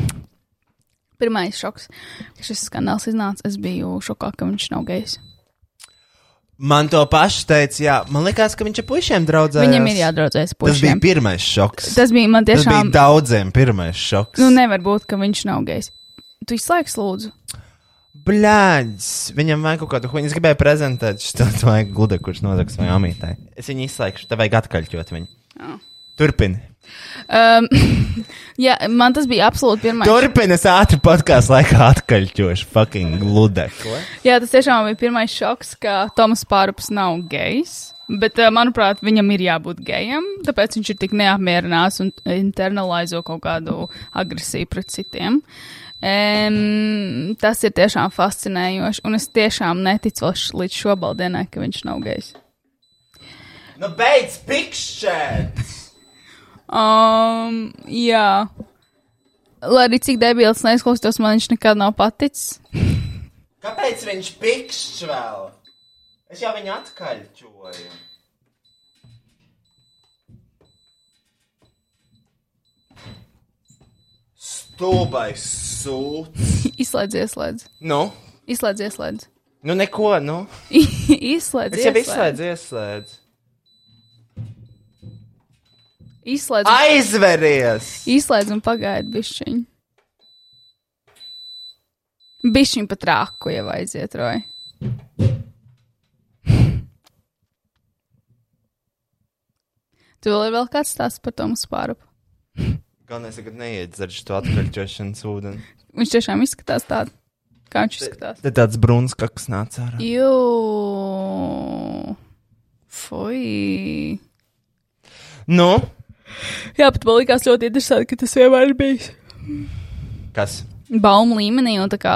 A: pirmais šoks, kad šis skandāls iznāca, es biju šokā, ka viņš nav gejs.
B: Man to pašu teica, jā, man liekas, ka viņš ir pušiem draugs.
A: Viņam ir jādraudzējas
B: Tas bija
A: pušiem.
B: pirmais šoks.
A: Tas bija man
B: Tas bija
A: tiešām.
B: daudziem pirmais šoks.
A: Nu, nevar būt, ka viņš nav gejs. Tu izslēgsi, lūdzu.
B: Blēģis! Viņam vajag kaut kādu huņu. Es gribēju prezentēt šo tādu vajag gudu, kurš nozags vai amītē. Es viņu izslēgšu, tev vajag atkaļķot viņu. Turpini.
A: Um, jā, man tas bija absolūti pirmais.
B: Turpini, es ātri podkāstu laikā atkaļķošu. Fucking gludekli.
A: Jā, tas tiešām bija pirmais šoks, ka Toms Pārups nav gejs. Bet, eh, manuprāt, viņam ir jābūt gejam, tāpēc viņš ir tik neapmierināts un internalizē kaut kādu agresiju pret citiem. Um, tas ir tiešām fascinējoši, un es tiešām neticu vēl š- līdz šobrīd, ka viņš nav gejs.
B: Nu, beidz pikšķēt!
A: Um, jā. Lai arī cik debils neizklausītos, man viņš nekad nav paticis.
B: Kāpēc viņš pikšķ vēl? Es jau viņu atkaļ ķoju. Stulbais sūds.
A: Izslēdz, ieslēdz.
B: Nu,
A: Izslēdz, ieslēdz.
B: nu neko, nu.
A: izslēdz,
B: Es jau
A: ieslēdz.
B: izslēdzu, ieslēdzu.
A: Izslēdz,
B: Aizveries!
A: izslēdz un pagaidi bišķiņu. Bišķiņu pat rāku jau aiziet, roj. Tu vēl ir vēl kāds stāsts par to mūsu pārupu.
B: Galvenais, ka neiedzeršu to atkaļķošanas ūdeni.
A: Viņš tiešām izskatās tādu, kā viņš izskatās.
B: Tad tāds bruns kaks nāca ārā.
A: Jū, fui.
B: Nu,
A: Jā, bet man likās ļoti interesanti, ka tas vienmēr ir bijis.
B: kas?
A: Baumu līmenī, un tā kā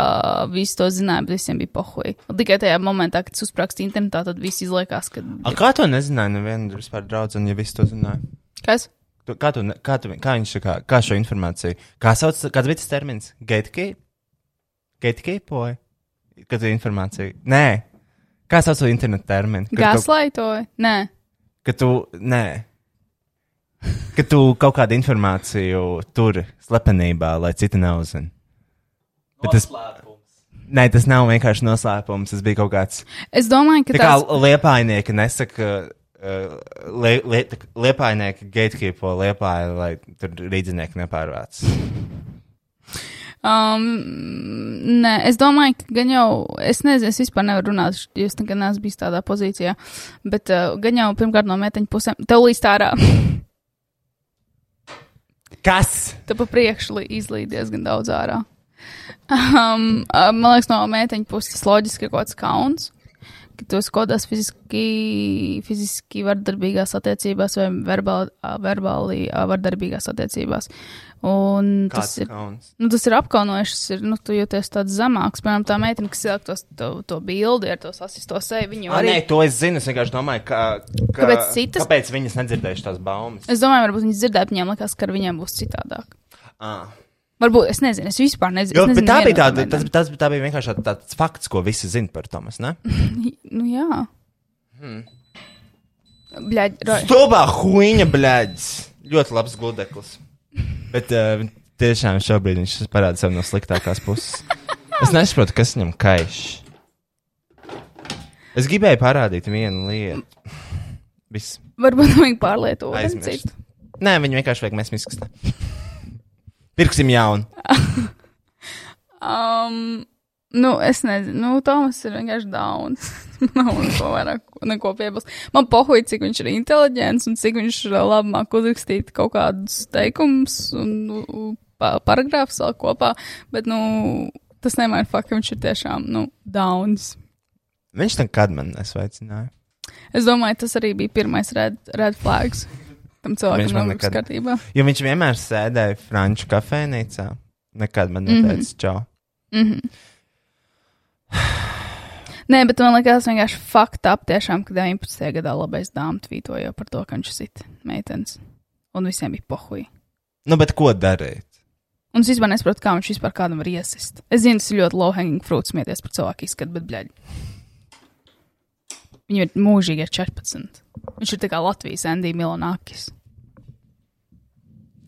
A: visi to zināja, bet visiem bija pohoji. Un tikai tajā momentā, kad tas uzraksts internetā, tad viss izliekās, ka.
B: A, kā to nezināja? Neviena vispār draudzene, ja visi to zināja.
A: Kas?
B: Tu, kā, tu, ne- kā, tu, kā viņš kā, kā šo informāciju? Kā sauc, kāds bija tas termins? Gatekeep? Gatekeepoja? Kad tu informāciju? Nē. Kā sauc to internetu terminu? Kad tu-
A: Gāzlaitoja? Nē.
B: Kad tu, nē. Kad tu kaut kādu informāciju tur slepenībā, lai citi neuzzina. Bet tas- Nē, tas nav vienkārši noslēpums. Tas bija kaut kāds.
A: Es domāju, ka
B: Tā kā
A: tas.
B: liepainieki nesaka, uh, lie, lie, tā kā liepainieki gatekeepo liepāju, lai tur rīdzinieki nepārvāc.
A: Um, nē, es domāju, ka gan jau. Es nezinu, es vispār nevaru runāt, š- jūs nekad neesat bijis tādā pozīcijā. Bet uh, gan jau pirmkārt no meteņa pusēm. Tev līdz tā ārā.
B: Kas?
A: Tu pa priekšu li- izlīd diezgan daudz ārā. Um, uh, man liekas, no mēteņa puses tas loģiski ir kaut kāds kauns. Ka tu esi kaut kādās fiziski, fiziski vardarbīgās attiecībās vai verbāli, ā, verbāli ā, vardarbīgās attiecībās. Un tas
B: Kāds
A: ir,
B: kauns?
A: nu, tas ir apkaunojuši. Tas ir, nu, tu jūties tāds zemāks. Piemēram, tā meitene, kas ieliek tos- to, to bildi ar to sasisto seju, viņa jau
B: Ah, nē,
A: arī.
B: to es zinu. Es vienkārši domāju, ka, ka,
A: Kāpēc citas?
B: Kāpēc viņas nedzirdējušas tās baumas?
A: Es domāju, varbūt viņas dzirdēja, viņiem likās, ka ar viņiem būs citādāk.
B: Ah.
A: Varbūt es nezinu, es vispār nezinu.
B: Jo,
A: es nezinu
B: bet tā, bija
A: nevienu no
B: tāda,
A: meitenēm.
B: tas, tas, tā bija vienkārši tā- tāds fakts, ko visi zina par Tomas. ne?
A: Nu, jā. Hmm. Bļaģ, roj.
B: Stulbā huīņa, blēdz! Ļoti labs gudeklis. Bet uh, tiešām šobrīd viņš parāda sev no sliktākās puses. Es nesaprotu, kas viņam kaiš. Es gribēju parādīt vienu lietu. Viss.
A: Varbūt vajag pārlietu ūdeni
B: Aizmirst.
A: citu.
B: Nē, viņu vienkārši vajag mēs miskastā. Pirksim jaunu.
A: Um, nu, es nezinu. Nu, Tomas ir vienkārši dauns. Nav neko vairāk, neko piebilst. Man pohuj, cik viņš ir inteliģents un cik viņš uh, labi māk uzrakstīt kaut kādus teikumus un nu, pa- paragrāfus vēl kopā. Bet, nu, tas nemaina faktu, ka viņš ir tiešām, nu, dauns.
B: Viņš nekad man nesveicināja.
A: Es domāju, tas arī bija pirmais red, red flags tam cilvēkam,
B: Viņš man
A: nav
B: nekad-
A: skatībā.
B: Jo viņš vienmēr sēdēja franču kafejnīcā. Nekad man neteica, mm -hmm. čau.
A: Mhm. Nē, bet man liekas, vienkārši fakta aptiešām, ka 19. gadā labais dāmas tvītoja par to, ka viņš sit meitenes. Un visiem bija pohuji.
B: Nu, bet ko darīt?
A: Un es vispār nesaprotu, kā viņš vispār kādam var iesist. Es zinu, tas ir ļoti low-hanging fruit smieties par cilvēku izskatu, bet bļaļ. Viņu ir mūžīgi ar 14. Viņš ir tā kā Latvijas Andy Milonakis.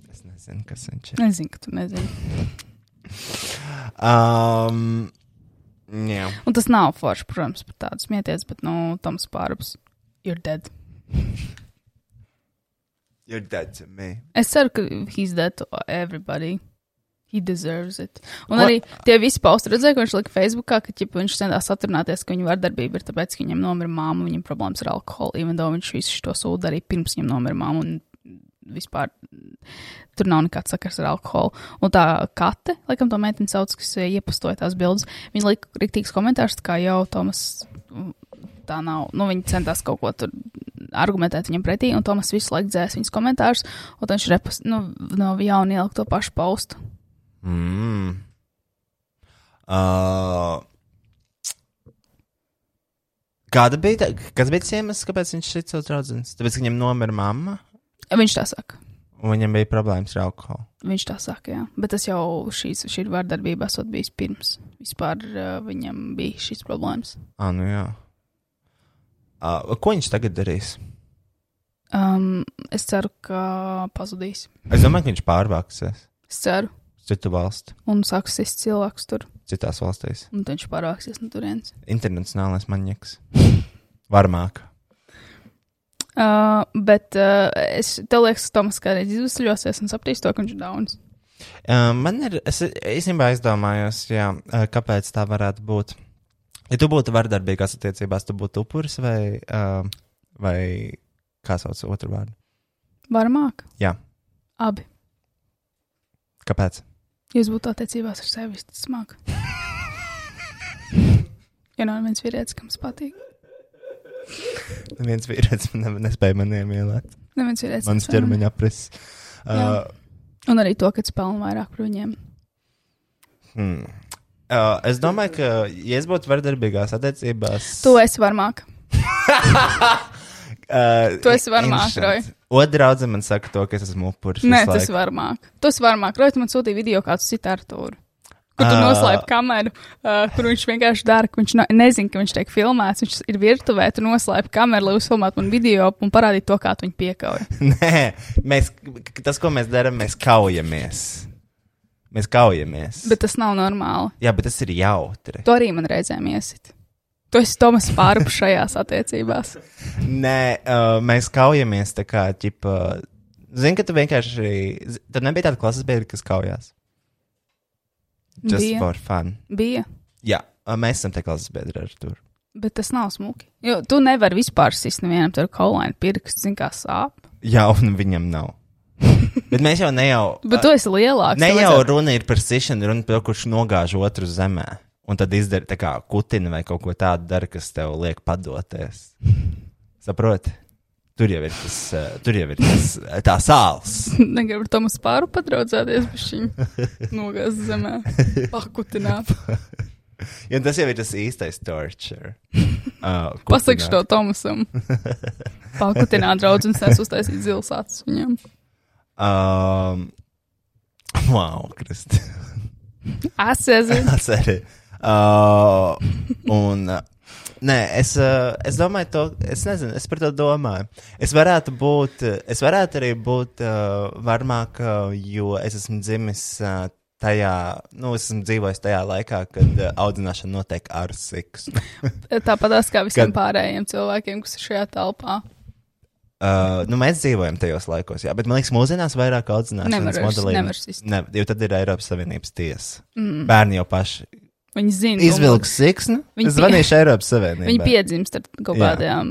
B: Es nezinu, kas viņš ir.
A: Nezinu, ka tu nezini.
B: Um, jā.
A: Un tas nav forši, protams, par tādu smieties, bet, nu, Toms Pārups, you're dead.
B: You're dead to me.
A: Es ceru, ka he's dead to everybody. He deserves it. Un
B: Ko-
A: arī tie visi pausti redzēja, ka viņš lika Facebookā, ka ķipa, viņš centās atrunāties, ka viņa vardarbība ir tāpēc, ka viņam nomira māma, viņam problēmas ar alkoholu, even though viņš visu šo sūdu arī pirms viņam nomira māma un vispār tur nav nekāds sakars ar alkoholu. Un tā kate, laikam to meiteni sauc, kas iepastoja tās bildes, viņa lika riktīgs komentārs, kā jau Tomas tā nav. Nu, viņi centās kaut ko tur argumentēt viņam pretī, un Tomas visu laiku dzēs viņas komentārus, un tad viņš repas, nu, no jauna ielikt to pašu paustu.
B: Mm. Uh, Kāda bija tā, kas bija tas iemesls, kāpēc viņš šeit savus draugus? Tāpēc, ka viņam nomira mamma,
A: Viņš tā saka.
B: un viņam bija problēmas ar alkoholu.
A: Viņš tā saka, jā. Bet tas jau šīs, šī vardarbība esot bijis pirms. Vispār uh, viņam bija šīs problēmas.
B: Ah, nu jā. Uh, ko viņš tagad darīs?
A: Um, es ceru, ka pazudīs.
B: Es domāju, ka viņš pārvāksies
A: Es ceru.
B: uz citu valstu,
A: Un sāks sist cilvēks tur.
B: citās valstīs.
A: Un tad viņš pārvāksies no turienes.
B: Internacionālais manieks. Varmāk.
A: Uh, bet uh, es tev liekas, ka Tomas kādreiz izzveļosies un sapratīs to, ka viņš ir dauns.
B: Uh, man ir, es īstenībā aizdomājos, jā, uh, kāpēc tā varētu būt. Ja tu būtu vardarbīgās attiecībās, tu būtu upuris vai, uh, vai kā sauc otru vārdu?
A: Varmāk.
B: Jā.
A: Abi.
B: Kāpēc?
A: Jūs būtu attiecībās ar sevi tas smag. ja nav viens vīrietis, kam tas patīk.
B: Neviens vīrietis man ne- nespēja man iemīlēt.
A: Neviens vīrietis. ar
B: Mans
A: sevi.
B: ķermeņa apris. Uh,
A: Jā. Un arī to, ka es pelnu vairāk par viņiem.
B: hmm. uh, es domāju, ka, ja es būtu vardarbīgās attiecībās,
A: Tu esi varmāk.
B: uh,
A: tu esi varmāk,
B: interesanti.
A: Roj.
B: Otra draudzene man saka, to, ka es esmu upuris.
A: Nē,
B: visu
A: tas
B: laiku.
A: varmāk. Tu esi varmāk. Roj, tu man sūtīji video kāds citu Artūru. Kur tu
B: Ā.
A: noslēp kameru, uh, kur viņš vienkārši dara, ka viņš no, nezina, ka viņš tiek filmēts. Viņš ir virtuvē, tu noslēp kameru, lai uzfilmētu man video un parādītu to, kā tu viņu piekauj.
B: Nē, mēs, k- tas, ko mēs darām, mēs kaujamies. Mēs kaujamies.
A: Bet tas nav normāli.
B: Jā, bet tas ir jautri.
A: Tu arī man reizēm iesit. Tu esi Tomas Pārups šajās attiecībās.
B: Nē, uh, mēs kaujamies tā kā, ķipa, zini, ka tu vienkārši, z- tev nebija tāda klases biedra, kas kaujās. Just
A: Bija.
B: for fun.
A: Bija,
B: Jā, uh, mēs esam te klases biedri ar tur.
A: bet tas nav smuki. Jo tu nevari vispār sist nevienam tur kaulaini pirkstu, zin kā sāp.
B: Jā, un viņam nav. bet mēs jau ne jau,
A: Bet tu esi lielāks.
B: ne
A: tev
B: jau
A: vajadzētu-
B: runa ir par sišanu, runa par to, kurš nogāž otru zemē. Un tad izdara tā kā kutina vai kaut ko tādu dara, kas tev liek padoties. Saproti? Tur jau ir tas, uh, tur jau ir tas, uh, tā sāls.
A: Negribu ar Tomas Pāru padraudzēties, bet viņš nogāz zemē. Pakutināt.
B: Jo tas jau ir tas īstais torture. Uh,
A: Pasakšu to Tomasam. Pakutināt draudz un sens uztaisīt zils acis viņam.
B: Um, wow, Kristi.
A: Es esmu.
B: Tas arī. Uh, un. Uh, Nē, es, uh, es domāju, to, es nezinu, es par to domāju. Es varētu būt, uh, es varētu arī būt uh, varmāk, uh, jo es esmu dzimis uh, tajā, nu, es esmu dzīvojis tajā laikā, kad uh, audzināšana notiek ar seksu.
A: Tāpatās kā visiem
B: Kad-
A: pārējiem cilvēkiem, kas ir šajā telpā.
B: Uh, nu, mēs dzīvojam tajos laikos, jā, bet man liekas, mūsdienās vairāk audzināšanas
A: Nevar vairs- nevar
B: modelī.
A: sist.
B: Ne, jo tad ir Eiropas Savienības tiesa. Mm. Bērni jau paši
A: Viņi zina. un-
B: izvilks siksnu.
A: Nu, Viņi
B: Viņi zvanīšu Eiropas Savienībai.
A: Viņi piedzimst ar kaut
B: Jā.
A: kādiem,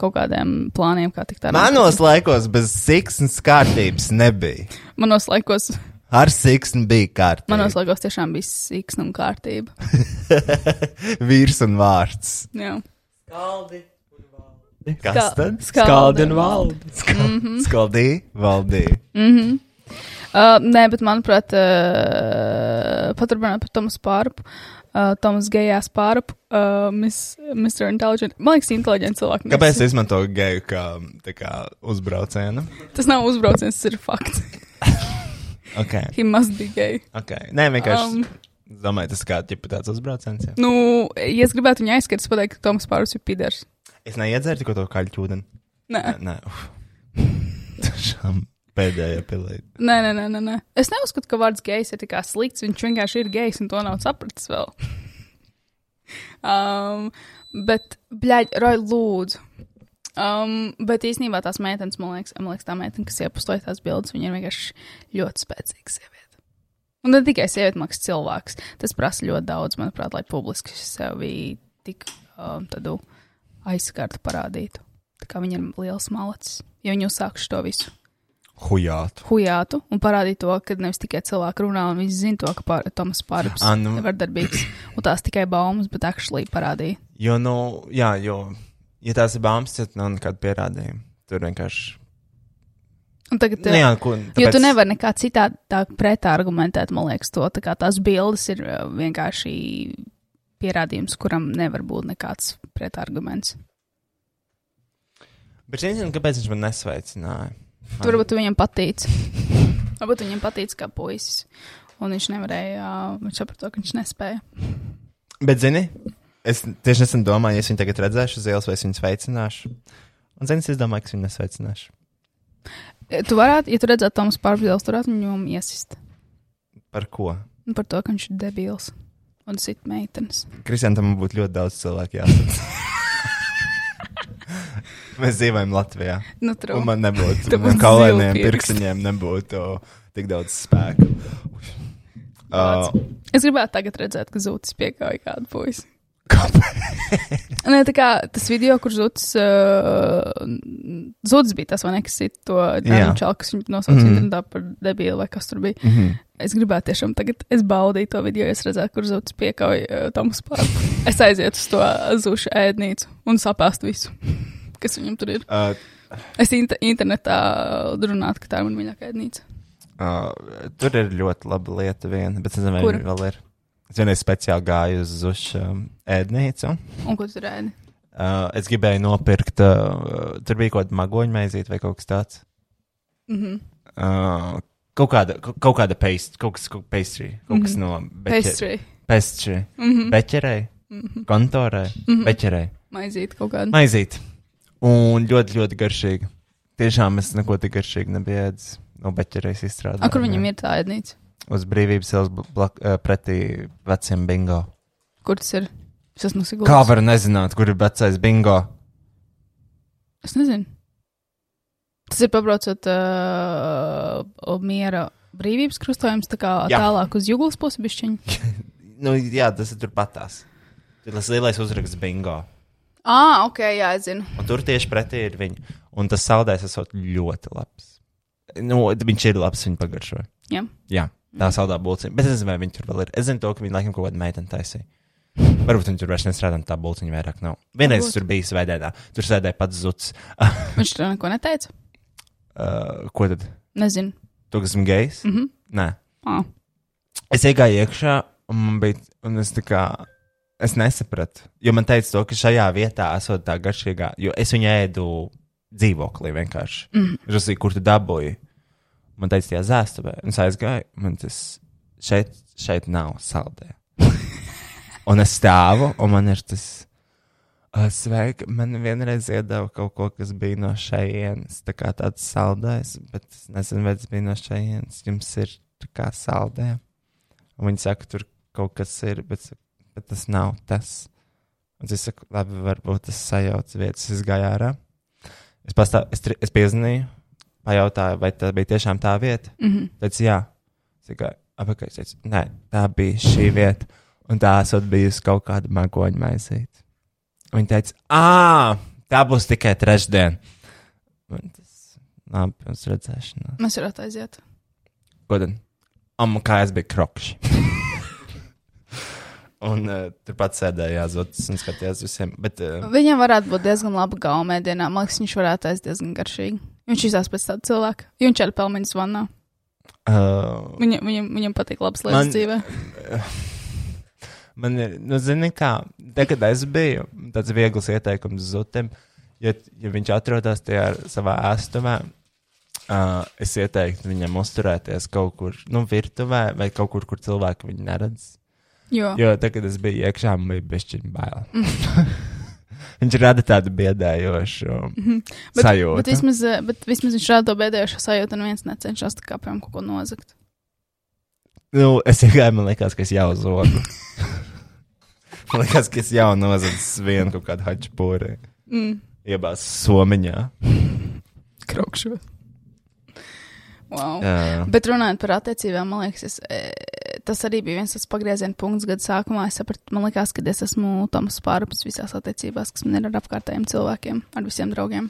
A: kaut kādiem plāniem, kā tikt tādā.
B: Manos laikos bez siksnas kārtības nebija.
A: manos laikos,
B: Ar siksnu bija kārtība.
A: manos laikos tiešām bija sīksna un kārtība.
B: Vīrs un vārds.
A: Jā.
B: Kas
A: Ska-
B: tad?
A: skaldi un valdi. Mhm.
B: Skaldīja, valdīja.
A: Uh, nē, bet manuprāt, uh, paturpināt par Tomas Pārupu, uh, Tomas Gejās Pārupu, uh, Miss, Mr. Intelligent. Man liekas, inteliģents cilvēks.
B: Kāpēc es izmantoju geju kā, tā kā uzbraucienu?
A: Tas nav uzbrauciens, tas ir fakts.
B: Okay.
A: He must be gay.
B: Okay. Nē,
A: Um.
B: vienkārši. Um. Es domāju, tas kā ķipa tāds uzbrauciens. Jā.
A: Nu, ja es gribētu viņu aizskatīt, es pateiktu, ka Tomas Pārups ir piders.
B: Es neiedzēru tikko to kaļķu ūdeni.
A: Nē.
B: Nē, uf. tiešām pēdējā pilīte.
A: Nē, nē, nē, nē, nē. Es neuzskatu, ka vārds gejs ir tā kā slikts. Viņš vienkārši ir gejs un to nav sapratis vēl. um, bet, bļaigi, Roja, lūdzu. Um, bet īstenībā tās meitenes, man liekas, man liekas tā meitene, kas iepustoja tās bildes, viņa ir vienkārši ļoti spēcīga sieviete. Un ne tikai sieviete, mākslinieks cilvēks. Tas prasa ļoti daudz, manuprāt, lai publiski sevi tik um, tādu aizskartu parādītu. Tā kā viņa ir liels malacis, ja viņa uzsākšu to visu
B: Hujātu.
A: hujātu un parādītu to, ka nevis tikai cilvēki runā, un viņi zina to, ka pār, Toms Pārups
B: Ā,
A: ir
B: nu.
A: nu... vardarbīgs. Un tās tikai baumas, bet akšlī parādīja.
B: Jo, nu, jā, jo, ja tās ir bāmas, tad nav nekāda pierādījuma. Tur vienkārši.
A: Un tagad,
B: Nē, Nu jā, ko. Tāpēc...
A: Jo tu nevari nekā citādi pretā argumentēt, man liekas, to. Tā kā tās bildes ir eh, uh, vienkārši pierādījums, kuram nevar būt nekāds pretarguments.
B: Bet es nezinu, kāpēc viņš man nesveicināja. Man-
A: Tur varbūt tu viņam patīk. Varbūt viņam patīk kā puisis. Un viņš nevarēja, uh, ā, viņš saprata, ka viņš nespēja.
B: Bet, zini, es tieši nesen domāju, ja es viņu tagad redzēšu uz ielas, vai es viņu sveicināšu. Un, zini, es domāju, ka es viņu nesveicināšu.
A: E, Tu varētu, ja tu redzētu Tomas Pārbīlis, tu varētu viņam iesist.
B: Par ko?
A: Nu, Par to, ka viņš ir debils un sit meitenes.
B: Kristianam būtu ļoti daudz cilvēku jāsaka. Mēs dzīvojam Latvijā.
A: Nu, true.
B: Un man nebūtu
A: Tu būtu
B: tādu kaulainiem
A: zilpirksts.
B: pirkstiņiem, nebūtu tik daudz spēka. Uh,
A: Es gribētu tagad redzēt, ka zūtis piekāpja kādu puisi.
B: kāpēc?
A: Nē, tā kā tas video, kur zūtis, uh, zūtis bija tas, vai ne, kas ir to
B: Jā. Mhm.
A: čalu, kas viņu nosauca mm. internetā par debilu vai kas tur bija.
B: mm -hmm.
A: Es gribētu tiešām tagad, es baudīju to video, es redzēju, kur zūtis piekāpja uh, tam spārnu. Es aizietu uz to zūšu ēdnīcu un sapēstu visu, kas viņam tur ir.
B: uh,
A: Es inter internetā runātu, ka tā ir mana mīļākā ēdnīca.
B: uh, tur ir ļoti laba lieta viena, bet es nezinu, vai
A: Kur?
B: viņa vēl ir. Es vienreiz speciāli gāju uz Zuša um, ēdnīcu.
A: Un ko tu tur ēdi?
B: Uh, es gribēju nopirkt, uh, tur bija kaut kāda magoņa maizīte vai kaut kas tāds.
A: Mm -hmm.
B: Uh, kaut kāda, kaut kāda paste, kaut kas, kaut pastry, kaut kas mm -hmm. no beķe-
A: Mhm. Pastry.
B: pastry,
A: Mm -hmm.
B: beķerei, kontorei,
A: Mhm.
B: beķerei,
A: Maizīt kaut kādu.
B: maizīt. Un ļoti, ļoti garšīgi. Tiešām es neko tik garšīgi nebiju ēdis. No beķerēs izstrādājot.
A: A, kur viņam ir tā ēdnīca?
B: Uz brīvības ielas bl- blak- eh, pretī veciem bingo.
A: Kur tas ir? Es esmu Sigūda.
B: Kā var nezināt, kur ir vecais bingo?
A: Es nezinu. Tas ir pabraucot uh, miera brīvības krustojums, tā kā
B: Jā.
A: Jā. tālāk uz jūglas pusi bišķiņu.
B: Nu, jā, tas ir turpatās. Tur tas lielais uzraksts bingo.
A: Ā, ok, jā, es zinu.
B: Un tur tieši pretī ir viņa. Un tas saldējs esot ļoti labs. Nu, viņš ir labs, viņa pagaršo.
A: Jā.
B: Jā, tā saldā būcīņa. Bet es nezinu, vai viņa tur vēl ir. Es zinu, to, ka viņa laikam kaut kāda meitene taisīja. Varbūt viņi tur vairs nestrādā, un tā būcīņa vairāk nav. Vienreiz
A: Varbūt.
B: es tur biju svētdienā, tur sēdēja pats zuds.
A: Viņš tur neko neteica.
B: Uh, ko tad?
A: Nezinu.
B: Tu kas esmu gejs?
A: Mhm.
B: Nē.
A: Ā.
B: Es iegāju iekšā, un man bija, un es tā kā, es nesapratu. Jo man teica, to, ka šajā vietā esot tā garšīgā, jo es viņu ēdu dzīvoklī vienkārši. Mm. Es uzsīju, kur tu dabūji. Man teica, tajā zēstuvē, un es aizgāju, man tas šeit, šeit nav saldē. un es stāvu, un man ir tas. "Ā, Sveiki, man vienreiz iedeva kaut ko, kas bija no šejienes. Tā kā tāds saldējs, bet es nezinu, vai tas bija no šejienes. Jums ir tā kā saldējums. Un viņi saka, tur kaut kas ir, bet, es saku, bet tas nav tas. Un es saku, labi, varbūt tas sajauc vietas, es gāju ārā. Es, pastāv, es, tri- es piezinīju, pajautāju, vai tā bija tiešām tā vieta.
A: Mm -hmm.
B: Teicu, jā, tikai apakaļ. Es teicu, nē, tā bija šī vieta. Un tā esot bijusi kaut kāda magoņa maizīte. Un Viņa teica, ah, tā būs tikai trešdien. Un tas labi, pirms redzēšanās.
A: Mēs varētu aiziet.
B: Ko tad? Am, kā es biju krokšs. un uh, turpat sēdēja zvaigznes un skatījās visiem. Bet, uh,
A: Viņam varētu būt diezgan laba gauma mēdienā. Man liekas, viņš varētu aiziet diezgan garšīgi. Viņš izsās pēc tāda cilvēka. Jo Viņš ir pelmeņas vannā.
B: uh,
A: Viņam, viņam, viņam patīk labas lietas
B: Man-
A: Man... dzīvē.
B: eh, man ir, nu, zini, kā, tagad es biju tāds viegls ieteikums zutim. Ja, ja viņš atrodas tajā savā ēstumā, uh, es ieteiktu viņam uzturēties kaut kur, nu, virtuvē vai kaut kur, kur cilvēki viņu neredz.
A: Jo.
B: Jo tagad es biju iekšā, man bija bešķiņa bail. Viņš rada tādu biedējošu
A: Mhm. Bet,
B: sajūtu.
A: Bet vismaz, eh, bet vismaz viņš rāda to bēdējošo sajūtu, un viens necenšas tā kā piemēram kaut ko nozagt.
B: Nu, es tikai man liekas, ka es jau zodu. man liekas, ka es jau nozadzu vienu kaut kādu hačpūri.
A: Mm.
B: Iebās somiņā.
A: Nu. Kraukšos. Wow.
B: Jā.
A: Bet runājot par attiecībām, man liekas, es, e, tas arī bija viens tas pagrieziena punkts gada sākumā. Es sapratu, man liekas, ka es esmu Toms Pārups visās attiecībās, kas man ir ar apkārtējiem cilvēkiem, ar visiem draugiem.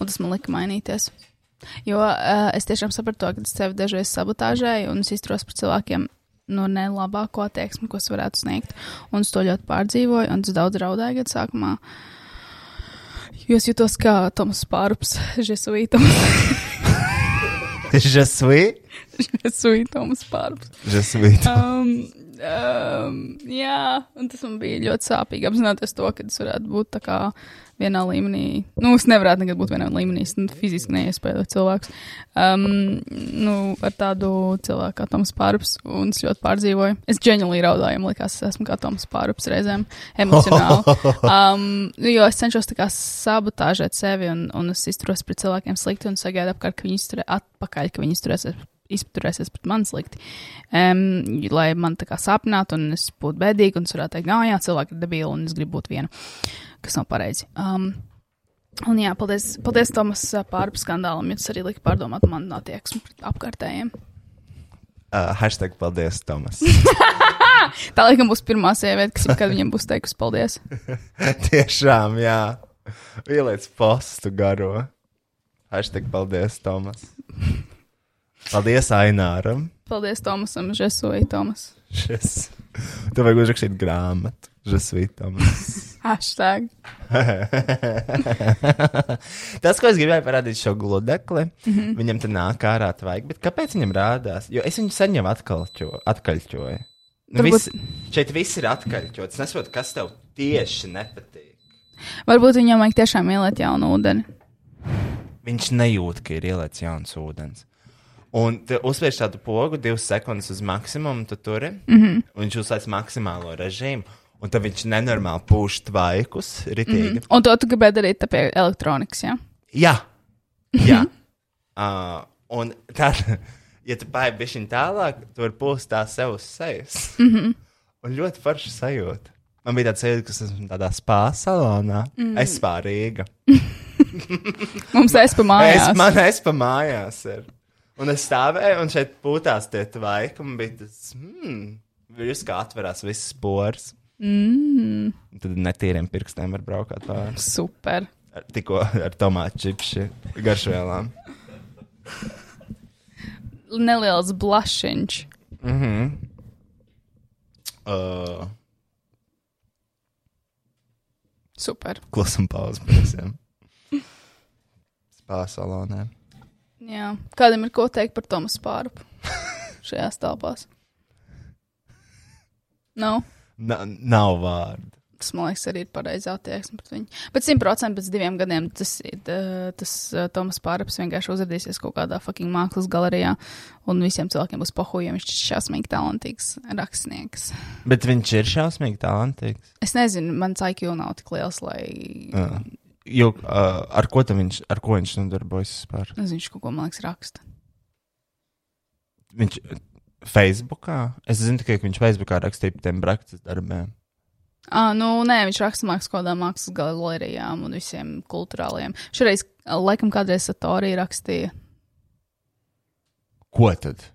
A: Un tas man lika mainīties. Jo uh, es tiešām sapratu, to, ka es sevi dažreiz sabotāžēju un es izturos par cilvēkiem no nelabāko attieksmi, ko es varētu sniegt. Un es to ļoti pārdzīvoju, un es daudz raudāju gada sākumā. Jo es jutos kā Toms Pārups, Žesuītam.
B: Žesui?
A: Sūtījums pārpus.
B: Žesvīt.
A: Um, um, jā, un tas man bija ļoti sāpīgi apzināties to, ka tas varētu būt tā kā vienā līmenī. Nu, es nevarētu nekad būt vienā līmenī, es nu, fiziski neiespēju cilvēks. Um, nu, ar tādu cilvēku kā Toms Pārps, un es ļoti pārdzīvoju. Es ģeniāli raudāju, man liekas, es esmu kā Toms Pārps reizēm emocionāli. Um, jo es cenšos tā kā sabotāžēt sevi, un, un es izturos pret cilvēkiem slikti, un sagaidu apkārt, ka viņi izturē atpakaļ, ka viņi izturēsies izturēsies pret mani slikti. Um, lai man tā kā sāpinātu, un es būtu bēdīga, un es varētu teikt, ah, jā, cilvēki ir debīli, un es gribu būt viena, kas nav pareizi. Um, un jā, paldies, paldies Tomas pārpus skandālam, jo tas arī lika pārdomāt man attieksmi pret apkārtējiem.
B: Uh, hashtag paldies, Tomas.
A: Tā laikam būs pirmā sieviete, kas jebkad viņam būs teikusi paldies.
B: Tiešām, jā. Ieliec postu garo. Hashtag paldies, Tomas. Paldies Aināram.
A: Paldies Tomasam, Žesoji, Tomas.
B: Šis. Tev vajag uzrakstīt grāmatu. Žesvīt, Tomas.
A: Hashtag.
B: Tas, ko es gribēju parādīt šo gludekli, mm -hmm. viņam tā nāk ārā vajag, bet kāpēc viņam rādās? Jo es viņu sen jau atkalčo- atkaļķoju. Nu,
A: Varbūt-
B: viss, šeit viss ir atkaļķots. Es nesaprotu, kas tev tieši nepatīk.
A: Varbūt viņam vajag tiešām ieliet jaunu ūdeni.
B: Viņš nejūt, ka ir ielaists jauns ūdens. Un tu uzspiež tādu pogu, divas sekundes uz maksimumu, tu tur ir. Mm -hmm. Viņš uzsāc maksimālo režīmu, un tad viņš nenormāli pūš tvaikus, ritīgi. Mm -hmm.
A: Un to tu gribēji darīt tā pie elektronikas, jā?
B: Jā, jā. uh, Mhm. un tad, ja tu paiet bišķiņ tālāk, tu vari pūst tā sev uz sejas. Mm -hmm. Un ļoti forši sajūta. Man bija tāds sajūta, ka es esmu tādā spā salonā. Mm. Es spā Rīga.
A: Mums aizpa
B: Es,
A: mājās.
B: man es pa mājās ir. Un es stāvēju, un šeit pūtās tie tvaiki, un bija tas, hmm, virs kā atverās visas poras. Mm. Tad netīriem pirkstiem var braukt ar
A: Super.
B: tikko ar tomātu čipsi garšvielām.
A: Neliels blašiņš.
B: Mm-hmm. Uh,
A: Super.
B: klusam pauzes pirkstiem. Spā salonē.
A: Jā. Kādam ir ko teikt par Tomas pārpu šajās telpās? Nav.
B: Na, nav vārdu.
A: Tas, Nu, man liekas, arī ir pareizā attieksme pret viņu. Bet simtprocentīgi pēc diviem gadiem tas, eh, tas eh, Tomas Pāraps vienkārši uzrādīsies kaut kādā fucking mākslas galerijā, un visiem cilvēkiem būs pohuļi, jo viņš ir šausmīgi talantīgs rakstnieks.
B: Bet viņš ir šausmīgi talantīgs.
A: Es nezinu, man cik jau nav tik liels, lai.
B: Uh, jo, uh, ar ko tam viņš, ar ko viņš nodarbojas vispār?
A: Es viņš kaut ko, man liekas, raksta.
B: Viņš uh, Facebookā. Es zinu tikai, ka viņš Facebookā rakstīja par tiem prakses darbiem.
A: Ah, nu, nē, viņš raksta mākslas kaut kādām mākslas galerijām un visiem kultūrāliem. Šoreiz, laikam, kādreiz Satorija rakstīja
B: Ko tad?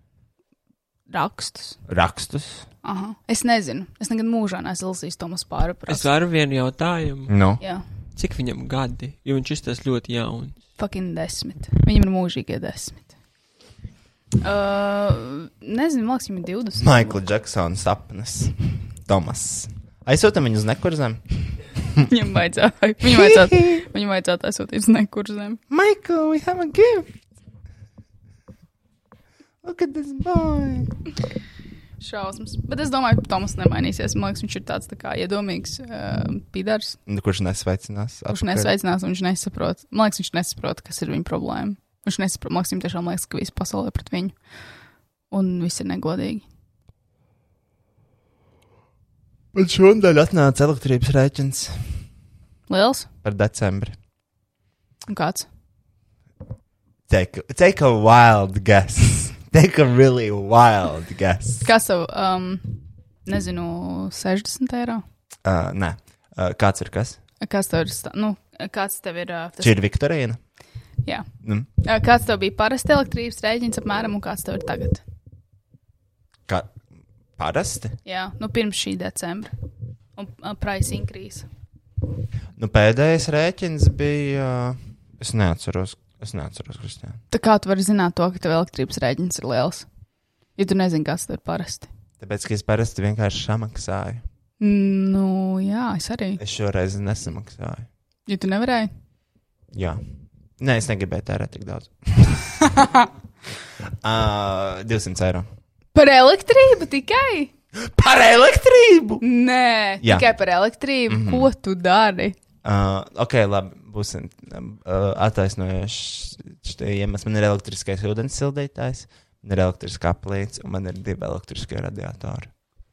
A: rakstus.
B: Rakstus?
A: Aha. Es nezinu, es nekad mūžā neesmu lasījis Tomas
E: Es
A: Pārapras.
E: varu vienu jautājumu.
B: Nu.
A: Jā,
E: Cik viņam gadi? Jo viņš izskatās ļoti jauns.
A: fucking desmit. Viņam ir mūžīgie desmit. Uh, nezinu, man liekas, viņam ir 20.
B: Maikls Džeksons sapnis. Tomas. Aizsūtam viņu uz nekurzem.
A: Viņam vajadzētu, viņam vajadzētu, viņam vajadzētu aizsūtīt uz nekurzēm.
B: Maikl, we have a gift! Look at this boy!
A: Šausmas. Bet es domāju, ka Tomas nemainīsies. Man liekas, viņš ir tāds tā kā iedomīgs uh, pidars.
B: Nu, kurš nesveicinās?
A: Kurš nesveicinās, un viņš nesaprot. Man liekas, viņš nesaprot, kas ir viņa problēma. Viņš nesaprot, man liekas, viņam tiešām liekas, ka visi pasaulē ir pret viņu. Un viss ir negodīgi.
B: Un šodien atnāca elektrības rēķins
A: Liels
B: par decembri.
A: un kāds?
B: Take, take a wild guess. Take a really wild guess.
A: Kas tev, um, nezinu, 60 eiro?
B: Uh, nē, uh, kāds ir kas?
A: Kas tev ir, sta- nu, kāds tev ir, uh, tas,
B: Šī ir Viktorīna.
A: jā.
B: Mm.
A: Uh, Kāds tev bija parasti elektrības rēķins apmēram, un kāds tev ir tagad?
B: Kā parasti?
A: Jā, nu pirms šī decembra. Un uh, price increase.
B: Nu, pēdējais rēķins bija. uh, Es neatceros, es neatceros, Kristija.
A: Tā kā tu vari zināt to, ka tev elektrības rēķins ir liels? Ja tu nezini, kas tev ir parasti.
B: Tāpēc, ka es parasti vienkārši samaksāju.
A: Nu, jā, es arī.
B: Es šoreiz nesamaksāju.
A: Ja tu nevarēji,
B: Jā, nē, es negribēju tērēt tik daudz. Uh, 200 eiro.
A: Par elektrību tikai?
B: Par elektrību!
A: Nē,
B: Jā. Mhm.
A: tikai par elektrību. Mm -hmm. Ko tu dari?
B: Uh, ok, labi. Būs uh, attaisnojošs iemesls. Man ir elektriskais ūdens sildītājs, man ir elektriskā plīts un man ir divi elektriskie radiatori.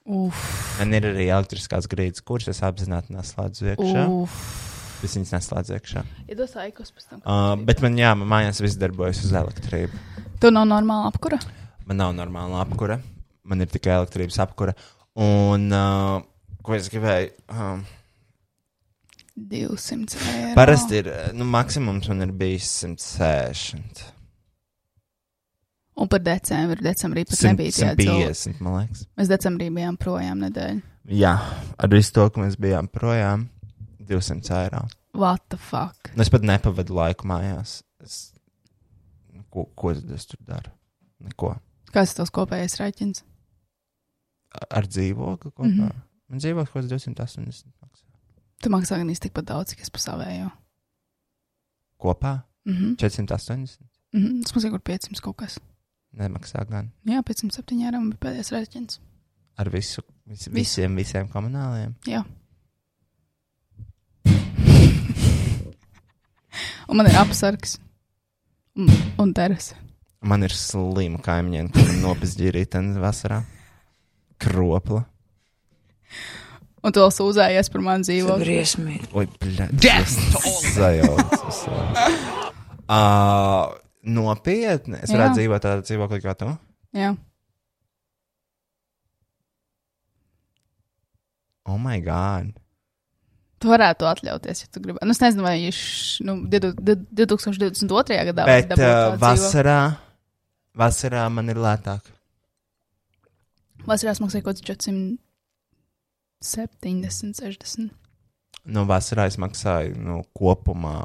A: Uf,
B: Man ir arī elektriskās grīdas, kuras es apzināti neslēdzu iekšā.
A: uf.
B: Es viņas neslēdzu iekšā.
A: Iedos aikos pēc tam.
B: Uh, bet man jā, man mājās viss darbojas uz elektrību.
A: Tu nav normāla apkura?
B: Man nav normāla apkūra, man ir tikai elektrības apkūra. Un uh, ko es gribēju? Uh,
A: 200 eiro.
B: parasti ir, uh, nu, maksimums man ir bijis 160.
A: Un par decembri. Decembrī pat nebija tie cilvēki.
B: 150, man liekas.
A: Mēs decembrī bijām projām nedēļu.
B: Jā, ar visu to, ka mēs bijām projām, 200 eiro.
A: What the fuck?
B: Nu, es pat nepavadu laiku mājās. Es... nu, Ko, ko tad es tur daru? Neko.
A: Kas tas kopējais rēķins?
B: A- Ar dzīvokli kopā. Mm -hmm. Man dzīvoklis kaut kāds 280 maksā.
A: Tu maksā gan īsti tikpat daudz, cik es pasavēju.
B: Kopā
A: Mhm.
B: 480
A: Mhm. Tas mums ir kur 500 kaut kas.
B: nemaksā gan.
A: Jā, 507 eiro bija pēdējais rēķins.
B: Ar visu, vis, visiem, visiem komunāliem.
A: Jā. un man ir apsargs. Un, un terasa.
B: Man ir slima kaimiņiene, kuriem nopietni rītdienas vasarā. Kropla.
A: Un tu vēl sūdzējies par manu dzīvokli.
B: Oi, Zvaigznes. Uh, nopietni. Es
A: Jā.
B: varētu dzīvot tādā dzīvoklī kā tu.
A: Jā,
B: Oh, my God.
A: tu varētu to atļauties, ja tu gribi. Nu, es nezinu, vai viņš nu, 2022. gadā
B: Bet
A: dabūtu tādu
B: uh,
A: dzīvokli.
B: vasarā, vasarā man ir lētāk.
A: Vasarās maksāja kaut kāds 470, 60.
B: Nu, vasarā es maksāju nu, kopumā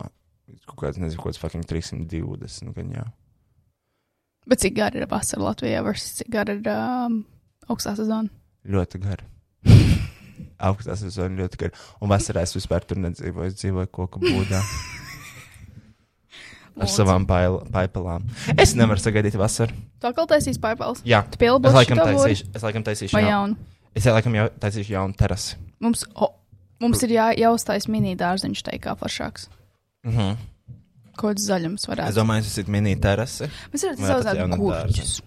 B: kaut kāds, nezinu, kaut kāds fucking 320. Gan jau.
A: Bet cik gara ir vasara Latvijā versus cik gara ir um, augstā sezona?
B: Ļoti gari. Augstā sezona ļoti gara. Un vasarā es vispār tur nedzīvoju. Es dzīvoju koku būdā ar savām pail- paipalām. Es nevaru sagaidīt vasaru.
A: Tu atkal taisīs pārpals.
B: Jā,
A: Tu pielabos
B: es laikam
A: šito būdu?
B: taisīšu, es laikam taisīšu
A: Vai
B: jaunu-
A: jaunu?
B: Es laikam jau taisīšu jaunu terasi.
A: Mums, oh, mums ir jā, jāuztais mini dārziņš, tā kā foršāks.
B: Mm -hmm.
A: Ko tas zaļums
B: Es
A: varētu būt?
B: domāju, tas ir mini terasi.
A: Mēs varam
B: Vai tas
A: izaudzēt
B: jaunam
A: gurķus.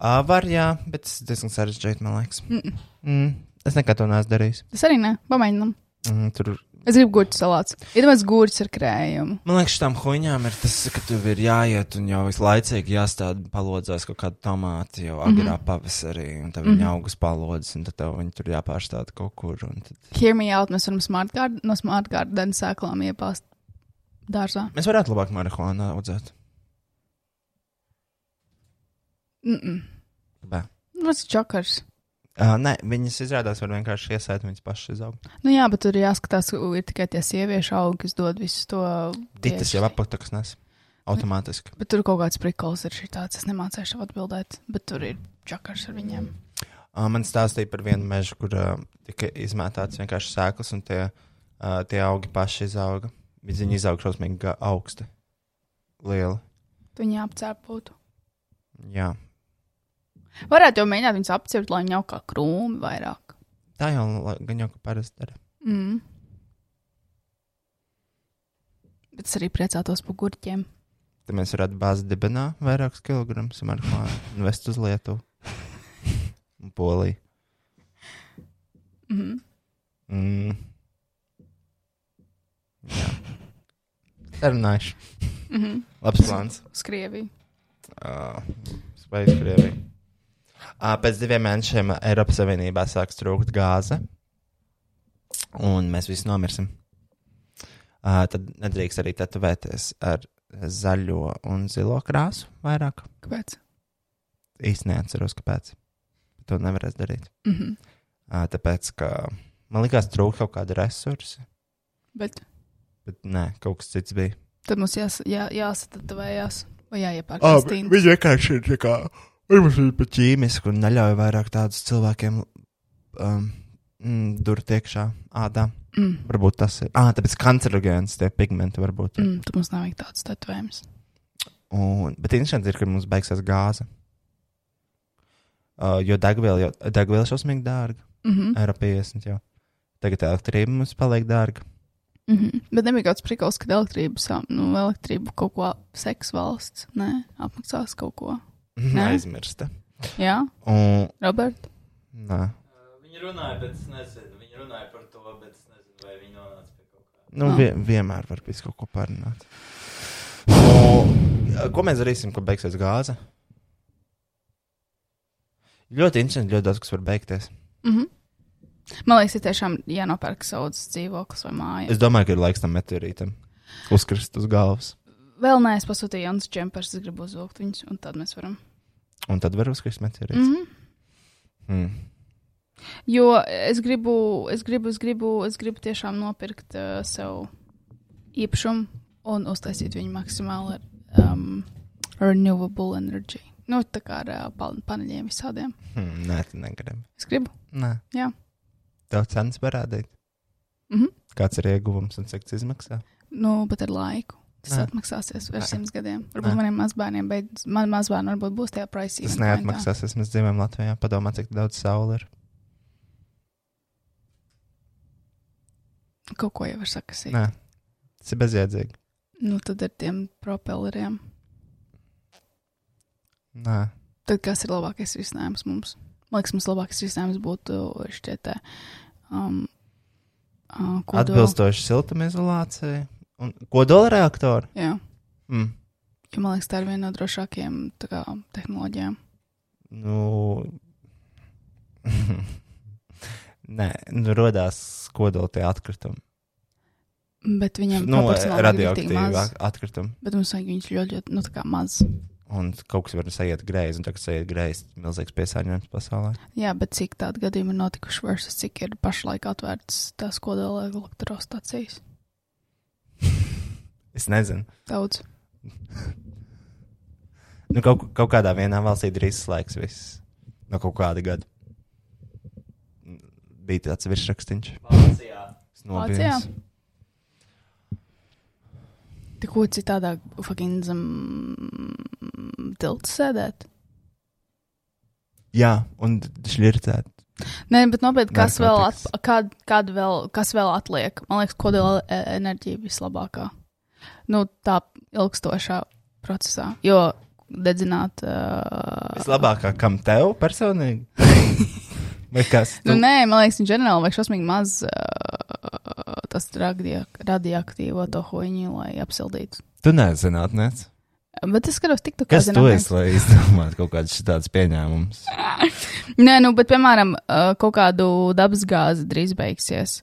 B: Uh, var, jā, bet tas ir diezgan sarežģīti, man liekas. Mm -mm. Mm, es nekad to neesmu darījis.
A: Tas arī nē, pamēģinām.
B: Mm, tur,
A: Es gribu gurķu salātu. Ir domāts gurķis ar krējumu.
B: man liekas, tam huņām ir tas, ka tev ir jāiet un jau vislaicīgi jāstāda palodzēs kaut kāda tomāta jau agrā mm -hmm. pavasarī, un tad viņi mm -hmm. augus palodzes, un tad tev viņi tur jāpārstāda kaut kur. un Tad...
A: Hear me out, mēs varam smart garden, no smart garden sēklām iepāst dārzā.
B: Mēs varētu labāk marihuānu audzēt.
A: Mm -mm. Nu,
B: Bē.
A: Tas ir čakars.
B: Uh, nē, viņas izrādās var vienkārši iesēt, viņas pašas izaug.
A: Nu jā, bet tur ir jāskatās, u, ir tikai tie sieviešu augi, kas dod visu to.
B: Titas
A: tieši.
B: jau apaktas nes. Automātiski.
A: Bet tur kaut kāds prikols ir šī tāds, es nemācēju šo atbildēt, bet tur ir čakars ar viņiem.
B: Uh, man stāstīja par vienu mežu, kur uh, tika izmētāts vienkārši sēklas, un tie, uh, tie augi paši izauga. Bet Viņi izauga šausmīgi ga- augsti. Lieli.
A: Tu viņu apcēpūtu.
B: Jā.
A: Varētu jau mēģināt viņus apcirpt, lai viņi jau kā krūmi vairāk.
B: Tā jau la- gan jau kā parasti dara.
A: Mm. Bet es arī priecātos par gurķiem.
B: Tad mēs varētu bāzt dibenā vairākus kilogramus marihuānu un vest uz Lietuvu. Un Poliju.
A: Mm.
B: Mm. Jā. Sarunājuši.
A: Mm -hmm.
B: Labs plāns.
A: Uz Krieviju.
B: Ā, Spējas Krievijā. Ā, Pēc diviem mēnešiem Eiropas Savienībā sāks trūkt gāze, un mēs visi nomirsim. Ā, Tad nedrīkst arī tetovēties ar zaļo un zilo krāsu vairāk.
A: Kāpēc?
B: Īsti neatceros, kāpēc. To nevarēs darīt.
A: Mm -hmm.
B: Ā, Tāpēc, ka man likās, trūka kaut kāda resursa,
A: Bet
B: bet nē, kaut kas cits bija.
A: tad mums jās, jā, jāsatatvējās vai jāiepērk
D: Ah,
A: oh, stīna.
B: Viņa vienkārši ir tā kā. Viņam ir pat ķīmiski un neļauj vairāk tādus cilvēkiem um, durvīt iekšā ādā.
A: Mm.
B: Varbūt tas ir. Ah, tāpēc kancerogēns tie pigmenti varbūt. Mm.
A: Mm, tad mums nav vajag tādas tatovējumus.
B: Un, bet interesanti ir, ka mums beigsies gāze. Uh, jo degviela jau degviela ir šausmīgi dārga.
A: Mhm.
B: Eiro 50 jau. Tagad elektrība mums paliek dārga.
A: Mhm. Bet nebija kāds prikals, kad elektrību, sam, nu, elektrību kaut ko seks valsts. Nē, apmaksās kaut ko. Nē.
B: Aizmirsta.
A: Jā,
B: Un,
A: Robert.
B: nā.
F: Viņi runāja, bet es nezinu. Viņi runāja par to, bet es nezinu, vai viņi nonāca pie kaut kā.
B: Nu,
A: Ah.
B: vie, vienmēr var būt kaut ko parunāt. Un, ko mēs darīsim, kad beigsies gāze? Ļoti interesanti, ļoti daudz kas var beigties.
A: Mhm. Man liekas, ir tiešām jānopērk saudzes dzīvoklis vai māja.
B: Es domāju, ka ir laiks tam meteorītam uzkrist uz galvas.
A: Vēl nē, es pasūtīju Jānis Čempers, es gribu uzvilkt viņus, un tad mēs varam.
B: Un tad var uzkrist meteorīts.
A: Mhm.
B: Mm. Mm.
A: Jo es gribu, es gribu, es gribu, es gribu tiešām nopirkt uh, sev īpašumu un uztaisīt viņu maksimāli ar um, renewable energy. Nu, tā kā ar uh, pa- paneļiem visādiem.
B: Hmm, nē, tā negrib.
A: Es gribu.
B: Nē,
A: Jā.
B: tev cenas parādīt.
A: Mhm.
B: Kāds ir ieguvums un cik tas izmaksā?
A: Nu, bet ar laiku. Tas
B: Nē.
A: Nē. atmaksāsies ar
B: Nē.
A: simts gadiem. Varbūt
B: Nē.
A: Nē. maniem mazbērniem, bet man mazbērni varbūt būs tajā prasībā.
B: Tas neatmaksāsies. Mēs dzīvojam Latvijā. Padomā, cik daudz saules ir.
A: Kaut ko jau var sakasīt.
B: Nē, tas ir bezjēdzīgi.
A: Nu, tad ar tiem propelleriem.
B: Nē,
A: Tad kas ir labākais risinājums mums? Man liekas, mums labākais risinājums būtu šķiet, tā, um, uh, kodola.
B: atbilstoši siltumizolācijai un kodolreaktoru.
A: Jā,
B: Mm.
A: jo man liekas, tā ir viena no drošākajām tā kā, tehnoloģijām.
B: Nu, nē, nu, radās kodoltie atkritumi.
A: Bet viņam
B: Nu,
A: proporcionāli ir tik
B: radioaktīvā
A: maz.
B: atkrituma.
A: Bet mums vajag viņus ļoti, ļoti nu, tā kā maz.
B: Un kaut kas var sajiet greizi, un tagad sajiet greizi. Milzīgs piesārņojums pasaulē.
A: Jā, bet cik tādu gadījumu ir notikuši versus cik ir pašlaik atvērts tās kodola elektrostacijas?
B: Es nezinu.
A: Daudz.
B: Nu, kaut, kaut kādā vienā valstī drīz slēgs viss. No kaut kāda gada. Bija tāds virsrakstīns.
F: Vācijā.
A: Vācijā? Tikko citādā fucking zem tilta sēdēt.
B: Jā, un šļirtēt.
A: Nē, bet nopietni, kas vēl, at,
B: Narkotikas.
A: kād, kād vēl, kas vēl atliek? Man liekas, kodola e- enerģija vislabākā. Nu, tā ilgstošā procesā. Jo dedzināt. Uh,
B: Vislabākā, kam tev personīgi? Vai kas?
A: Nu, nē, man liekas, ģenerāli vajag šausmīgi maz uh, tas radio- radioaktīvo to hoņu, lai apsildītu.
B: tu neesi zinātnēs.
A: Bet es skatos, tik tu kā
B: Kas tu esi, lai izdomātu kaut kādus šādus pieņēmumus?
A: Nē, nu, bet, piemēram, uh, kaut kādu dabasgāzi drīz beigsies.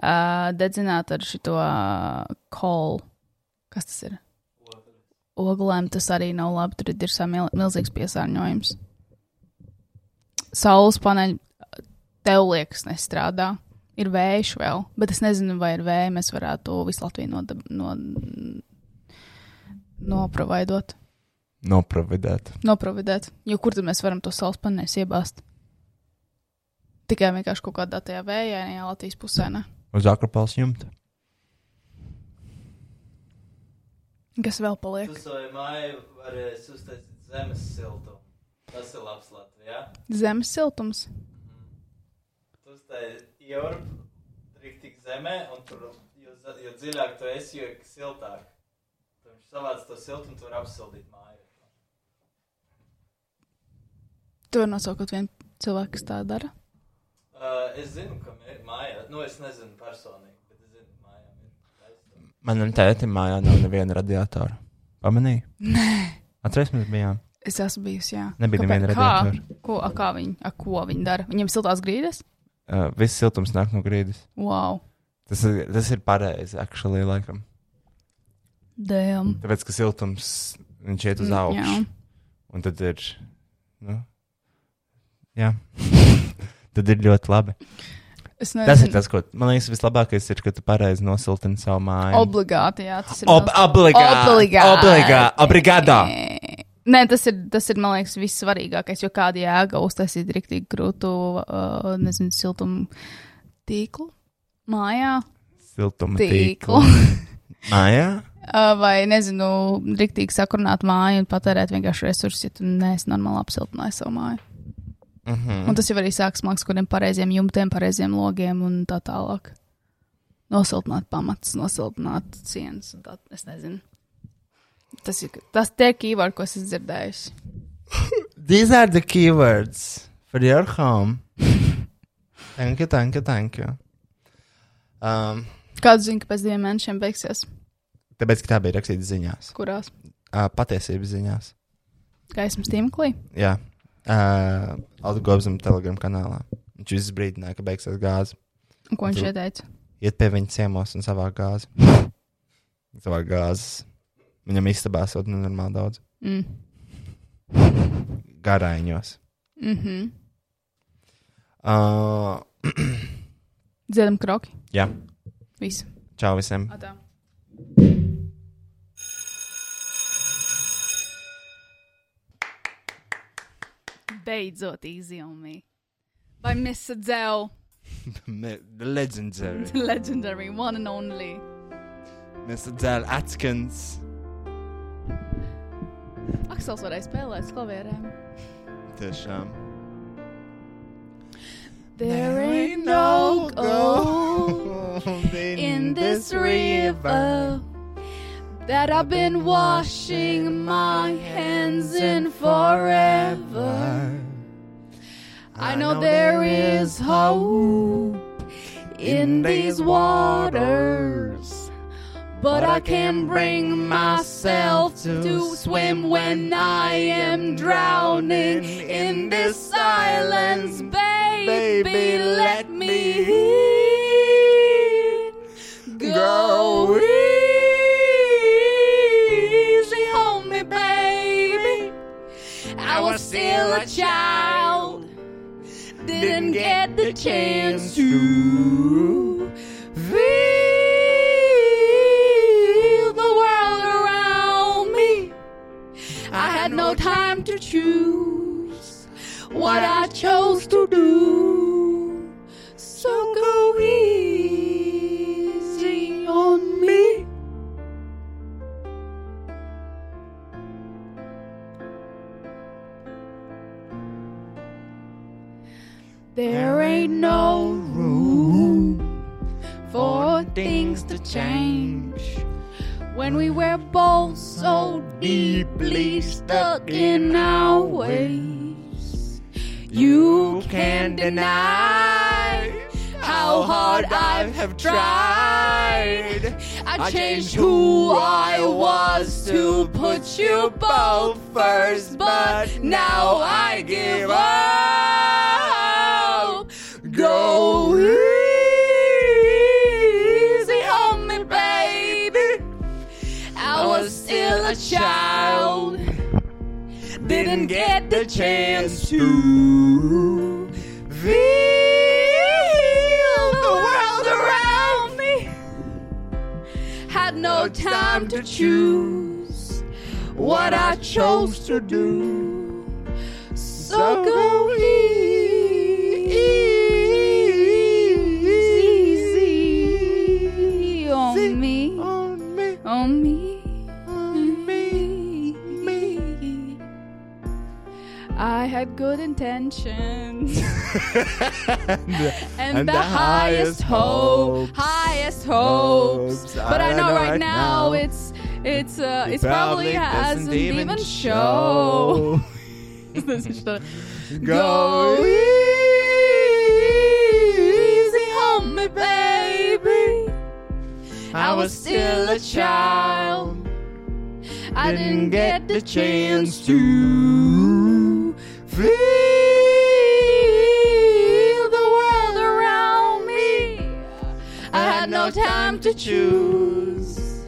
A: Uh, Dedzināt ar šo kolu. Kas tas ir? Oglēm tas arī nav labi. Tur ir tiešām mil- milzīgs piesārņojums. Saules paneļi uh, tev liekas nestrādā. Ir vējš vēl, bet es nezinu, vai ar vēju mēs varētu visu Latviju nodab- no, noprovidot.
B: Noprovidēt.
A: Noprovidēt. Jo kur tad mēs varam to saules paneļus iebāzt? Tikai vienkārši kaut kādā tajā vējainajā Latvijas pusē. Ne?
B: Uz akropāles jumta.
A: Kas vēl paliek?
F: Tu savai mājai varēsi uztaisīt zemes siltumu. Tas ir labs Latvijā. Mhm.
A: Zemes siltums.
F: Tu uztaisīji Jorpu, riktīgi zemē, un tur, jo, za- jo dziļāk tu esi, jo siltāk. Tad viņš savāc to siltumu, tu vari apsildīt māju.
A: Tu vari nosaukt kaut vienu cilvēku, kas tā dara.
F: Uh, es zinu, ka mē- mājā, nu es nezinu personīgi, bet es zinu, mājām ir. taisnība.
B: Manam tētim mājā nav neviena radiatora. Pamanīji? Nē. Atcerēsimies, mēs bijām.
A: Es esmu bijusi, jā.
B: Nebija
A: Kāpēc?
B: neviena
A: kā? Ko, a, kā viņi, a, ko viņi dara? Viņiem siltās grīdas?
B: Uh, viss siltums nāk no grīdas.
A: Wow!
B: Tas ir, tas ir pareizi, actually, laikam.
A: Dēm!
B: Tāpēc, ka siltums viņš iet uz
A: Mm,
B: augšu.
A: Jā.
B: Un tad ir. Nu, jā. tad ir ļoti labi.
A: Es
B: Tas
A: nezinu.
B: ir tas, ko man liekas, vislabākais ir, ka tu pareizi nosiltini savu māju.
A: Obligāti, jā, tas ir.
B: Ob obligāti.
A: Obligāti.
B: Obligāti. Obrigado.
A: Nē, tas ir, tas ir, man liekas, vissvarīgākais, jo kāda jēga uztaisīt rīktīgi grūtu, uh, nezinu, siltumu tīklu mājā.
B: Siltuma tīklu. Ah,
A: Tīklu.
B: Mājā?
A: Uh, Vai, nezinu, rīktīgi sakrunāt māju un patērēt vienkārši resursus, ja tu neesi normāli apsiltinājis savu māju. Mm -hmm. Un tas jau arī sāks mākslinieks, kuriem pareiziem jumtiem, pareiziem logiem un tā tālāk. Nosiltināt pamatus, nosiltināt sienas. un Tā, es nezinu. Tas ir tas tie kīvārdi, ko es dzirdēju.
B: These are the keywords for your home. thank you, thank you, thank you. Um,
A: Kādu zinu, ka pēc diviem mēnešiem beigsies?
B: tāpēc, ka tā bija rakstīta ziņās,
A: Kurās?
B: uh, patiesības ziņās.
A: Gaismas tīmeklī?
B: Jā, uh, Aldu Gobsam telegram kanālā. Viņš visu brīdināja, ka beigsies gāze.
A: Un Ko viņš
B: Tu-
A: ieteica?
B: Iet pie viņa ciemos un savā gāzi. savā gāzes. Viņam istabā sūta nenormāli daudz.
A: Mm.
B: Garaiņos.
A: Mm -hmm.
B: Uh,
A: Dziedam kroki.
B: jā,
A: Viss.
B: čau visiem.
A: Atā. Beidzot, izjūmi. Vai Miss Adele,
B: Legendary.
A: the legendary one and only?
B: Mr. Dell Atkins.
A: Aksels varēja spēlēt klavierēm.
B: Tiešām.
A: There ain't no gold in this river that I've been washing my hands in forever. I know there is hope in these waters, but I can't bring myself to swim when I am drowning in this silence, baby. Let me go easy, homie, baby. I was still a child didn't get the chance to feel the world around me. I had no time to choose what I chose to do. So go easy on me. There ain't no room for things to change when we were both so deeply stuck in our ways. You can't deny how hard I have tried. I changed who I was to put you both first, but now I give up. Go easy on me, baby. I was still a child, didn't get the chance to feel the world around me had no time to choose what I chose to do. So go easy on me, on me, on me, on me, me. I had good intentions and, the, highest hopes, highest hopes. But I know right now it's it's uh, it's probably hasn't even show. This is the- Go easy on me, baby. I was still a child. I didn't get the chance to feel the world around me. I had no time to choose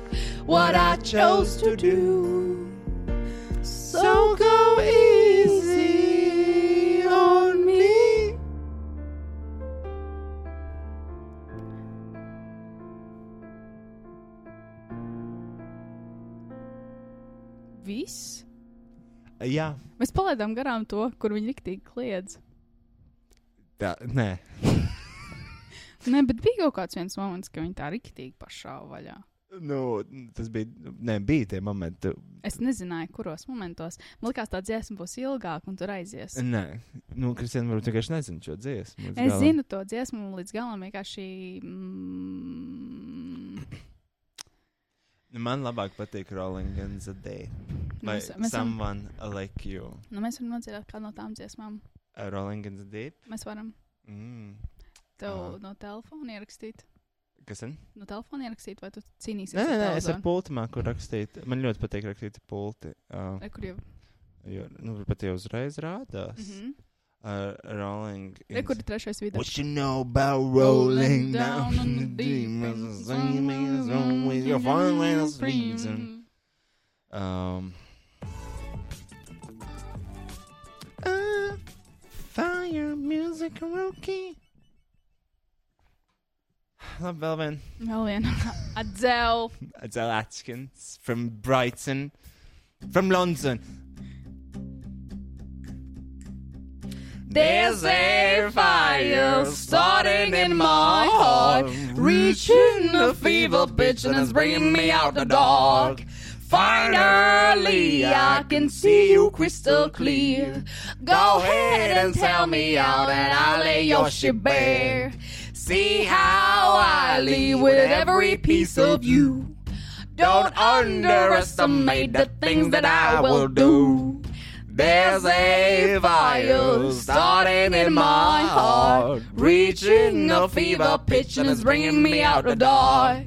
A: what I chose to do. So go easy on me. Viss.
B: Eh, Jā,
A: Mēs palaidām garām to, kur viņi riktīgi kliedz.
B: tā, nē.
A: Nē, bet bija kaut kāds viens moments, kad viņi tā riktīgi pašā vaļā.
B: Nu, tas bija, nē, bija tie momenti.
A: Es nezināju, kuros momentos. Man liekas, tā dziesma būs ilgāka, un tur aizies.
B: Nē, nu, Kristina, varbūt vienkārši nezinu šo dziesmu.
A: Es zinu to dziesmu līdz galam, vienkārši. Mm,
B: Nu, man labāk patīk Rolling in the Day.
A: Nu,
B: Vai
A: Mēs- mēs esam-
B: someone like you.
A: nu, mēs varam nodzirdēt kādu no tām dziesmām.
B: Uh, Rolling in the Deep.
A: Mēs varam
B: Mm.
A: tev
B: Aha.
A: no telefona ierakstīt.
B: Kas ir?
A: No telefona ierakstīt, vai tu cīnīsies?
B: Nē, nē, nē, es ar
A: telefonu?
B: pulti māku rakstīt. Man ļoti patīk rakstīt ar pulti. Uh,
A: Re, kur jau?
B: jo, nu, pat jau uzreiz rādās. Mm
A: Mhm.
B: -hmm. uh, rolling. in
A: Re, kur
B: the-
A: ir trešais video?
B: What you know about
A: Rolling
B: rolling
A: down
B: down
A: on
B: in
A: the
B: the
A: deep
B: deep? As the same as always, your fine last reason. Um. Uh, fire music rookie. Labi, vēl viena.
A: Vēl viena. Adele.
B: Adele Atkins from Brighton, from London.
A: There's a fire starting in my heart, reaching a fever pitch and it's bringing me out the dark. Finally, I can see you crystal clear. Go ahead and tell me out, and I'll lay your shit bare. See how I leave with every piece of you. Don't underestimate the things that I will do. There's a fire starting in my heart, reaching a fever pitch and it's bringing me out the dark.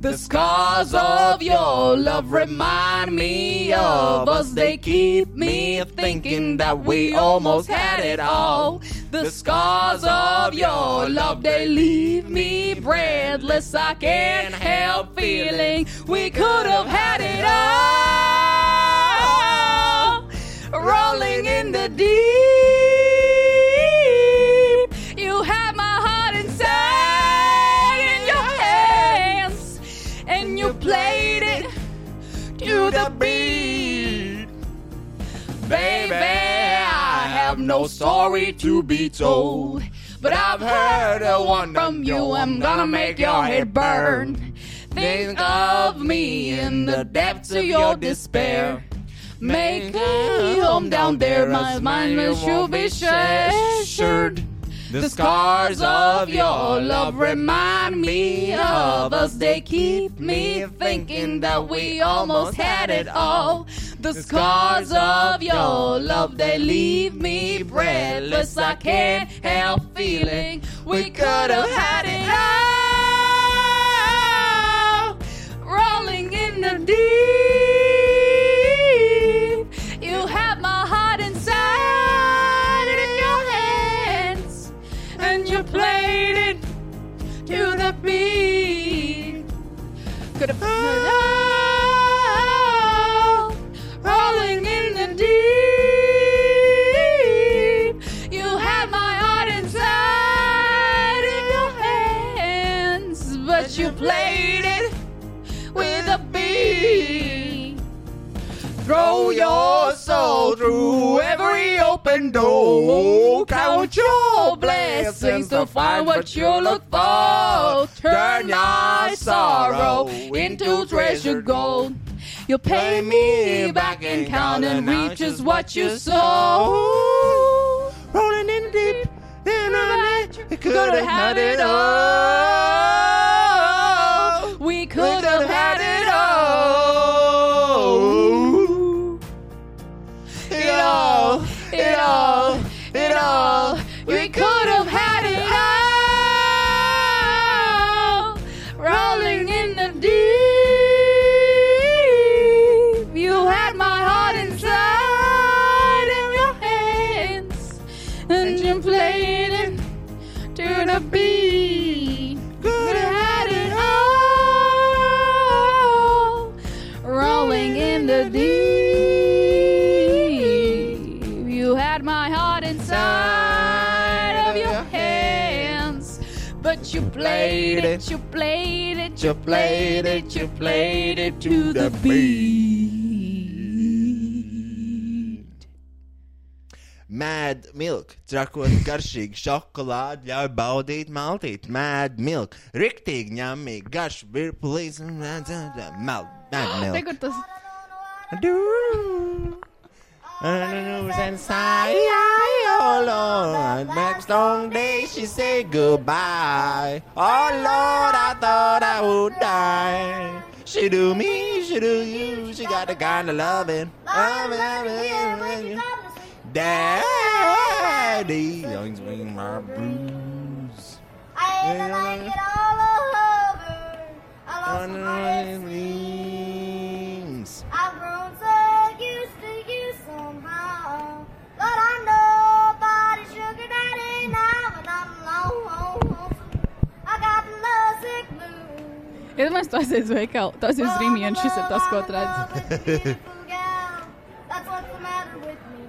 A: The scars of your love remind me of us. They keep me thinking that we almost had it all. The scars of your love, they leave me breathless. I can't help feeling we could have had it all. Rolling in the deep, you had my heart inside in your hands, and you played it to the beat. Baby, I have no story to be told. But I've heard a one from you, I'm gonna make your head burn. Think of me in the depths of your despair. Make a home down there, my mind will sure be shattered. The scars of your love remind me of us. They keep me thinking that we almost had it all. The scars of your love, they leave me breathless. I can't help feeling we could have had it all. Rolling in the deep, you have my heart inside in your hands, and you played it to the beat. Could have rolling in the deep. You had my heart inside in your hands, but you played it with a beat. Throw your soul through every open door. Count your blessings to find what you look for. Turn your sorrow into treasure gold. You'll pay me back in count and reach is what you sow.
B: Rolling in deep, then I
A: We
B: could have had it all.
A: We could have had it all.
B: all. It all,
A: it all, it all. We could have had it all. Rolling in the deep, you had my heart inside in your hands, and you played it to the beat. Could have had it all. Rolling in the deep. You had my heart inside of your hands. But you played it, you played it, you played it, you played it to the beat.
B: Mad milk, trakot garšīgi šokolādi, ļauj baudīt maltīt. Mad milk, riktīgi ņemīgi, garš virpulīs un redzēt, melt. Mad
A: Te,
B: milk.
A: kur tas
B: Do. And the news and sigh, oh Lord, next long day she said goodbye. Oh Lord, I thought I would die. She do me, she do you, she got the kind of loving. Daddy, young's bring my bruise.
G: I ain't like it all over. I lost
B: On
G: my
B: my
G: dreams.
B: dreams.
G: I've grown so used to you somehow. But I'm nobody's sugar daddy now, and I'm alone. I got the lovesick blues.
A: ir? Iedomājieties, tas ir veikals, tas ir rīmiens, šis ir tas, ko tu redz.
G: redz. That's what's the matter with me.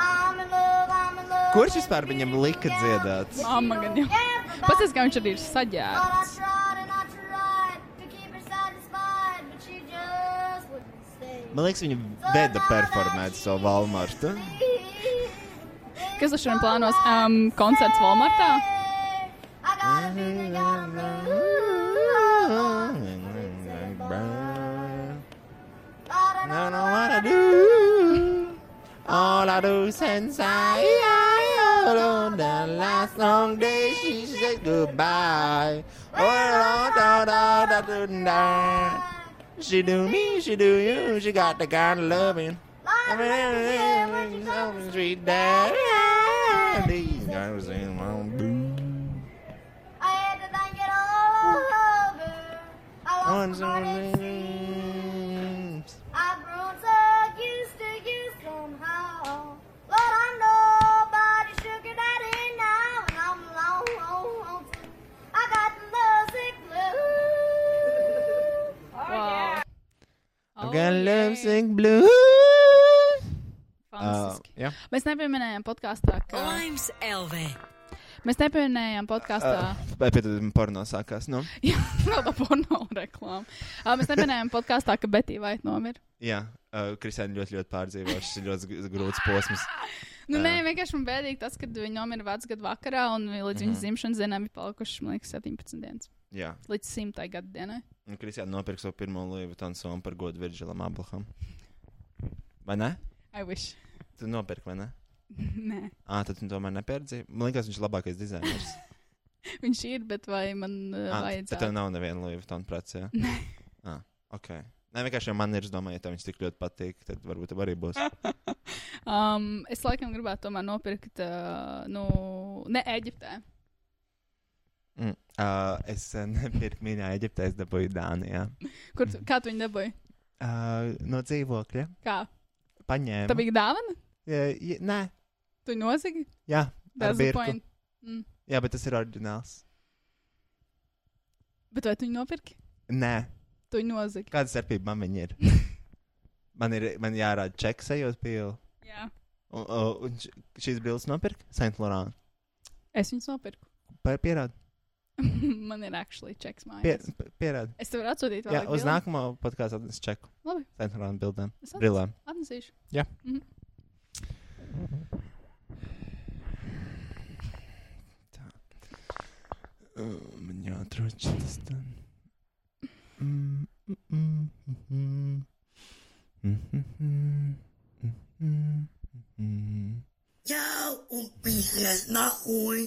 G: I'm in love, I'm in love.
B: Kurš vispār viņam lika dziedāt?
A: Mamma gan jau. Paskatās, kā viņš arī ir saģērbts.
B: Man liekas, viņa veda performēt savu Walmartu.
A: Kas uz šodien plānos? Um, koncerts Walmartā?
B: I don't wanna do all I do since I alone. The last long day she said goodbye. Oh, da, da, da, da, da, da. She do me, she do you, she got the kind of loving. Sweet daddy, I was in my boots. Once on the dreams.
G: I've grown so used to you somehow. Lord, I'm nobody's sugar daddy now, and I'm alone. I got the lovesick blues.
A: Wow.
B: I'm
A: Oh,
B: gonna
A: yeah.
B: love sing blues. Uh,
A: Fantastiski.
B: jā.
A: Mēs nepieminējām podkāstā, ka.
H: Laimes LV.
A: Mēs nepieminējām podkāstā.
B: Vai pēc tam porno sākās? Nu?
A: Jā, vēl tā porno reklāma. Uh, mēs nepieminējām podkāstā, ka Betija vait nomira.
B: Jā, uh, Kristēna ļoti, ļoti pārdzīvoja. Šis ir ļoti gr- grūts posms.
A: Nu, nē, vienkārši man bēdīgi tas, ka viņa nomira vecgadu vakarā un vi- līdz viņas dzimšanas dienām ir palikuši, man liekas, 17 dienas.
B: Jā,
A: Līdz simtai gadu dienai.
B: un Kristēna nopirka savu pirmo Louis Vuitton somu par godu Virģilam Ablaham. Vai ne?
A: I wish.
B: Tu nopirki, vai ne?
A: Nē,
B: Ā, tad tu tomēr nepērci. Man liekas, viņš ir labākais dizainers.
A: viņš ir, bet vai man uh,
B: Ā, Ah, tad tev
A: vajadzētu?
B: nav neviena Louis Vuitton preci. Jā, Nē. Ā, ok. Nē, vienkārši jau man ir, es domāju, ja tev viņš tik ļoti patīk, tad varbūt tev arī būs.
A: Um, es laikam gribētu tomēr nopirkt, uh, nu, ne Eģiptē.
B: Mm. Uh, es eh, nepirku mīnā Eģiptē, es dabūju Dānijā.
A: Kur tu, kā tu viņu dabūji?
B: Uh, no dzīvokļa.
A: Kā?
B: Paņēma.
A: Tā bija dāvana?
B: Jā, jā, nē,
A: Tu viņu nozagi?
B: jā, ar
A: That's the
B: birku.
A: point.
B: jā, bet tas ir oriģināls.
A: Bet vai tu viņu nopirki?
B: Nē,
A: Tu viņu nozagi.
B: kāda starpība man viņa ir? man ir man jārāda čeks, ejot pīlā.
A: Jā.
B: Un, un- un š- šīs bildes nopirka Saint Laurent.
A: Es viņus nopirku.
B: Pa- Pierādi,
A: Man ir actually checks
B: pie,
A: mājās.
B: p- pierādi.
A: Es tev varu atsūtīt vēl
B: Jā,
A: kādu
B: uz nākamo podkāstu atnesu čeku.
A: Labi.
B: Saint Laurent bildēm.
A: Es atnesu.
B: Brillēm.
A: Atnesīšu.
B: Jā.
A: Mhm.
B: Tā. Uh, Man jāatrod šis tā. Mm, mm, mm, mhm. Mhm, mhm, mhm, mhm.
I: Chao, un pinches nahui.